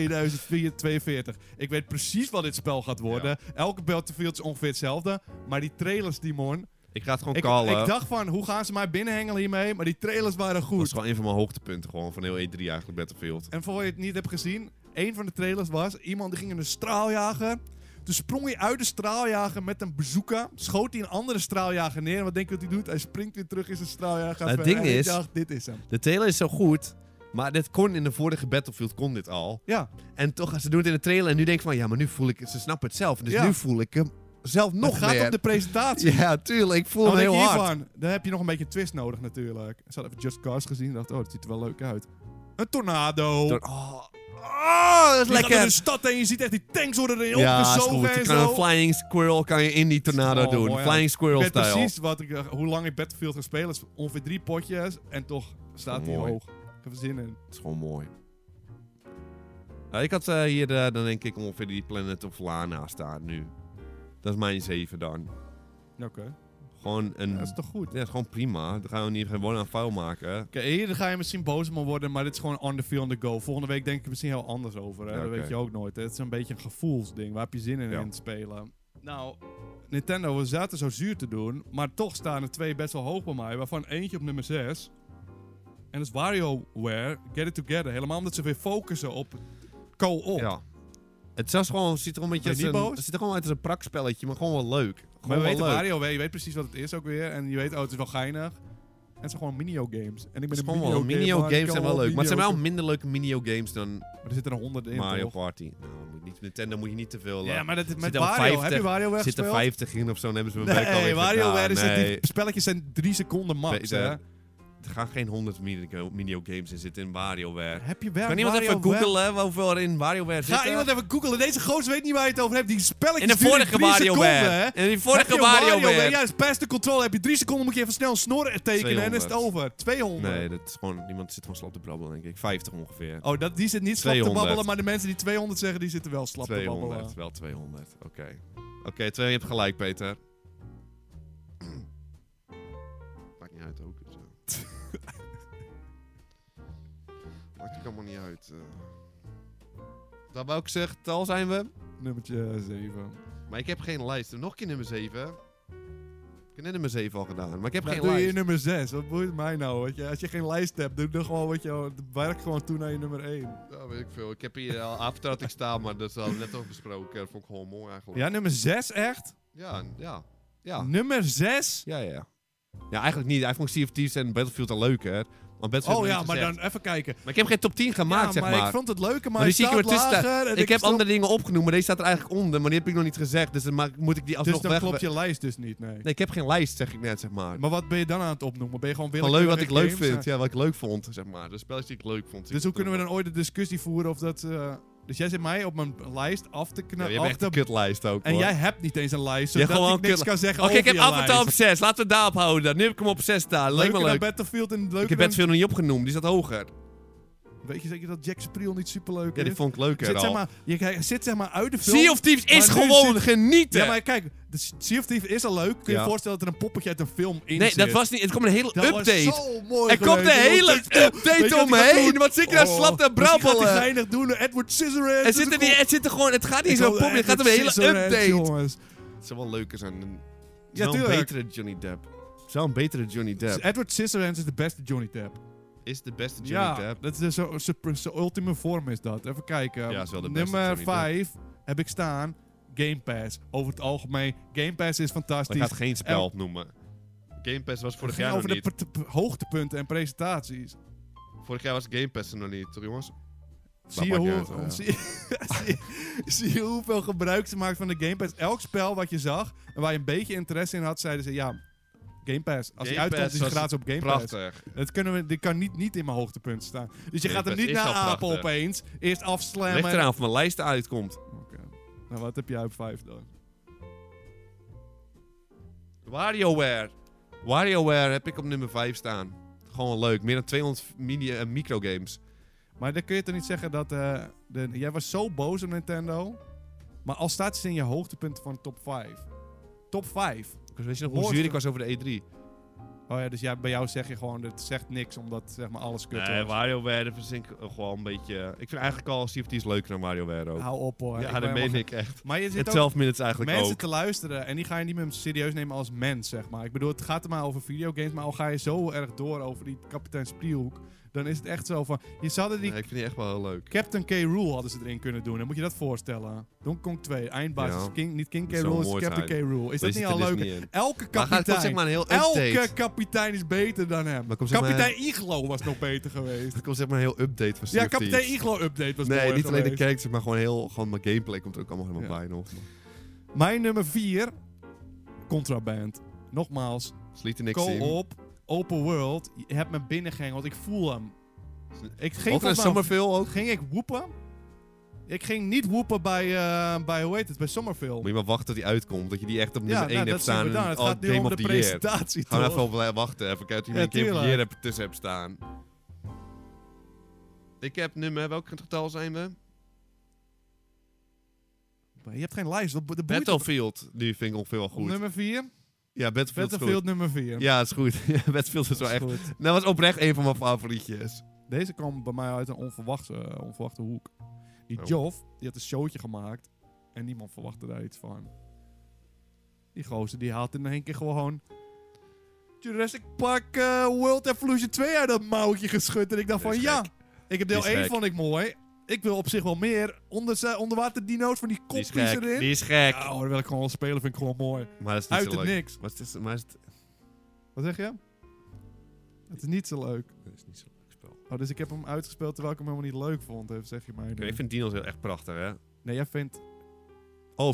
[SPEAKER 1] 2042. Ik weet precies wat dit spel gaat worden. Elke Battlefield is ongeveer hetzelfde. Maar die trailers, Dimon...
[SPEAKER 2] Ik ga het gewoon
[SPEAKER 1] Ik,
[SPEAKER 2] callen.
[SPEAKER 1] ik dacht van, hoe gaan ze mij binnenhengelen hiermee? Maar die trailers waren
[SPEAKER 2] Dat
[SPEAKER 1] goed.
[SPEAKER 2] is gewoon een van mijn hoogtepunten gewoon, van heel E3 eigenlijk, Battlefield.
[SPEAKER 1] En voor je het niet hebt gezien, een van de trailers was iemand die ging in een straaljager. Toen sprong hij uit de straaljager met een bazooka. Schoot hij een andere straaljager neer. En wat denk je dat hij doet? Hij springt weer terug in zijn straaljager.
[SPEAKER 2] Nou, het ding
[SPEAKER 1] En ik
[SPEAKER 2] is-
[SPEAKER 1] dacht, dit is hem.
[SPEAKER 2] De trailer is zo goed, maar dit kon in de vorige Battlefield kon dit al.
[SPEAKER 1] Ja,
[SPEAKER 2] En toch, ze doen het in de trailer en nu denk ik van, ja, maar nu voel ik het. Ze snappen het zelf, dus
[SPEAKER 1] Ja.
[SPEAKER 2] nu voel ik hem <laughs> zelf nog
[SPEAKER 1] het gaat
[SPEAKER 2] meer.
[SPEAKER 1] om de presentatie.
[SPEAKER 2] <laughs> Ja, tuurlijk, ik voel
[SPEAKER 1] Dan
[SPEAKER 2] hem
[SPEAKER 1] denk
[SPEAKER 2] heel
[SPEAKER 1] je
[SPEAKER 2] hard.
[SPEAKER 1] hiervan, dan heb je nog een beetje twist nodig natuurlijk. Ik had even Just Cars gezien en dacht, oh, dat ziet er wel leuk uit. Een tornado.
[SPEAKER 2] Door- Oh, oh, dat is
[SPEAKER 1] Die gaat
[SPEAKER 2] lekker.
[SPEAKER 1] door de stad en je ziet echt die tanks worden erin
[SPEAKER 2] Ja, is
[SPEAKER 1] opgezogen
[SPEAKER 2] goed. Je
[SPEAKER 1] en
[SPEAKER 2] kan
[SPEAKER 1] zo.
[SPEAKER 2] een flying squirrel kan je in die tornado
[SPEAKER 1] Oh,
[SPEAKER 2] doen.
[SPEAKER 1] mooi, ja.
[SPEAKER 2] flying squirrel
[SPEAKER 1] Ik weet
[SPEAKER 2] style.
[SPEAKER 1] precies wat ik, eh, hoe lang ik Battlefield ga spelen. is ongeveer drie potjes. En toch staat hij
[SPEAKER 2] Mooi.
[SPEAKER 1] hoog. Ik heb er zin in.
[SPEAKER 2] Het is gewoon mooi. Ja, ik had eh, hier eh, dan denk ik ongeveer die Planet of Lana staan nu. Dat is mijn 7 dan.
[SPEAKER 1] Oké,
[SPEAKER 2] Gewoon een...
[SPEAKER 1] dat is toch goed.
[SPEAKER 2] Ja, dat is gewoon prima. Daar gaan we niet gewoon aan vuil maken.
[SPEAKER 1] Oké, hier ga je misschien boos om worden, maar dit is gewoon on the field on the go. Volgende week denk ik er misschien heel anders over. Hè?
[SPEAKER 2] Ja,
[SPEAKER 1] Dat
[SPEAKER 2] oké.
[SPEAKER 1] weet je ook nooit. hè. Het is een beetje een gevoelsding. Waar heb je zin in
[SPEAKER 2] Ja.
[SPEAKER 1] in het spelen? Nou, Nintendo, we zaten zo zuur te doen, maar toch staan er twee best wel hoog bij mij. Waarvan eentje op nummer 6. En dat is WarioWare, Get It Together. Helemaal omdat ze weer focussen op co-op.
[SPEAKER 2] Ja. Het zelfs gewoon, ziet er gewoon een beetje
[SPEAKER 1] Ben je
[SPEAKER 2] als
[SPEAKER 1] niet
[SPEAKER 2] een,
[SPEAKER 1] boos?
[SPEAKER 2] het ziet er gewoon uit als een prakspelletje, maar gewoon wel leuk.
[SPEAKER 1] Maar
[SPEAKER 2] Gewoon
[SPEAKER 1] we
[SPEAKER 2] wel
[SPEAKER 1] weten
[SPEAKER 2] leuk.
[SPEAKER 1] Mario, weet- je weet precies wat het is ook weer. En je weet, oh, het is wel geinig. En het zijn gewoon miniogames. En ik
[SPEAKER 2] Het
[SPEAKER 1] ben
[SPEAKER 2] is
[SPEAKER 1] een
[SPEAKER 2] gewoon wel,
[SPEAKER 1] miniogames.
[SPEAKER 2] minigames zijn wel leuk. Maar het zijn wel minder leuke minigames dan
[SPEAKER 1] Maar er zitten er honderden in,
[SPEAKER 2] Mario
[SPEAKER 1] toch?
[SPEAKER 2] Party. Nou, moet je niet, Nintendo moet je niet te veel... eh,
[SPEAKER 1] Ja, maar dat, is met
[SPEAKER 2] Zit er
[SPEAKER 1] Mario.
[SPEAKER 2] 50
[SPEAKER 1] heb je Mario
[SPEAKER 2] Er
[SPEAKER 1] weggespeeld?
[SPEAKER 2] Zit er 50 in of zo, dan hebben ze mijn werk
[SPEAKER 1] Nee,
[SPEAKER 2] alweer
[SPEAKER 1] Mario
[SPEAKER 2] gedaan. nee. eh,
[SPEAKER 1] die spelletjes zijn drie seconden max,
[SPEAKER 2] Peter,
[SPEAKER 1] hè?
[SPEAKER 2] Er gaan geen 100 mini- minigames in zitten in WarioWare.
[SPEAKER 1] Heb je wel
[SPEAKER 2] Kan iemand even googelen hoeveel er in WarioWare zit?
[SPEAKER 1] Ga iemand even googelen. Deze goos weet niet waar je het over hebt. Die spelletjes
[SPEAKER 2] In de
[SPEAKER 1] duren
[SPEAKER 2] vorige
[SPEAKER 1] drie seconden, hè?
[SPEAKER 2] WarioWare. In die vorige
[SPEAKER 1] Heb je een WarioWare? Ja,
[SPEAKER 2] WarioWare.
[SPEAKER 1] dat is past de controle. Heb je drie seconden, moet je even snel een snor tekenen en dan is het
[SPEAKER 2] 200.
[SPEAKER 1] over. 200.
[SPEAKER 2] Nee, dat is gewoon, iemand zit gewoon slap te brabbelen, denk ik. 50 ongeveer.
[SPEAKER 1] Oh, dat, die zit niet slap te
[SPEAKER 2] 200.
[SPEAKER 1] babbelen, maar de mensen die 200 zeggen, die zitten wel slap te
[SPEAKER 2] 200,
[SPEAKER 1] babbelen.
[SPEAKER 2] wel 200. Oké. Oké, twee, je hebt gelijk, Peter. <clears throat> Maakt niet uit ook. Dus, eh. <laughs> Maakt ook allemaal niet uit. eh. Dan wou ik zeggen, tal zijn we.
[SPEAKER 1] Nummertje eh, 7.
[SPEAKER 2] Maar ik heb geen lijst. Nog een keer nummer 7. Ik heb net nummer 7 al gedaan, maar ik heb
[SPEAKER 1] Dan
[SPEAKER 2] geen
[SPEAKER 1] Nou, doe je
[SPEAKER 2] lijst.
[SPEAKER 1] je nummer 6. Wat boeit mij nou? Weet je? Als je geen lijst hebt, doe dan gewoon wat je... Werk gewoon toe naar je nummer 1.
[SPEAKER 2] Ja, weet ik veel. Ik heb hier al after had ik staan, maar dat is al net al besproken. Dat vond ik gewoon mooi eigenlijk.
[SPEAKER 1] Ja, nummer 6 echt?
[SPEAKER 2] Ja, ja. Ja.
[SPEAKER 1] Nummer 6?
[SPEAKER 2] Ja, ja. Ja, eigenlijk niet. Hij vond Sea of Thieves en Battlefield al leuker. Want Battlefield
[SPEAKER 1] Oh
[SPEAKER 2] heb
[SPEAKER 1] ja,
[SPEAKER 2] ik
[SPEAKER 1] maar
[SPEAKER 2] gezegd.
[SPEAKER 1] dan even kijken.
[SPEAKER 2] Maar ik heb geen top 10 gemaakt,
[SPEAKER 1] ja,
[SPEAKER 2] zeg maar.
[SPEAKER 1] maar ik vond het leuker, maar,
[SPEAKER 2] Maar
[SPEAKER 1] hij
[SPEAKER 2] die zie ik
[SPEAKER 1] staat
[SPEAKER 2] er tussen.
[SPEAKER 1] lager. en
[SPEAKER 2] ik heb
[SPEAKER 1] snap-
[SPEAKER 2] andere dingen opgenoemd, maar deze staat er eigenlijk onder. Maar die heb ik nog niet gezegd, dus dan maak- moet ik die
[SPEAKER 1] Dus
[SPEAKER 2] alsnog
[SPEAKER 1] dan
[SPEAKER 2] weg...
[SPEAKER 1] klopt je lijst dus niet, nee.
[SPEAKER 2] Nee, ik heb geen lijst, zeg ik net, zeg maar.
[SPEAKER 1] Maar wat ben je dan aan het opnoemen? Ben je gewoon
[SPEAKER 2] Van
[SPEAKER 1] willekeurig
[SPEAKER 2] leuk wat ik leuk
[SPEAKER 1] games,
[SPEAKER 2] vind.
[SPEAKER 1] eh?
[SPEAKER 2] Ja, wat ik leuk vond, zeg maar. De spelletjes die ik leuk vond.
[SPEAKER 1] Dus hoe kunnen we dan ooit de discussie voeren of dat... eh, Dus jij zit mij op mijn lijst af te
[SPEAKER 2] Ja,
[SPEAKER 1] knappen,
[SPEAKER 2] je hebt
[SPEAKER 1] af
[SPEAKER 2] echt een
[SPEAKER 1] te
[SPEAKER 2] kutlijst ook,
[SPEAKER 1] En
[SPEAKER 2] hoor.
[SPEAKER 1] jij hebt niet eens een lijst,
[SPEAKER 2] Je
[SPEAKER 1] zodat
[SPEAKER 2] gewoon
[SPEAKER 1] ik niks
[SPEAKER 2] kut-
[SPEAKER 1] kan zeggen
[SPEAKER 2] Oké, ik
[SPEAKER 1] over
[SPEAKER 2] heb
[SPEAKER 1] je
[SPEAKER 2] Avatar
[SPEAKER 1] lijst.
[SPEAKER 2] op 6. Laten we het daarop houden. dan. Nu heb ik hem op 6 staan. Leek
[SPEAKER 1] Leuker
[SPEAKER 2] me
[SPEAKER 1] dan
[SPEAKER 2] leuk.
[SPEAKER 1] Battlefield en
[SPEAKER 2] Ik
[SPEAKER 1] leuker
[SPEAKER 2] heb
[SPEAKER 1] dan...
[SPEAKER 2] Battlefield nog niet opgenoemd. Die staat hoger.
[SPEAKER 1] Weet je zeker dat Jack Spriel niet superleuk
[SPEAKER 2] Ja,
[SPEAKER 1] is?
[SPEAKER 2] die vond ik leuker
[SPEAKER 1] zit, zeg
[SPEAKER 2] al.
[SPEAKER 1] maar, je kijkt- zit zeg maar uit de film...
[SPEAKER 2] Sea of Thieves is
[SPEAKER 1] Maar nu
[SPEAKER 2] gewoon
[SPEAKER 1] zit-
[SPEAKER 2] genieten.
[SPEAKER 1] Ja, maar kijk, de Sea of Thieves is al leuk. Kun je
[SPEAKER 2] Ja.
[SPEAKER 1] je voorstellen dat er een poppetje uit een film in
[SPEAKER 2] nee,
[SPEAKER 1] zit?
[SPEAKER 2] dat was niet. Het kwam een hele
[SPEAKER 1] Dat was
[SPEAKER 2] update.
[SPEAKER 1] zo mooi
[SPEAKER 2] Er komt een
[SPEAKER 1] geweest.
[SPEAKER 2] hele
[SPEAKER 1] Weet je wat
[SPEAKER 2] update
[SPEAKER 1] die gaat
[SPEAKER 2] omheen.
[SPEAKER 1] doen?
[SPEAKER 2] Wat zit je daar
[SPEAKER 1] Oh,
[SPEAKER 2] slap te
[SPEAKER 1] wat die Gaat hij
[SPEAKER 2] brabbelen?
[SPEAKER 1] weinig doen? Edward Scissorhands.
[SPEAKER 2] Er zitten niet, het zitten gewoon, het gaat niet zo pop, eh, het gaat om een hele update. Het zou wel leuker zijn. dan- Het is
[SPEAKER 1] Ja,
[SPEAKER 2] wel een
[SPEAKER 1] tuurlijk. Dus
[SPEAKER 2] betere Johnny Depp. Het is wel een betere Johnny Depp.
[SPEAKER 1] Edward Scissorhands is de beste Johnny Depp.
[SPEAKER 2] is de beste Johnny
[SPEAKER 1] Ja,
[SPEAKER 2] Depp.
[SPEAKER 1] dat is de- zo- zo- zijn ultieme vorm is dat. Even kijken.
[SPEAKER 2] Ja, is wel de beste
[SPEAKER 1] Nummer
[SPEAKER 2] Johnny Depp.
[SPEAKER 1] 5 heb ik staan. Game Pass. Over het algemeen. Game Pass is
[SPEAKER 2] Ik
[SPEAKER 1] fantastisch.
[SPEAKER 2] ga het geen spel opnoemen. Game Pass was
[SPEAKER 1] Het
[SPEAKER 2] vorig
[SPEAKER 1] ging
[SPEAKER 2] jaar nog
[SPEAKER 1] over de
[SPEAKER 2] niet.
[SPEAKER 1] pr- pr- hoogtepunten en presentaties.
[SPEAKER 2] Vorig jaar was Game Pass er nog niet, toch jongens?
[SPEAKER 1] Zie je,
[SPEAKER 2] maakt
[SPEAKER 1] hoe,
[SPEAKER 2] niet uit, ja.
[SPEAKER 1] zie, <laughs> zie- zie je hoeveel gebruik ze maakt van de Game Pass? Elk spel wat je zag en waar je een beetje interesse in had, zeiden ze ja, Game Pass. Als
[SPEAKER 2] Game
[SPEAKER 1] hij uitkomt,
[SPEAKER 2] Pass
[SPEAKER 1] is hij
[SPEAKER 2] was
[SPEAKER 1] gratis op Game Pass.
[SPEAKER 2] Prachtig.
[SPEAKER 1] Dat kunnen we, dit kan niet, niet in mijn hoogtepunt staan. Dus je
[SPEAKER 2] Game
[SPEAKER 1] gaat hem
[SPEAKER 2] Pass
[SPEAKER 1] niet
[SPEAKER 2] is
[SPEAKER 1] naar
[SPEAKER 2] al
[SPEAKER 1] apen
[SPEAKER 2] prachtig.
[SPEAKER 1] opeens. Eerst afslammen.
[SPEAKER 2] Ligt eraan of mijn lijst uitkomt.
[SPEAKER 1] Oké. Nou, wat heb jij op 5 dan?
[SPEAKER 2] WarioWare. WarioWare heb ik op nummer 5 staan. Gewoon leuk. Meer dan 200 mini, eh, microgames.
[SPEAKER 1] Maar dan kun je toch niet zeggen dat... eh, de, jij was zo boos op Nintendo. Maar al staat ze in je hoogtepunt van top 5. Top 5.
[SPEAKER 2] Weet je nog hoe zuur ik was over de E E3?
[SPEAKER 1] Oh ja, dus jij, bij jou zeg je gewoon, het zegt niks omdat zeg maar alles kut
[SPEAKER 2] Nee,
[SPEAKER 1] was.
[SPEAKER 2] WarioWare daar verzin ik eh, gewoon een beetje... Ik vind eigenlijk al Sea of Thieves leuker dan WarioWare ook.
[SPEAKER 1] Hou op hoor.
[SPEAKER 2] Ja,
[SPEAKER 1] Oh, ben
[SPEAKER 2] dat meen
[SPEAKER 1] helemaal-
[SPEAKER 2] ik echt.
[SPEAKER 1] Maar je
[SPEAKER 2] En
[SPEAKER 1] zit ook
[SPEAKER 2] 12 minutes eigenlijk
[SPEAKER 1] mensen
[SPEAKER 2] ook.
[SPEAKER 1] te luisteren en die ga je niet meer serieus nemen als mens, zeg maar. Ik bedoel, het gaat er maar over videogames, maar al ga je zo erg door over die kapitein Spriehoek, dan is het echt zo van... Je zou er die
[SPEAKER 2] Nee, ik vind die echt wel heel leuk.
[SPEAKER 1] Captain K. Rule hadden ze erin kunnen doen. Dan moet je dat voorstellen. Donkey Kong 2, eindbaas.
[SPEAKER 2] Ja.
[SPEAKER 1] is King, niet King K.
[SPEAKER 2] Moet zo
[SPEAKER 1] Rule, is
[SPEAKER 2] mooi
[SPEAKER 1] Captain
[SPEAKER 2] zijn.
[SPEAKER 1] K. Rule. Is
[SPEAKER 2] Maar
[SPEAKER 1] dat
[SPEAKER 2] je
[SPEAKER 1] niet
[SPEAKER 2] zit er
[SPEAKER 1] al
[SPEAKER 2] dus
[SPEAKER 1] leuk?
[SPEAKER 2] niet in.
[SPEAKER 1] Elke
[SPEAKER 2] Maar gaat het
[SPEAKER 1] kapitein,
[SPEAKER 2] zeg maar een heel update.
[SPEAKER 1] elke kapitein is beter dan hem.
[SPEAKER 2] Maar kom, zeg maar-
[SPEAKER 1] kapitein Iglo was nog beter
[SPEAKER 2] <laughs>
[SPEAKER 1] geweest.
[SPEAKER 2] Er komt zeg maar een heel update van Sea
[SPEAKER 1] Ja,
[SPEAKER 2] of Thieves.
[SPEAKER 1] kapitein Iglo-update was
[SPEAKER 2] Nee,
[SPEAKER 1] mooi
[SPEAKER 2] niet alleen de
[SPEAKER 1] geweest.
[SPEAKER 2] characters, maar gewoon heel... Gewoon mijn gameplay komt er ook allemaal helemaal
[SPEAKER 1] Ja.
[SPEAKER 2] bij nog.
[SPEAKER 1] Mijn nummer 4, Contraband. Nogmaals,
[SPEAKER 2] Sliet er niks in.
[SPEAKER 1] co-op, open world. Je hebt me binnengehengeld, ik voel hem. Ik ging,
[SPEAKER 2] Ook naar
[SPEAKER 1] volgens mij-
[SPEAKER 2] Somerville ook.
[SPEAKER 1] ging ik woepen? Ik ging niet woepen bij, eh, bij hoe heet het, bij Somerville.
[SPEAKER 2] Moet je maar wachten tot die uitkomt. Dat je die echt op nummer
[SPEAKER 1] Ja,
[SPEAKER 2] 1
[SPEAKER 1] nou,
[SPEAKER 2] hebt
[SPEAKER 1] dat zien
[SPEAKER 2] staan.
[SPEAKER 1] we
[SPEAKER 2] in
[SPEAKER 1] dan. Het
[SPEAKER 2] al
[SPEAKER 1] gaat nu
[SPEAKER 2] Game
[SPEAKER 1] om
[SPEAKER 2] of
[SPEAKER 1] de
[SPEAKER 2] the Year.
[SPEAKER 1] presentatie,
[SPEAKER 2] Gaan we
[SPEAKER 1] toch?
[SPEAKER 2] even op wachten. Even kijken of je
[SPEAKER 1] Ja,
[SPEAKER 2] een Game of the
[SPEAKER 1] tuurlijk.
[SPEAKER 2] Year hebt- tussen hebt staan. Ik heb nummer... Welk getal zijn we?
[SPEAKER 1] Maar Je hebt geen lijst. wat bo- De boeit
[SPEAKER 2] Battlefield. Die vind ik ongeveer wel
[SPEAKER 1] op
[SPEAKER 2] goed.
[SPEAKER 1] Nummer 4.
[SPEAKER 2] Ja, Battlefield,
[SPEAKER 1] Battlefield nummer 4.
[SPEAKER 2] is goed. Ja, is goed. <laughs> Ja, Battlefield is wel echt... Dat was oprecht een van mijn favorietjes.
[SPEAKER 1] Deze kwam bij mij uit een onverwachte, eh, onverwachte hoek. Die
[SPEAKER 2] Oh.
[SPEAKER 1] Joff, die had een showtje gemaakt. En niemand verwachtte daar iets van. Die gozer, die haalt in één keer gewoon... Jurassic Park eh, World Evolution 2 uit dat mouwtje geschud. En ik dacht
[SPEAKER 2] Die
[SPEAKER 1] van,
[SPEAKER 2] is
[SPEAKER 1] ja,
[SPEAKER 2] gek.
[SPEAKER 1] ik heb deel
[SPEAKER 2] Die is
[SPEAKER 1] 1
[SPEAKER 2] gek.
[SPEAKER 1] vond ik mooi. Ik wil op zich wel meer onder, eh, onderwater dino's van die
[SPEAKER 2] Die is
[SPEAKER 1] kopjes
[SPEAKER 2] gek.
[SPEAKER 1] erin.
[SPEAKER 2] Die is gek.
[SPEAKER 1] Ja, Ah, hoor, dat wil ik gewoon wel spelen, vind ik gewoon mooi.
[SPEAKER 2] Maar dat is niet
[SPEAKER 1] Uit
[SPEAKER 2] zo
[SPEAKER 1] het
[SPEAKER 2] leuk.
[SPEAKER 1] niks.
[SPEAKER 2] Maar het is, maar het is,
[SPEAKER 1] Wat zeg je? Het is niet zo leuk.
[SPEAKER 2] het is niet zo'n leuk spel.
[SPEAKER 1] Oh, dus ik heb hem uitgespeeld terwijl ik hem helemaal niet leuk vond. Even zeg je mij.
[SPEAKER 2] Ik vind Dino's heel echt prachtig, hè?
[SPEAKER 1] Nee, jij vindt...
[SPEAKER 2] Oh,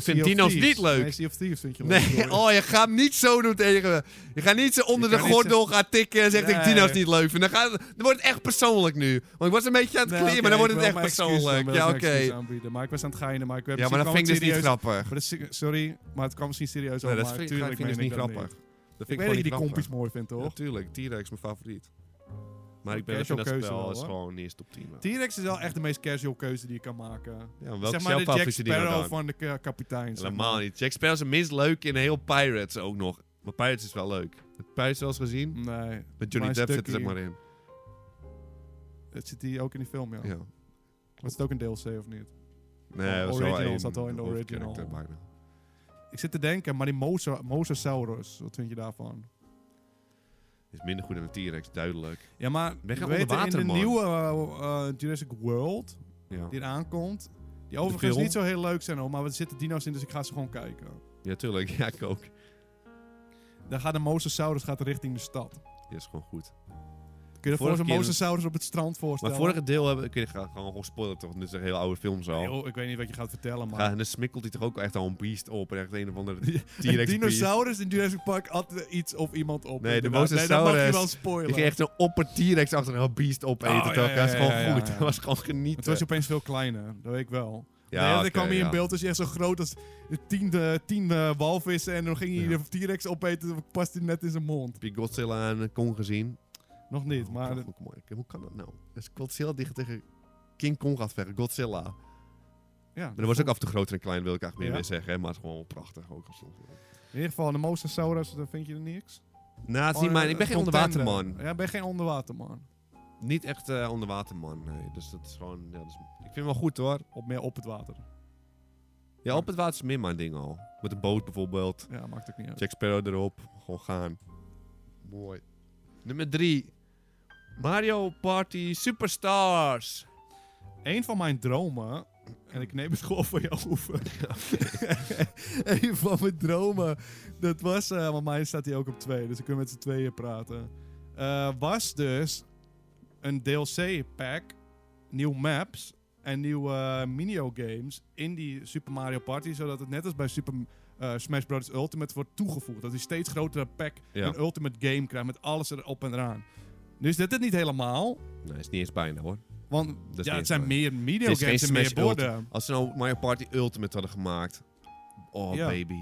[SPEAKER 1] Sea
[SPEAKER 2] vind
[SPEAKER 1] of
[SPEAKER 2] Dino's
[SPEAKER 1] Thieves.
[SPEAKER 2] niet leuk?
[SPEAKER 1] Nee, Sea of Thieves vind je leuk.
[SPEAKER 2] Nee, <laughs> oh, je gaat hem niet zo doen tegen me. Je gaat niet zo onder
[SPEAKER 1] Je
[SPEAKER 2] de
[SPEAKER 1] kan niet
[SPEAKER 2] gordel gaan tikken en zegt dat ik
[SPEAKER 1] Nee.
[SPEAKER 2] Dino's niet leuk vind. Dan, gaat, dan wordt het echt persoonlijk nu. Want ik was een beetje aan het
[SPEAKER 1] Nee,
[SPEAKER 2] kleren,
[SPEAKER 1] oké,
[SPEAKER 2] maar dan wordt
[SPEAKER 1] ik
[SPEAKER 2] het echt
[SPEAKER 1] wil mijn excuses- dan
[SPEAKER 2] persoonlijk.
[SPEAKER 1] wil ik
[SPEAKER 2] Ja,
[SPEAKER 1] mijn
[SPEAKER 2] oké.
[SPEAKER 1] excuses aanbieden. Maar ik was aan het geinen, maar ik heb
[SPEAKER 2] Ja, maar dat vind ik dus niet grappig.
[SPEAKER 1] grappig. Sorry, maar het kwam misschien serieus
[SPEAKER 2] Nee,
[SPEAKER 1] over,
[SPEAKER 2] dat
[SPEAKER 1] maar
[SPEAKER 2] vind ik-
[SPEAKER 1] tuurlijk
[SPEAKER 2] vind ik
[SPEAKER 1] meen
[SPEAKER 2] dus
[SPEAKER 1] ik
[SPEAKER 2] niet
[SPEAKER 1] dat
[SPEAKER 2] grappig. Dat
[SPEAKER 1] Ik weet dat
[SPEAKER 2] vind ik
[SPEAKER 1] je
[SPEAKER 2] gewoon
[SPEAKER 1] die
[SPEAKER 2] niet grappig.
[SPEAKER 1] kompies mooi vindt,
[SPEAKER 2] Ja,
[SPEAKER 1] toch?
[SPEAKER 2] tuurlijk. T-Rex mijn favoriet. Maar ik ben
[SPEAKER 1] Casual
[SPEAKER 2] ik vind dat
[SPEAKER 1] keuze
[SPEAKER 2] spel
[SPEAKER 1] wel,
[SPEAKER 2] is
[SPEAKER 1] hoor.
[SPEAKER 2] gewoon niet eens top 10. wel.
[SPEAKER 1] T-Rex is wel echt de meest casual keuze die je kan maken.
[SPEAKER 2] Ja, maar welke
[SPEAKER 1] zeg maar de
[SPEAKER 2] jouw
[SPEAKER 1] Jack
[SPEAKER 2] favoriete Dino
[SPEAKER 1] Sparrow
[SPEAKER 2] nou dan?
[SPEAKER 1] van de eh, kapitein. zeg
[SPEAKER 2] Helemaal
[SPEAKER 1] maar.
[SPEAKER 2] niet. Jack Sparrow is het minst leuk in heel Pirates ook nog. Maar Pirates is wel leuk. Heb je Pirates wel eens gezien?
[SPEAKER 1] Nee,
[SPEAKER 2] Met Johnny
[SPEAKER 1] Maar
[SPEAKER 2] Depp zit er
[SPEAKER 1] Stucky-
[SPEAKER 2] zeg maar in.
[SPEAKER 1] dat zit hij ook in die film, ja.
[SPEAKER 2] Ja.
[SPEAKER 1] Was het ook een DLC of niet?
[SPEAKER 2] Nee, dat was wel
[SPEAKER 1] Original
[SPEAKER 2] één
[SPEAKER 1] zat al in de
[SPEAKER 2] hoofdcharacter
[SPEAKER 1] original.
[SPEAKER 2] bijna.
[SPEAKER 1] Ik zit te denken, maar die Mosa- Mosasaurus, wat vind je daarvan?
[SPEAKER 2] Is minder goed dan een T-Rex, duidelijk.
[SPEAKER 1] Ja, maar
[SPEAKER 2] Ben je
[SPEAKER 1] we
[SPEAKER 2] geen
[SPEAKER 1] weten
[SPEAKER 2] onderwater,
[SPEAKER 1] in de
[SPEAKER 2] man?
[SPEAKER 1] nieuwe eh, eh, Jurassic World,
[SPEAKER 2] Ja.
[SPEAKER 1] die eraan komt, die overigens
[SPEAKER 2] film?
[SPEAKER 1] niet zo heel leuk zijn, hoor, maar er zitten dino's in, dus ik ga ze gewoon kijken.
[SPEAKER 2] ja, tuurlijk. <laughs> Ja, ik ook.
[SPEAKER 1] Dan gaat de Mosasaurus gaat richting de stad.
[SPEAKER 2] Ja, is gewoon goed.
[SPEAKER 1] Kun je
[SPEAKER 2] Vorige
[SPEAKER 1] voor zo'n
[SPEAKER 2] keer-
[SPEAKER 1] Mosasaurus op het strand
[SPEAKER 2] Maar
[SPEAKER 1] voorstellen?
[SPEAKER 2] vorige deel hebben... Ik weet- ik ga gewoon, gewoon spoilen toch, want dit is een heel oude film zo.
[SPEAKER 1] Nee, joh, ik weet niet wat je gaat vertellen, maar... <laughs>
[SPEAKER 2] Ja, en dan smikkelt hij toch ook echt al een beest op. En echt een of andere T-Rex
[SPEAKER 1] een
[SPEAKER 2] beest.
[SPEAKER 1] dinosaurus in Jurassic Park at iets of iemand op.
[SPEAKER 2] Nee, de
[SPEAKER 1] inderdaad. Nee, dat mag je
[SPEAKER 2] Mosasaurus.
[SPEAKER 1] wel spoilen.
[SPEAKER 2] Ik ging echt een opper T-Rex achter een beest opeten.
[SPEAKER 1] Oh, ja,
[SPEAKER 2] toch? dat was
[SPEAKER 1] ja,
[SPEAKER 2] gewoon
[SPEAKER 1] ja, ja,
[SPEAKER 2] <laughs> goed.
[SPEAKER 1] ja.
[SPEAKER 2] Dat was gewoon
[SPEAKER 1] Het
[SPEAKER 2] genieten.
[SPEAKER 1] was opeens veel kleiner, dat weet ik wel.
[SPEAKER 2] Ja,
[SPEAKER 1] nee,
[SPEAKER 2] oké,
[SPEAKER 1] ik kwam hier
[SPEAKER 2] ja.
[SPEAKER 1] in beeld, dus echt zo groot als tien, eh, tien eh, walvissen. En dan ging hij
[SPEAKER 2] Ja.
[SPEAKER 1] de T-Rex opeten, dan past hij net in zijn mond.
[SPEAKER 2] Heb je Godzilla en Kong gezien?
[SPEAKER 1] Nog niet,
[SPEAKER 2] Oh,
[SPEAKER 1] maar...
[SPEAKER 2] prachtig, mooi. Kijk, Hoe kan dat nou? Dus Godzilla dicht tegen King Kong gaat vechten. Godzilla. Maar
[SPEAKER 1] Ja,
[SPEAKER 2] dat was ook af en toe groter en klein, wil ik eigenlijk meer
[SPEAKER 1] Ja. Oh,
[SPEAKER 2] weer zeggen. hè, Maar het is gewoon prachtig ook. Als
[SPEAKER 1] In ieder geval, de Mosasaurus, daar vind je er niks.
[SPEAKER 2] nou, het is niet
[SPEAKER 1] Oh,
[SPEAKER 2] mijn...
[SPEAKER 1] eh,
[SPEAKER 2] Ik ben geen
[SPEAKER 1] contender.
[SPEAKER 2] onderwaterman.
[SPEAKER 1] Ja, ik ben geen onderwaterman.
[SPEAKER 2] Niet echt eh, onderwaterman, nee. Dus dat is gewoon... Ja, dat is- ik vind hem wel goed, hoor.
[SPEAKER 1] Op meer op het water.
[SPEAKER 2] Ja, op het water is meer mijn ding al. Met een boot bijvoorbeeld.
[SPEAKER 1] Ja, maakt ook niet uit.
[SPEAKER 2] Jack Sparrow erop. Gewoon gaan. Mooi. Nummer drie. Mario Party Superstars.
[SPEAKER 1] Eén van mijn dromen. En ik neem het gewoon voor jou over. <laughs> Eén van mijn dromen. Dat was. eh want mij staat hij ook op twee. Dus ik kunnen met z'n tweeën praten. Eh, was dus. Een DLC-pack. Nieuw maps. En nieuwe eh, minigames. In die Super Mario Party. Zodat het net als bij Super eh, Smash Bros. Ultimate wordt toegevoegd. Dat die steeds grotere pack.
[SPEAKER 2] Ja.
[SPEAKER 1] Een Ultimate Game krijgt. Met alles erop en eraan. Nu is dit het niet helemaal.
[SPEAKER 2] Nee, Nou, is niet eens bijna hoor.
[SPEAKER 1] Want
[SPEAKER 2] Dat is
[SPEAKER 1] ja,
[SPEAKER 2] niet
[SPEAKER 1] het zijn
[SPEAKER 2] waar.
[SPEAKER 1] meer
[SPEAKER 2] Het is
[SPEAKER 1] media
[SPEAKER 2] geen
[SPEAKER 1] games en meer
[SPEAKER 2] Smash Ultimate.
[SPEAKER 1] borden.
[SPEAKER 2] Als ze nou Mario Party Ultimate hadden gemaakt. Oh,
[SPEAKER 1] Ja.
[SPEAKER 2] baby.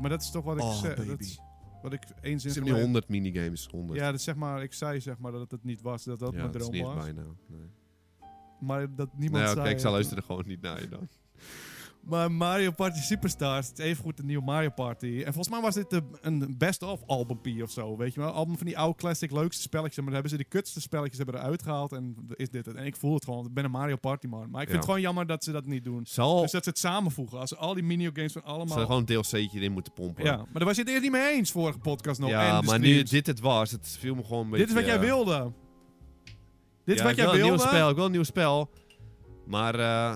[SPEAKER 1] Maar dat is toch wat ik
[SPEAKER 2] Oh,
[SPEAKER 1] zei.
[SPEAKER 2] baby.
[SPEAKER 1] Dat is wat ik eens
[SPEAKER 2] Ze
[SPEAKER 1] in
[SPEAKER 2] hebben nu 100 minigames. 100.
[SPEAKER 1] Ja, dat zeg maar, ik zei zeg maar dat het niet was, dat dat
[SPEAKER 2] Ja,
[SPEAKER 1] mijn
[SPEAKER 2] het is
[SPEAKER 1] droom
[SPEAKER 2] niet eens
[SPEAKER 1] was.
[SPEAKER 2] bijna. Nee.
[SPEAKER 1] Maar dat niemand
[SPEAKER 2] nou,
[SPEAKER 1] zei.
[SPEAKER 2] oké, ik zal
[SPEAKER 1] het.
[SPEAKER 2] luisteren gewoon niet naar je dan.
[SPEAKER 1] Maar Mario Party Superstars, het is evengoed de nieuwe Mario Party. En volgens mij was dit de, een best-of albumpie of zo, weet je wel. Album van die oude classic leukste spelletjes. Maar daar hebben ze de kutste spelletjes hebben eruit gehaald en is dit het. En ik voel het gewoon, ik ben een Mario Party man. Maar ik vind
[SPEAKER 2] Ja. Oh.
[SPEAKER 1] het gewoon jammer dat ze dat niet doen.
[SPEAKER 2] Zal,
[SPEAKER 1] Dus dat ze het samenvoegen. Als ze al die minigames van
[SPEAKER 2] zal er
[SPEAKER 1] allemaal...
[SPEAKER 2] gewoon een DLC'tje in moeten pompen.
[SPEAKER 1] Ja, maar daar was je het eerst niet mee eens, vorige podcast nog.
[SPEAKER 2] Ja,
[SPEAKER 1] en de
[SPEAKER 2] maar nu
[SPEAKER 1] streams.
[SPEAKER 2] dit het was, het viel me gewoon een beetje...
[SPEAKER 1] Dit is wat jij
[SPEAKER 2] eh,
[SPEAKER 1] wilde. Dit is
[SPEAKER 2] ja,
[SPEAKER 1] wat
[SPEAKER 2] ik
[SPEAKER 1] jij
[SPEAKER 2] wil een
[SPEAKER 1] wilde.
[SPEAKER 2] nieuw spel, ik wil een nieuw spel. Maar eh,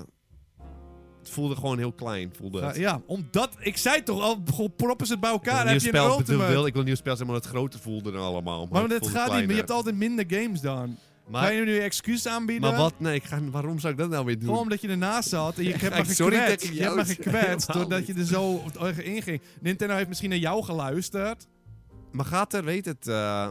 [SPEAKER 2] het voelde gewoon heel klein, voelde
[SPEAKER 1] Ja,
[SPEAKER 2] het.
[SPEAKER 1] ja, omdat ik zei toch al, goh, proppen ze het bij
[SPEAKER 2] Ik wil
[SPEAKER 1] elkaar.
[SPEAKER 2] een
[SPEAKER 1] dan
[SPEAKER 2] nieuw
[SPEAKER 1] Heb je
[SPEAKER 2] spel,
[SPEAKER 1] een
[SPEAKER 2] ik bedoel,
[SPEAKER 1] ultimate.
[SPEAKER 2] wil, ik wil een nieuw spel zijn, maar het groter voelde dan allemaal. Maar,
[SPEAKER 1] maar
[SPEAKER 2] het
[SPEAKER 1] dat
[SPEAKER 2] voelde
[SPEAKER 1] gaat niet. Maar je
[SPEAKER 2] kleiner.
[SPEAKER 1] hebt altijd minder games dan. Ga
[SPEAKER 2] Maar,
[SPEAKER 1] je nu excuses aanbieden?
[SPEAKER 2] maar wat? Nee, ik ga, waarom zou ik dat nou weer doen?
[SPEAKER 1] Gewoon omdat je ernaast zat en je hebt
[SPEAKER 2] <laughs> Ja,
[SPEAKER 1] me
[SPEAKER 2] ik- sorry dat ik
[SPEAKER 1] gekwetst. Je hebt
[SPEAKER 2] jou
[SPEAKER 1] me
[SPEAKER 2] het-
[SPEAKER 1] gekwetst
[SPEAKER 2] helemaal
[SPEAKER 1] doordat je
[SPEAKER 2] niet.
[SPEAKER 1] er zo in ging. Nintendo heeft misschien naar jou geluisterd.
[SPEAKER 2] Maar gaat er, weet het, eh,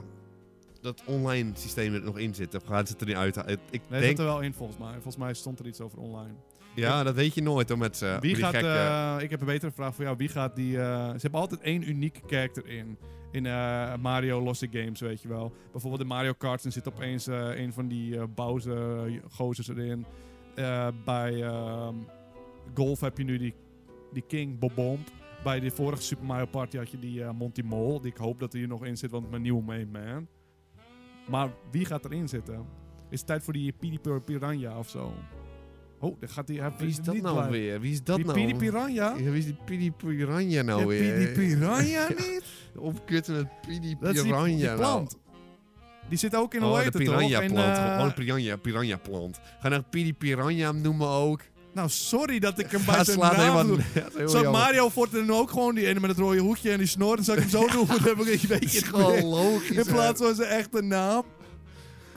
[SPEAKER 2] dat online systeem er nog in zit? Of gaan ze het er niet uit? Het- Ik
[SPEAKER 1] Nee,
[SPEAKER 2] denk,
[SPEAKER 1] zat er wel in volgens mij. Volgens mij stond er iets over online.
[SPEAKER 2] ja, dat weet je nooit hoor met ze.
[SPEAKER 1] Wie
[SPEAKER 2] die
[SPEAKER 1] gaat,
[SPEAKER 2] gekke-
[SPEAKER 1] eh, ik heb een betere vraag voor jou. Wie gaat die. eh, ze hebben altijd één unieke karakter in. In eh, Mario losse games, weet je wel. Bijvoorbeeld de Mario Kart, dan zit opeens eh, een van die eh Bowser-gozers erin. Eh, bij ehm, Golf heb je nu die, die King Bobomb. Bij de vorige Super Mario Party had je die eh, Monty Mol. Die ik hoop dat hij er nog in zit, want mijn nieuwe main man. Maar wie gaat erin zitten? Is het tijd voor die Pidi Piranha of zo? Oh, daar gaat die. hij
[SPEAKER 2] Wie is
[SPEAKER 1] vindt
[SPEAKER 2] dat
[SPEAKER 1] niet
[SPEAKER 2] nou
[SPEAKER 1] blij.
[SPEAKER 2] weer? Wie is dat
[SPEAKER 1] die
[SPEAKER 2] nou?
[SPEAKER 1] Pidi Piranha?
[SPEAKER 2] Ja, wie is die Pidi Piranha nou
[SPEAKER 1] Ja,
[SPEAKER 2] weer?
[SPEAKER 1] Pidi
[SPEAKER 2] <laughs>
[SPEAKER 1] Piranha niet?
[SPEAKER 2] Opkutten met Pidi
[SPEAKER 1] Dat is die,
[SPEAKER 2] Piranha
[SPEAKER 1] die
[SPEAKER 2] nou.
[SPEAKER 1] plant. Die zit ook in
[SPEAKER 2] Oh,
[SPEAKER 1] hoe
[SPEAKER 2] de
[SPEAKER 1] heet het, toch?
[SPEAKER 2] piranha
[SPEAKER 1] En,
[SPEAKER 2] plant.
[SPEAKER 1] eh,
[SPEAKER 2] Gewoon piranha, piranha plant. Ga nou Pidi Piranha hem noemen ook.
[SPEAKER 1] nou, sorry dat ik <laughs>
[SPEAKER 2] <laughs>
[SPEAKER 1] hem bij
[SPEAKER 2] Ga
[SPEAKER 1] zijn
[SPEAKER 2] slaat
[SPEAKER 1] naam
[SPEAKER 2] helemaal
[SPEAKER 1] doe.
[SPEAKER 2] Dat is heel
[SPEAKER 1] Zou
[SPEAKER 2] jammer. <laughs>
[SPEAKER 1] Mario Fort er nu ook gewoon die ene met het rode hoekje en die snor, dan zou ik hem zo doen. Dan heb ik een
[SPEAKER 2] Het
[SPEAKER 1] beetje
[SPEAKER 2] is gewoon
[SPEAKER 1] meer.
[SPEAKER 2] logisch.
[SPEAKER 1] In plaats
[SPEAKER 2] hè.
[SPEAKER 1] van zijn echte naam.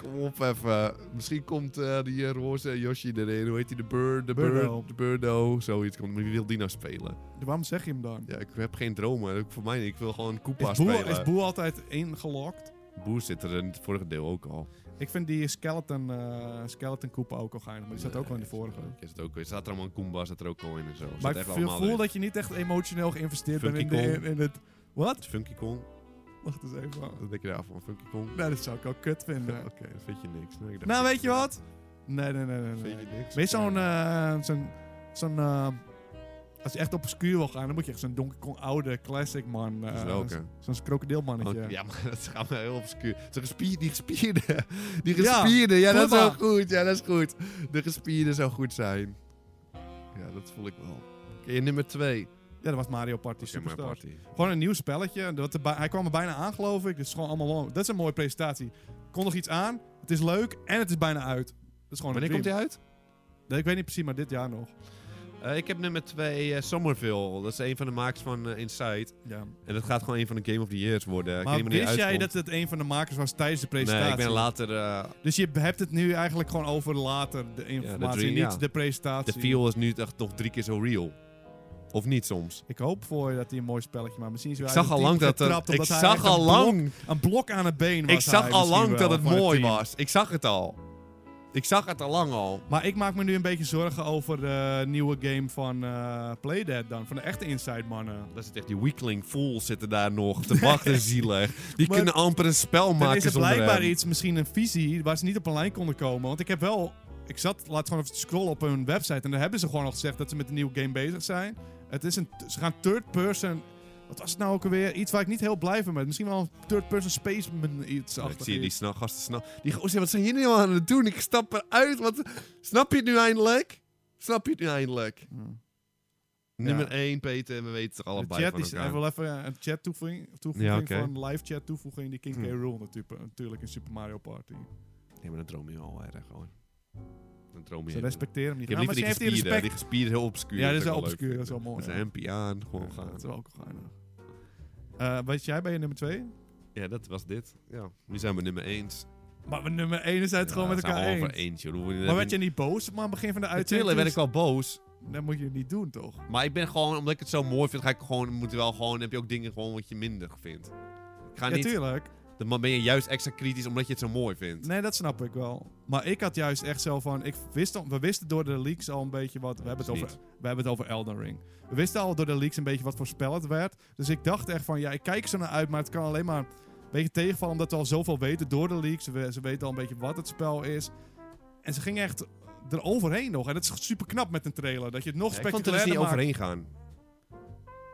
[SPEAKER 2] Kom op even. Misschien komt eh, die eh, roze Yoshi erin. Hoe heet die? De Bird, de
[SPEAKER 1] Birdo.
[SPEAKER 2] Bird, de Birdo. Zoiets komt. Maar wie wil die nou spelen?
[SPEAKER 1] Waarom zeg je hem dan?
[SPEAKER 2] Ja, eh, ik heb geen dromen. Ook Voor mij niet. Ik wil gewoon Koopa
[SPEAKER 1] Is Boe,
[SPEAKER 2] spelen.
[SPEAKER 1] is Boe altijd ingelokt?
[SPEAKER 2] Boer zit er in het vorige deel ook al.
[SPEAKER 1] Ik vind die skeleton, eh skeleton Koopa ook al geinig, maar die zat ook wel in de vorige.
[SPEAKER 2] Is het ook al. Staat er allemaal een Koomba, staat er ook al in en zo.
[SPEAKER 1] Maar
[SPEAKER 2] Staat
[SPEAKER 1] ik
[SPEAKER 2] echt
[SPEAKER 1] voel
[SPEAKER 2] allemaal
[SPEAKER 1] voel
[SPEAKER 2] erin.
[SPEAKER 1] dat je niet echt emotioneel geïnvesteerd bent in,
[SPEAKER 2] Funky
[SPEAKER 1] de-
[SPEAKER 2] Kong.
[SPEAKER 1] in het... Wat?
[SPEAKER 2] Funky Kong.
[SPEAKER 1] Wacht eens even.
[SPEAKER 2] Wat denk je daarvan? Funky Kong?
[SPEAKER 1] Nou, dat zou ik al kut vinden.
[SPEAKER 2] <laughs> Ja, Oké, dat vind je niks. Nee, ik dacht-
[SPEAKER 1] Nou, weet je wat? Nee, nee, nee, nee. nee.
[SPEAKER 2] Vind je niks?
[SPEAKER 1] Weet je zo'n... eh, zo'n, zo'n eh, als je echt obscuur wil gaan, dan moet je echt zo'n Donkey Kong oude classic man. eh,
[SPEAKER 2] Dat is welke?
[SPEAKER 1] Zo'n krokodilmannetje.
[SPEAKER 2] Oh, ja, maar <laughs> dat is allemaal heel obscuur. Zo'n gespier, die gespierde. <laughs> Die
[SPEAKER 1] Ja,
[SPEAKER 2] gespierde, ja, dat is wel
[SPEAKER 1] Puma.
[SPEAKER 2] goed. Ja, dat is goed. De gespierde zou goed zijn. Ja, dat voel ik wel. Oké, nummer twee.
[SPEAKER 1] Ja, dat was Mario Party Superstars.
[SPEAKER 2] party.
[SPEAKER 1] Gewoon een nieuw spelletje. Dat er bij- hij kwam er bijna aan, geloof ik. Dus gewoon allemaal... Dat is een mooie presentatie. Kon nog iets aan. Het is leuk. En het is bijna uit. Dat is gewoon
[SPEAKER 2] Wanneer
[SPEAKER 1] een
[SPEAKER 2] komt die
[SPEAKER 1] dream.
[SPEAKER 2] uit?
[SPEAKER 1] Nee, Ik weet niet precies, maar dit jaar nog.
[SPEAKER 2] Eh, ik heb nummer twee eh, Somerville. Dat is een van de makers van eh, Inside.
[SPEAKER 1] Ja.
[SPEAKER 2] En dat gaat gewoon een van de Game of the Years worden. Ik weet
[SPEAKER 1] Maar
[SPEAKER 2] niet wanneer die
[SPEAKER 1] wist jij dat
[SPEAKER 2] uitkomt.
[SPEAKER 1] het een van de makers was tijdens de presentatie?
[SPEAKER 2] Nee, ik ben later... eh,
[SPEAKER 1] Dus je hebt het nu eigenlijk gewoon over later de informatie,
[SPEAKER 2] dream,
[SPEAKER 1] niet
[SPEAKER 2] ja.
[SPEAKER 1] de
[SPEAKER 2] de
[SPEAKER 1] presentatie.
[SPEAKER 2] feel is nu echt nog drie keer zo real. Of niet soms.
[SPEAKER 1] Ik hoop voor je dat hij een mooi spelletje maakt. Misschien is hij
[SPEAKER 2] Ik
[SPEAKER 1] uit
[SPEAKER 2] zag
[SPEAKER 1] het
[SPEAKER 2] al
[SPEAKER 1] team
[SPEAKER 2] lang dat... er-
[SPEAKER 1] getrapt
[SPEAKER 2] Ik
[SPEAKER 1] omdat hij
[SPEAKER 2] zag
[SPEAKER 1] echt een
[SPEAKER 2] al
[SPEAKER 1] blok-
[SPEAKER 2] lang...
[SPEAKER 1] een blok aan het been was
[SPEAKER 2] Ik zag
[SPEAKER 1] hij
[SPEAKER 2] al
[SPEAKER 1] misschien
[SPEAKER 2] lang
[SPEAKER 1] wel
[SPEAKER 2] dat het
[SPEAKER 1] van
[SPEAKER 2] mooi
[SPEAKER 1] team.
[SPEAKER 2] was. Ik zag het al. Ik zag het al lang al.
[SPEAKER 1] Maar ik maak me nu een beetje zorgen over de nieuwe game van eh Playdead dan. Van de echte Inside mannen.
[SPEAKER 2] Daar zit echt die weakling fools zitten daar nog te wachten zielig. Die
[SPEAKER 1] Maar-
[SPEAKER 2] kunnen amper een spel
[SPEAKER 1] Dan
[SPEAKER 2] maken
[SPEAKER 1] is er
[SPEAKER 2] zonder
[SPEAKER 1] blijkbaar
[SPEAKER 2] hem.
[SPEAKER 1] iets, misschien een visie, waar ze niet op een lijn konden komen. Want ik heb wel... Ik zat, laat gewoon even scrollen op hun website. En daar hebben ze gewoon al gezegd dat ze met een nieuwe game bezig zijn. Het is een... Ze gaan third person... Wat was het nou ook alweer? Iets waar ik niet heel blij van ben. Misschien wel een third person space man iets
[SPEAKER 2] Ja,
[SPEAKER 1] achter.
[SPEAKER 2] ik zie die sna gasten snel. Die gozer, wat zijn jullie nou aan het doen? Ik stap eruit. Wat... Snap je het nu eindelijk? Snap je het nu eindelijk? Nummer 1, Peter, we weten het
[SPEAKER 1] Hmm. De
[SPEAKER 2] allebei
[SPEAKER 1] chat
[SPEAKER 2] van
[SPEAKER 1] is
[SPEAKER 2] elkaar.
[SPEAKER 1] even wel even eh, een chat toevoeging, toevoeging
[SPEAKER 2] Ja, oké.
[SPEAKER 1] van live chat toevoeging die King K. eh,
[SPEAKER 2] Hm.
[SPEAKER 1] Rule natuurlijk, natuurlijk in Super Mario Party.
[SPEAKER 2] Ja, maar dan droom je al erg gewoon. Dan droom je.
[SPEAKER 1] Ze
[SPEAKER 2] helemaal.
[SPEAKER 1] respecteren hem niet.
[SPEAKER 2] Ik heb
[SPEAKER 1] Ah, maar
[SPEAKER 2] liever
[SPEAKER 1] ze
[SPEAKER 2] die
[SPEAKER 1] heeft hier
[SPEAKER 2] gespierde. Die
[SPEAKER 1] respect.
[SPEAKER 2] gespierde is heel obscuur.
[SPEAKER 1] Ja, dat is
[SPEAKER 2] vind
[SPEAKER 1] wel
[SPEAKER 2] ik leuk.
[SPEAKER 1] obscuur, dat is wel mooi,
[SPEAKER 2] Met
[SPEAKER 1] ja.
[SPEAKER 2] zijn hempie aan, gewoon
[SPEAKER 1] Ja,
[SPEAKER 2] gaan.
[SPEAKER 1] Dat is wel ook gaar. Eh wat jij bij je nummer 2?
[SPEAKER 2] Ja, dat was dit. Ja. Nu zijn we nummer 1.
[SPEAKER 1] Maar we nummer 1 is het gewoon met elkaar
[SPEAKER 2] over
[SPEAKER 1] eens.
[SPEAKER 2] eens, joh. Dan
[SPEAKER 1] Maar werd je niet boos maar aan het begin van de uitzending?
[SPEAKER 2] Natuurlijk werd ik wel boos.
[SPEAKER 1] Dat moet je niet doen, toch?
[SPEAKER 2] Maar ik ben gewoon, omdat ik het zo mooi vind, ga ik gewoon, moet wel gewoon, heb je ook dingen gewoon wat je minder vindt. Ik ga niet,
[SPEAKER 1] Natuurlijk.
[SPEAKER 2] dan ben je juist extra kritisch omdat je het zo mooi vindt.
[SPEAKER 1] nee, dat snap ik wel. Maar ik had juist echt zo van... Ik wist, al- we wisten door de leaks al een beetje wat... We hebben, het
[SPEAKER 2] Dus
[SPEAKER 1] over, we hebben het over Elden Ring. We wisten al door de leaks een beetje wat voorspel het werd. Dus ik dacht echt van... Ja, ik kijk zo naar uit, maar het kan alleen maar... Een beetje tegenvallen, omdat we al zoveel weten door de leaks. We- ze weten al een beetje wat het spel is. En ze gingen echt eroverheen nog. En dat is super knap met een trailer. Dat je het nog
[SPEAKER 2] Ja, ik vond er dus
[SPEAKER 1] spectaculairder
[SPEAKER 2] niet
[SPEAKER 1] maakt.
[SPEAKER 2] overheen gaan.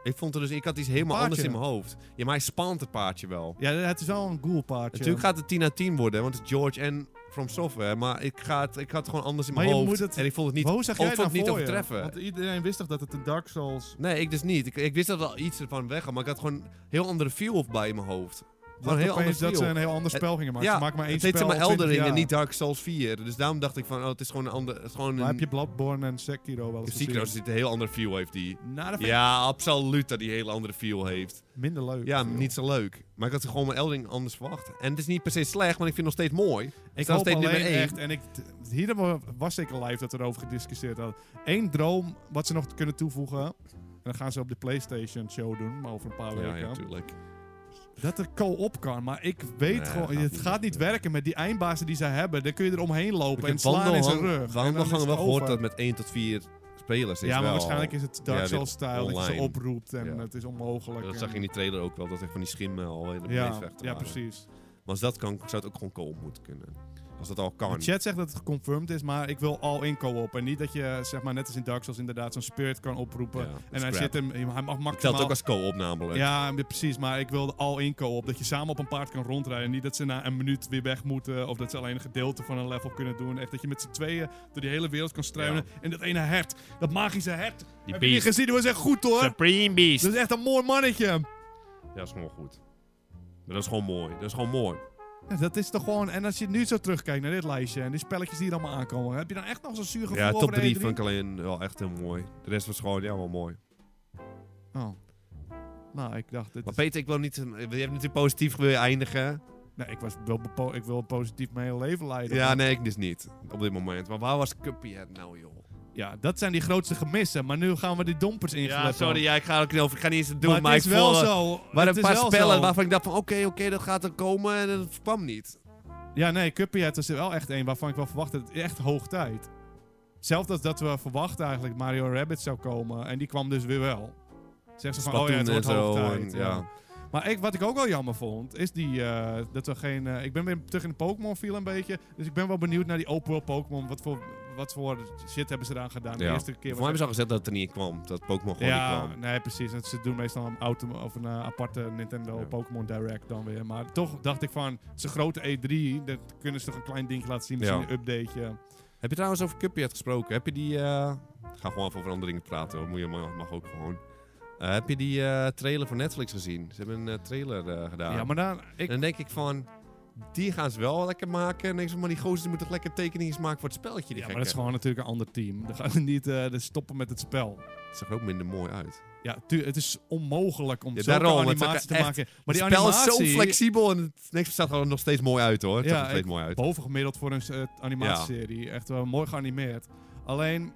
[SPEAKER 2] Ik vond er dus, ik had iets helemaal
[SPEAKER 1] Paardje.
[SPEAKER 2] anders in mijn hoofd. Ja, maar hij spant het paardje wel.
[SPEAKER 1] Ja, het is wel een ghoul paardje.
[SPEAKER 2] Natuurlijk gaat het 10 à 10 worden, want het is George en From Software. Maar ik, ga het, ik had het gewoon anders in
[SPEAKER 1] Maar
[SPEAKER 2] mijn
[SPEAKER 1] je
[SPEAKER 2] hoofd.
[SPEAKER 1] moet het-
[SPEAKER 2] En ik vond het niet...
[SPEAKER 1] Hoe zag
[SPEAKER 2] oh,
[SPEAKER 1] jij
[SPEAKER 2] ik vond
[SPEAKER 1] het
[SPEAKER 2] het niet
[SPEAKER 1] nou voor je?
[SPEAKER 2] overtreffen.
[SPEAKER 1] Want iedereen wist toch dat het een Dark Souls...
[SPEAKER 2] Nee, ik dus niet. Ik, ik wist dat er al iets ervan weg had, maar ik had gewoon een heel andere feel bij in mijn hoofd. Gewoon
[SPEAKER 1] Dat,
[SPEAKER 2] een heel
[SPEAKER 1] opeens
[SPEAKER 2] ander
[SPEAKER 1] dat
[SPEAKER 2] feel.
[SPEAKER 1] ze een heel ander spel gingen maken.
[SPEAKER 2] Ja,
[SPEAKER 1] ze maken maar één
[SPEAKER 2] het heet
[SPEAKER 1] spel.
[SPEAKER 2] zeg maar
[SPEAKER 1] op 20
[SPEAKER 2] Elden Ring en
[SPEAKER 1] jaar.
[SPEAKER 2] niet Dark Souls 4. Dus daarom dacht ik van, oh, het is gewoon een ander... Het is gewoon
[SPEAKER 1] Maar
[SPEAKER 2] een...
[SPEAKER 1] heb je Bloodborne en Sekiro wel eens
[SPEAKER 2] Sekiro
[SPEAKER 1] gezien?
[SPEAKER 2] zit een heel andere feel heeft die.
[SPEAKER 1] Nou, dat vind ik
[SPEAKER 2] Ja, absoluut dat die een hele andere feel heeft.
[SPEAKER 1] minder leuk.
[SPEAKER 2] Ja,
[SPEAKER 1] Veel.
[SPEAKER 2] niet zo leuk. Maar ik had gewoon mijn Eldering anders verwacht. En het is niet per se slecht, want ik vind het nog steeds mooi.
[SPEAKER 1] Ik
[SPEAKER 2] nog
[SPEAKER 1] hoop
[SPEAKER 2] steeds
[SPEAKER 1] alleen
[SPEAKER 2] nummer één.
[SPEAKER 1] echt, en ik, t- hier hebben we- was ik al live dat we erover gediscussieerd hadden. Eén droom wat ze nog kunnen toevoegen. En dan gaan ze op de PlayStation show doen, maar over een paar
[SPEAKER 2] Ja,
[SPEAKER 1] weken.
[SPEAKER 2] ja, tuurlijk.
[SPEAKER 1] dat er co-op kan, maar ik weet
[SPEAKER 2] Nee,
[SPEAKER 1] gewoon,
[SPEAKER 2] gaat
[SPEAKER 1] het
[SPEAKER 2] niet
[SPEAKER 1] gaat niet werken met die eindbazen die ze hebben. Dan kun je er omheen lopen en slaan in zijn rug. En dan is
[SPEAKER 2] wandelgangen
[SPEAKER 1] het
[SPEAKER 2] wel gehoord
[SPEAKER 1] over.
[SPEAKER 2] dat met 1 tot 4 spelers is
[SPEAKER 1] Ja, maar
[SPEAKER 2] wel-
[SPEAKER 1] waarschijnlijk is het
[SPEAKER 2] Ja,
[SPEAKER 1] Dark
[SPEAKER 2] dit
[SPEAKER 1] Souls-stijl dat je ze
[SPEAKER 2] online.
[SPEAKER 1] oproept en
[SPEAKER 2] Ja.
[SPEAKER 1] het is onmogelijk.
[SPEAKER 2] Dat
[SPEAKER 1] en-
[SPEAKER 2] zag je in die trailer ook wel, dat echt van die schimmen al helemaal
[SPEAKER 1] ja,
[SPEAKER 2] meevechten
[SPEAKER 1] ja,
[SPEAKER 2] waren.
[SPEAKER 1] precies.
[SPEAKER 2] Maar als dat kan, zou het ook gewoon co-op moeten kunnen. Als dat al kan.
[SPEAKER 1] De chat zegt dat het geconfirmed is, maar ik wil al in co-op. En niet dat je, zeg maar, net als in Dark Souls inderdaad zo'n spirit kan
[SPEAKER 2] Ja,
[SPEAKER 1] oproepen.
[SPEAKER 2] dat is
[SPEAKER 1] en hij
[SPEAKER 2] crap.
[SPEAKER 1] zit hem, hij mag
[SPEAKER 2] Het telt
[SPEAKER 1] maximaal...
[SPEAKER 2] ook als co-op namelijk.
[SPEAKER 1] ja, ja, precies, maar ik wilde al in co-op. Dat je samen op een paard kan rondrijden. Niet dat ze na een minuut weer weg moeten. Of dat ze alleen een gedeelte van een level kunnen doen. Echt dat je met z'n tweeën door die hele wereld kan struinen. En dat ene hert, dat magische hert.
[SPEAKER 2] Die
[SPEAKER 1] heb je niet
[SPEAKER 2] beest.
[SPEAKER 1] gezien? Die was echt goed hoor.
[SPEAKER 2] Supreme Beast.
[SPEAKER 1] Dat is echt een mooi mannetje.
[SPEAKER 2] Ja, dat is gewoon goed. Maar Dat is gewoon mooi. Dat is gewoon mooi.
[SPEAKER 1] Ja, dat is toch gewoon... En als je nu zo terugkijkt naar dit lijstje en die spelletjes die er allemaal aankomen... heb je dan echt nog zo'n zuur gevoel
[SPEAKER 2] Ja,
[SPEAKER 1] over
[SPEAKER 2] top
[SPEAKER 1] de
[SPEAKER 2] 3
[SPEAKER 1] E3?
[SPEAKER 2] vind ik alleen wel echt heel mooi. De rest was gewoon, ja, wel mooi.
[SPEAKER 1] Oh. Nou, ik dacht... Dit
[SPEAKER 2] Maar
[SPEAKER 1] is-
[SPEAKER 2] Peter, ik wil niet... een- Je hebt natuurlijk positief willen eindigen.
[SPEAKER 1] Nee, ik, was wel bepo- ik wil positief mijn hele leven leiden.
[SPEAKER 2] Ja, nee, ik dus niet. Op dit moment. Maar waar was Cuphead nou, joh?
[SPEAKER 1] Ja, dat zijn die grootste gemissen. Maar nu gaan we die dompers ingelepen.
[SPEAKER 2] Ja, sorry, ja, ik ga er ook niet over. Ik ga niet eens het doen,
[SPEAKER 1] maar
[SPEAKER 2] maar,
[SPEAKER 1] het is
[SPEAKER 2] ik
[SPEAKER 1] wel
[SPEAKER 2] voel-
[SPEAKER 1] zo.
[SPEAKER 2] Maar
[SPEAKER 1] het
[SPEAKER 2] een
[SPEAKER 1] is
[SPEAKER 2] paar
[SPEAKER 1] wel
[SPEAKER 2] spellen
[SPEAKER 1] zo.
[SPEAKER 2] waarvan ik dacht van, oké, oké, dat gaat er komen en dat kwam niet.
[SPEAKER 1] Ja, nee, Cuphead is er wel echt één waarvan ik wel verwacht dat het echt hoog tijd. Zelfs als dat we verwachten eigenlijk Mario Rabbit zou komen. En die kwam dus weer wel. Zeg ze van, oh ja, het
[SPEAKER 2] Splatoon
[SPEAKER 1] wordt
[SPEAKER 2] en zo,
[SPEAKER 1] hoog
[SPEAKER 2] en
[SPEAKER 1] tijd.
[SPEAKER 2] ja.
[SPEAKER 1] ja. Maar ik, wat ik ook wel jammer vond, is die, eh, dat we geen... eh, ik ben weer terug in de Pokémon viel een beetje. Dus ik ben wel benieuwd naar die open world Pokémon. Wat voor, wat voor shit hebben ze eraan gedaan de
[SPEAKER 2] Ja.
[SPEAKER 1] eerste keer?
[SPEAKER 2] Voor
[SPEAKER 1] was
[SPEAKER 2] mij hebben
[SPEAKER 1] echt-
[SPEAKER 2] ze al gezegd dat het er niet in kwam. Dat Pokémon gewoon niet
[SPEAKER 1] ja,
[SPEAKER 2] kwam.
[SPEAKER 1] nee, precies. En ze doen meestal een, auto, of een eh, aparte Nintendo
[SPEAKER 2] Ja.
[SPEAKER 1] Pokémon Direct dan weer. Maar toch dacht ik van, zo'n grote E3, dat kunnen ze toch een klein ding laten zien. Misschien
[SPEAKER 2] Ja.
[SPEAKER 1] een updateje.
[SPEAKER 2] Heb je trouwens over Cuphead gesproken? Heb je die... eh, Ik ga gewoon even over andere dingen praten hoor. Moet je, mag mag ook gewoon. Eh, heb je die eh, trailer van Netflix gezien? Ze hebben een eh, trailer eh,
[SPEAKER 1] Ja,
[SPEAKER 2] gedaan.
[SPEAKER 1] maar dan... Ik,
[SPEAKER 2] Dan denk ik van... Die gaan ze wel lekker maken. En denk ik van, maar die gozer die moet toch lekker tekeningen maken voor het spelletje.
[SPEAKER 1] ja,
[SPEAKER 2] Die
[SPEAKER 1] maar dat is gewoon natuurlijk een ander team. Dan gaan we niet eh, dus stoppen met het spel.
[SPEAKER 2] Het zag er ook minder mooi uit.
[SPEAKER 1] Ja, tu- het is onmogelijk om
[SPEAKER 2] Ja,
[SPEAKER 1] zo'n
[SPEAKER 2] daarom, het
[SPEAKER 1] animatie te
[SPEAKER 2] zag er
[SPEAKER 1] maken. Maar die
[SPEAKER 2] het spel
[SPEAKER 1] animatie...
[SPEAKER 2] is zo flexibel. En het niks zag er nog steeds mooi uit hoor. Het
[SPEAKER 1] Ja,
[SPEAKER 2] zag er nog steeds
[SPEAKER 1] ik-
[SPEAKER 2] mooi uit.
[SPEAKER 1] bovengemiddeld voor een eh, animatieserie. Echt wel mooi geanimeerd. Alleen,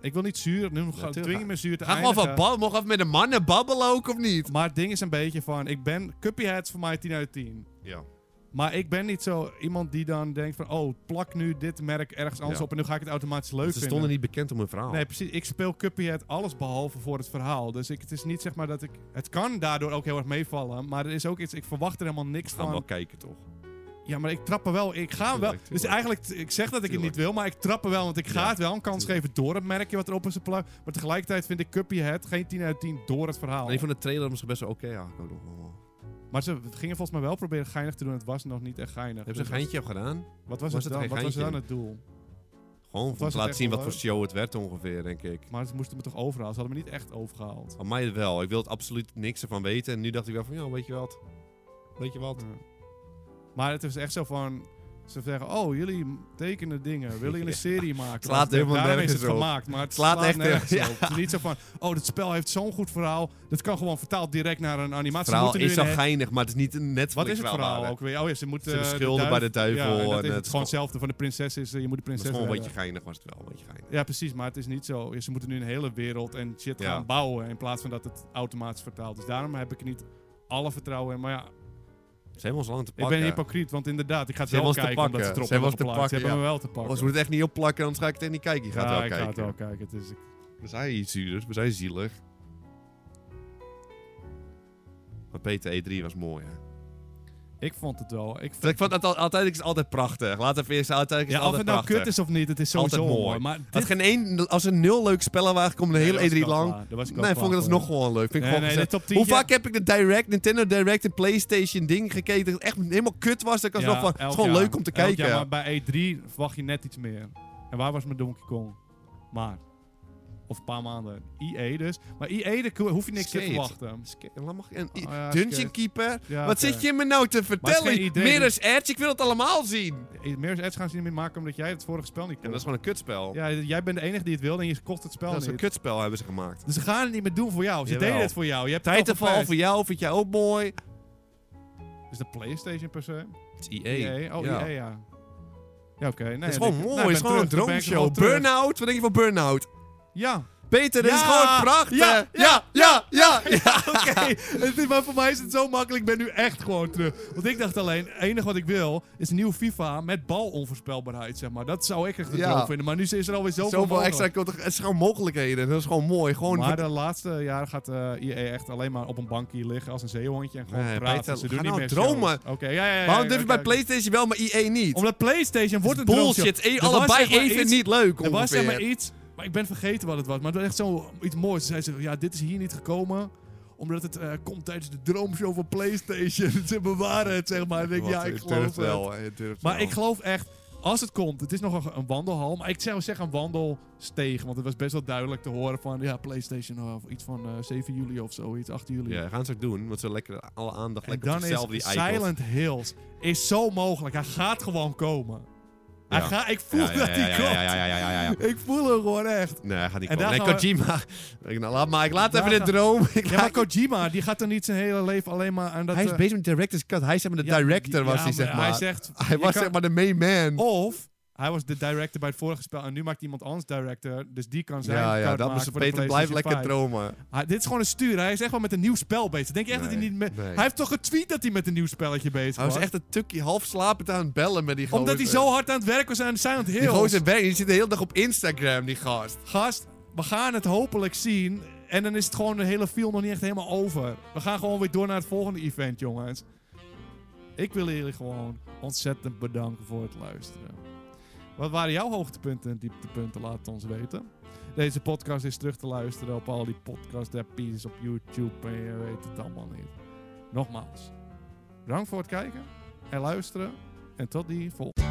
[SPEAKER 1] ik wil niet zuur. Nu ga,
[SPEAKER 2] tuurlijk.
[SPEAKER 1] dwing je me zuur te
[SPEAKER 2] Ga gewoon van
[SPEAKER 1] eindigen.
[SPEAKER 2] babbelen. Mogen we even met de mannen babbelen ook of niet?
[SPEAKER 1] Maar het ding is een beetje van, ik ben, Cuphead is voor mij 10 uit 10.
[SPEAKER 2] Ja.
[SPEAKER 1] Maar ik ben niet zo iemand die dan denkt van, oh, plak nu dit merk ergens anders
[SPEAKER 2] Ja.
[SPEAKER 1] op en nu ga ik het automatisch leuk
[SPEAKER 2] ze
[SPEAKER 1] vinden.
[SPEAKER 2] stonden niet bekend om hun verhaal.
[SPEAKER 1] Nee, precies. Ik speel Cuphead alles behalve voor het verhaal. Dus ik, het is niet zeg maar dat ik... Het kan daardoor ook heel erg meevallen, maar er is ook iets... Ik verwacht er helemaal niks
[SPEAKER 2] gaan we wel
[SPEAKER 1] van.
[SPEAKER 2] kijken toch.
[SPEAKER 1] Ja, maar ik trap er wel... Ik ga hem wel...
[SPEAKER 2] Tuurlijk,
[SPEAKER 1] Dus
[SPEAKER 2] tuurlijk.
[SPEAKER 1] eigenlijk, t- ik zeg dat ik het niet wil, maar ik trap er wel. Want ik ga
[SPEAKER 2] Ja,
[SPEAKER 1] het wel een kans
[SPEAKER 2] tuurlijk.
[SPEAKER 1] geven door het merkje wat erop is geplakt. Maar tegelijkertijd vind ik Cuphead geen 10 uit 10 door het verhaal.
[SPEAKER 2] En ik vond de trailer misschien best wel oké. ja, ik oh. ook nog wel.
[SPEAKER 1] Maar ze gingen volgens mij wel proberen geinig te doen. Het was nog niet echt geinig.
[SPEAKER 2] Hebben ze
[SPEAKER 1] Dus
[SPEAKER 2] een geintje op gedaan?
[SPEAKER 1] Wat was, het
[SPEAKER 2] Was het
[SPEAKER 1] dan?
[SPEAKER 2] geen
[SPEAKER 1] Wat was
[SPEAKER 2] geintje?
[SPEAKER 1] dan het doel?
[SPEAKER 2] Gewoon om
[SPEAKER 1] was
[SPEAKER 2] te
[SPEAKER 1] het
[SPEAKER 2] laten
[SPEAKER 1] echt
[SPEAKER 2] zien
[SPEAKER 1] wel
[SPEAKER 2] wat voor show het werd ongeveer, denk ik.
[SPEAKER 1] Maar ze moesten me toch overhalen. Ze hadden me niet echt overgehaald.
[SPEAKER 2] Aan mij wel. Ik wilde absoluut niks ervan weten. En nu dacht ik wel van, ja, weet je wat? Weet je wat?
[SPEAKER 1] Maar het is echt zo van... Ze zeggen, oh, jullie tekenen dingen.
[SPEAKER 2] <laughs>
[SPEAKER 1] Willen jullie een serie maken?
[SPEAKER 2] slaat
[SPEAKER 1] Want
[SPEAKER 2] helemaal
[SPEAKER 1] daarom is
[SPEAKER 2] nergens
[SPEAKER 1] het
[SPEAKER 2] op.
[SPEAKER 1] gemaakt, maar het
[SPEAKER 2] Slaat
[SPEAKER 1] slaat,
[SPEAKER 2] echt
[SPEAKER 1] nergens
[SPEAKER 2] nergens-
[SPEAKER 1] op. Het is niet zo van, oh, dit spel heeft zo'n goed verhaal. Dat kan gewoon vertaald direct naar een
[SPEAKER 2] Het
[SPEAKER 1] animatie. Ze
[SPEAKER 2] verhaal
[SPEAKER 1] moeten nu
[SPEAKER 2] is
[SPEAKER 1] in
[SPEAKER 2] al
[SPEAKER 1] het-
[SPEAKER 2] geinig, maar het is niet een Netflix
[SPEAKER 1] Wat is het verhaal ook weer? Oh ja, ze moet...
[SPEAKER 2] Ze
[SPEAKER 1] eh,
[SPEAKER 2] schulden bij de duivel
[SPEAKER 1] Ja, en dat
[SPEAKER 2] en
[SPEAKER 1] is
[SPEAKER 2] het
[SPEAKER 1] het
[SPEAKER 2] is
[SPEAKER 1] gewoon
[SPEAKER 2] gewoon-
[SPEAKER 1] hetzelfde van de prinses is, eh, je moet de
[SPEAKER 2] Het is
[SPEAKER 1] prinses
[SPEAKER 2] gewoon een beetje
[SPEAKER 1] redden.
[SPEAKER 2] geinig, was het wel. Een beetje geinig.
[SPEAKER 1] Ja, precies, maar het is niet zo. Ze moeten nu een hele wereld en shit
[SPEAKER 2] Ja.
[SPEAKER 1] gaan bouwen in plaats van dat het automatisch vertaald is. Daarom heb ik er niet alle vertrouwen in. Maar ja,
[SPEAKER 2] Ze hebben ons lang te
[SPEAKER 1] ik
[SPEAKER 2] pakken.
[SPEAKER 1] ben hypocriet, want inderdaad, ik ga het
[SPEAKER 2] Ze hebben
[SPEAKER 1] wel
[SPEAKER 2] ons te
[SPEAKER 1] kijken omdat
[SPEAKER 2] pakken.
[SPEAKER 1] ze het erop
[SPEAKER 2] Ze hebben
[SPEAKER 1] hebben
[SPEAKER 2] ons te
[SPEAKER 1] geplaatst. Ze
[SPEAKER 2] pakken,
[SPEAKER 1] hebben me wel te pakken.
[SPEAKER 2] Oh, ze moeten echt niet opplakken, anders ga ik het echt niet kijken. Je gaat
[SPEAKER 1] ja,
[SPEAKER 2] wel
[SPEAKER 1] ik ga het
[SPEAKER 2] kijken.
[SPEAKER 1] wel kijken. Het is, ik-
[SPEAKER 2] We zijn iets zuurders, we zijn zielig. Maar Peter, E3 was mooi, hè?
[SPEAKER 1] ik vond het wel. Ik vond-
[SPEAKER 2] Ik vond het al, altijd, is het altijd prachtig. Laat even eerst, altijd is
[SPEAKER 1] ja,
[SPEAKER 2] het
[SPEAKER 1] of
[SPEAKER 2] altijd
[SPEAKER 1] het nou
[SPEAKER 2] prachtig.
[SPEAKER 1] kut is of niet, het is sowieso
[SPEAKER 2] Altijd mooi.
[SPEAKER 1] mooi. Maar
[SPEAKER 2] Had
[SPEAKER 1] dit
[SPEAKER 2] geen één, als er nul leuke spellen waren gekomen de
[SPEAKER 1] Nee,
[SPEAKER 2] hele
[SPEAKER 1] dat was
[SPEAKER 2] E3
[SPEAKER 1] ik al
[SPEAKER 2] lang.
[SPEAKER 1] klaar. Dat was ik al
[SPEAKER 2] Nee,
[SPEAKER 1] klaar
[SPEAKER 2] vond ik dat
[SPEAKER 1] voor.
[SPEAKER 2] nog gewoon leuk. Vind ik
[SPEAKER 1] Nee,
[SPEAKER 2] gewoon
[SPEAKER 1] nee,
[SPEAKER 2] gezellig.
[SPEAKER 1] de top 10,
[SPEAKER 2] Hoe
[SPEAKER 1] ja.
[SPEAKER 2] vaak heb ik de Direct, Nintendo Direct en Playstation ding gekeken dat het echt helemaal kut was. Dat ik alsnog
[SPEAKER 1] Ja,
[SPEAKER 2] van, het
[SPEAKER 1] elk
[SPEAKER 2] is gewoon
[SPEAKER 1] jaar.
[SPEAKER 2] leuk om te
[SPEAKER 1] Elk
[SPEAKER 2] kijken.
[SPEAKER 1] jaar, maar bij E3 verwacht je net iets meer. En waar was mijn Donkey Kong? Maar. Of een paar maanden. EA dus. Maar EA, daar ko- hoef je niks te
[SPEAKER 2] Skate.
[SPEAKER 1] verwachten.
[SPEAKER 2] Skate- dan mag ik- en-
[SPEAKER 1] Oh, ja,
[SPEAKER 2] Dungeon
[SPEAKER 1] skate.
[SPEAKER 2] Keeper?
[SPEAKER 1] Ja,
[SPEAKER 2] Wat
[SPEAKER 1] oké.
[SPEAKER 2] zit je me nou te vertellen?
[SPEAKER 1] geen idee, dus-
[SPEAKER 2] Mirror's Edge, ik wil het allemaal zien.
[SPEAKER 1] Mirror's Edge gaan ze niet E meer maken omdat jij het vorige spel niet
[SPEAKER 2] En
[SPEAKER 1] kon.
[SPEAKER 2] dat is gewoon een kutspel.
[SPEAKER 1] Ja, jij bent de enige die het wil en je kocht het spel
[SPEAKER 2] dat is een
[SPEAKER 1] niet.
[SPEAKER 2] kutspel hebben ze gemaakt.
[SPEAKER 1] Dus ze gaan het niet meer doen voor jou. Ze
[SPEAKER 2] Jawel.
[SPEAKER 1] deden het voor jou. Je hebt het al
[SPEAKER 2] Titanfall
[SPEAKER 1] geprijsd.
[SPEAKER 2] voor jou, vind jij ook mooi.
[SPEAKER 1] Is de PlayStation per se?
[SPEAKER 2] Het is EA.
[SPEAKER 1] EA. Oh,
[SPEAKER 2] Ja.
[SPEAKER 1] EA, ja. Ja, oké. Nee,
[SPEAKER 2] Het is gewoon
[SPEAKER 1] ik- nou,
[SPEAKER 2] mooi,
[SPEAKER 1] ik
[SPEAKER 2] het is
[SPEAKER 1] ben
[SPEAKER 2] gewoon een
[SPEAKER 1] terug. Dan ben ik er wel
[SPEAKER 2] droomshow.
[SPEAKER 1] terug.
[SPEAKER 2] Burnout, wat denk je van Burnout?
[SPEAKER 1] Ja.
[SPEAKER 2] Peter, dit is
[SPEAKER 1] Ja!
[SPEAKER 2] gewoon prachtig.
[SPEAKER 1] Ja,
[SPEAKER 2] ja, ja.
[SPEAKER 1] <laughs>
[SPEAKER 2] ja, ja.
[SPEAKER 1] Oké, het is- maar voor mij is het zo makkelijk. Ik ben nu echt gewoon terug. Want ik dacht alleen, het enige wat ik wil is een nieuw FIFA met balonvoorspelbaarheid, zeg maar. Dat zou ik echt een
[SPEAKER 2] Ja.
[SPEAKER 1] droom vinden. Maar nu is er alweer zoveel,
[SPEAKER 2] Zoveel
[SPEAKER 1] mogelijk.
[SPEAKER 2] extra content- Het zijn gewoon mogelijkheden. Dat is gewoon mooi. Gewoon
[SPEAKER 1] Maar de laatste jaren gaat eh EA echt alleen maar op een bankje liggen als een zeehondje en gewoon
[SPEAKER 2] Nee,
[SPEAKER 1] praten.
[SPEAKER 2] Peter,
[SPEAKER 1] Ze
[SPEAKER 2] ga
[SPEAKER 1] doen niet
[SPEAKER 2] nou
[SPEAKER 1] meer
[SPEAKER 2] dromen.
[SPEAKER 1] shows. Oké, ja, ja, ja.
[SPEAKER 2] Waarom durf
[SPEAKER 1] ja,
[SPEAKER 2] je
[SPEAKER 1] oké,
[SPEAKER 2] bij
[SPEAKER 1] oké.
[SPEAKER 2] PlayStation wel, maar EA niet?
[SPEAKER 1] Omdat PlayStation wordt een droomshow.
[SPEAKER 2] Bullshit. E-
[SPEAKER 1] Er was
[SPEAKER 2] allebei
[SPEAKER 1] zeg maar
[SPEAKER 2] even
[SPEAKER 1] iets-
[SPEAKER 2] niet leuk
[SPEAKER 1] Er was zeg maar
[SPEAKER 2] ongeveer.
[SPEAKER 1] iets, maar ik ben vergeten wat het was. Maar het was echt zo iets moois. Ze zei ze, ja, dit is hier niet gekomen omdat het eh, komt tijdens de droomshow van PlayStation. <laughs> ze bewaren het, zeg maar. En ik denk, ja, ik geloof het. Maar ik geloof echt, als het komt, het is nog een, een wandelhal. Maar ik zou zeggen een wandelsteeg. Want het was best wel duidelijk te horen van, ja, PlayStation eh, of iets van eh, 7 juli of zoiets, 8 juli.
[SPEAKER 2] Ja, gaan ze ook doen. Want ze lekker alle aandacht
[SPEAKER 1] Mm. En
[SPEAKER 2] lekker op
[SPEAKER 1] dan is
[SPEAKER 2] zichzelf die icons.
[SPEAKER 1] Silent Hills is zo mogelijk. Hij gaat gewoon komen. Hij
[SPEAKER 2] Ja.
[SPEAKER 1] gaat, ik
[SPEAKER 2] Ja,
[SPEAKER 1] voel
[SPEAKER 2] ja,
[SPEAKER 1] dat
[SPEAKER 2] ja,
[SPEAKER 1] hij
[SPEAKER 2] ja,
[SPEAKER 1] komt.
[SPEAKER 2] Ja, ja, ja, ja, ja, ja, ja.
[SPEAKER 1] Ik voel hem gewoon echt.
[SPEAKER 2] Nee, hij gaat niet
[SPEAKER 1] En
[SPEAKER 2] komen. Nee,
[SPEAKER 1] daar gaan
[SPEAKER 2] Kojima. <laughs> Ik, nou, laat maar. Ik laat
[SPEAKER 1] Daar
[SPEAKER 2] even de
[SPEAKER 1] gaan-
[SPEAKER 2] droom. <laughs> Ik
[SPEAKER 1] Ja,
[SPEAKER 2] laat-
[SPEAKER 1] maar Kojima, die gaat dan niet zijn hele leven alleen maar aan dat...
[SPEAKER 2] hij is
[SPEAKER 1] eh,
[SPEAKER 2] bezig met director's cut. Hij is zeg maar de
[SPEAKER 1] ja,
[SPEAKER 2] director, was
[SPEAKER 1] ja,
[SPEAKER 2] hij zeg maar.
[SPEAKER 1] Hij zegt...
[SPEAKER 2] <laughs> Hij
[SPEAKER 1] je
[SPEAKER 2] was
[SPEAKER 1] kan-
[SPEAKER 2] zeg maar de main man.
[SPEAKER 1] Of hij was de director bij het vorige spel en nu maakt iemand anders director. Dus die kan zijn
[SPEAKER 2] Ja, ja,
[SPEAKER 1] cut
[SPEAKER 2] dat
[SPEAKER 1] maken
[SPEAKER 2] moest
[SPEAKER 1] voor de
[SPEAKER 2] Peter blijft
[SPEAKER 1] PlayStation
[SPEAKER 2] lekker
[SPEAKER 1] 5.
[SPEAKER 2] dromen.
[SPEAKER 1] Hij- dit is gewoon een stuur. Hij is echt wel met een nieuw spel bezig. Denk je echt dat hij
[SPEAKER 2] Nee,
[SPEAKER 1] niet met...
[SPEAKER 2] nee.
[SPEAKER 1] Hij heeft toch getweet dat hij met een nieuw spelletje bezig
[SPEAKER 2] Hij was echt een tukje half slapend aan het bellen met die gozer.
[SPEAKER 1] Omdat hij zo hard aan het werk was aan Silent
[SPEAKER 2] Die
[SPEAKER 1] Hills.
[SPEAKER 2] gozer werkt, die zit de hele dag op Instagram, die gast.
[SPEAKER 1] Gast, we gaan het hopelijk zien. En dan is het gewoon de hele film nog niet echt helemaal over. We gaan gewoon weer door naar het volgende event, jongens. Ik wil jullie gewoon ontzettend bedanken voor het luisteren. Wat waren jouw hoogtepunten en dieptepunten? Laat het ons weten. Deze podcast is terug te luisteren op al die podcast-appies op YouTube. En je weet het allemaal niet. Nogmaals, bedankt voor het kijken en luisteren. En tot die volgende.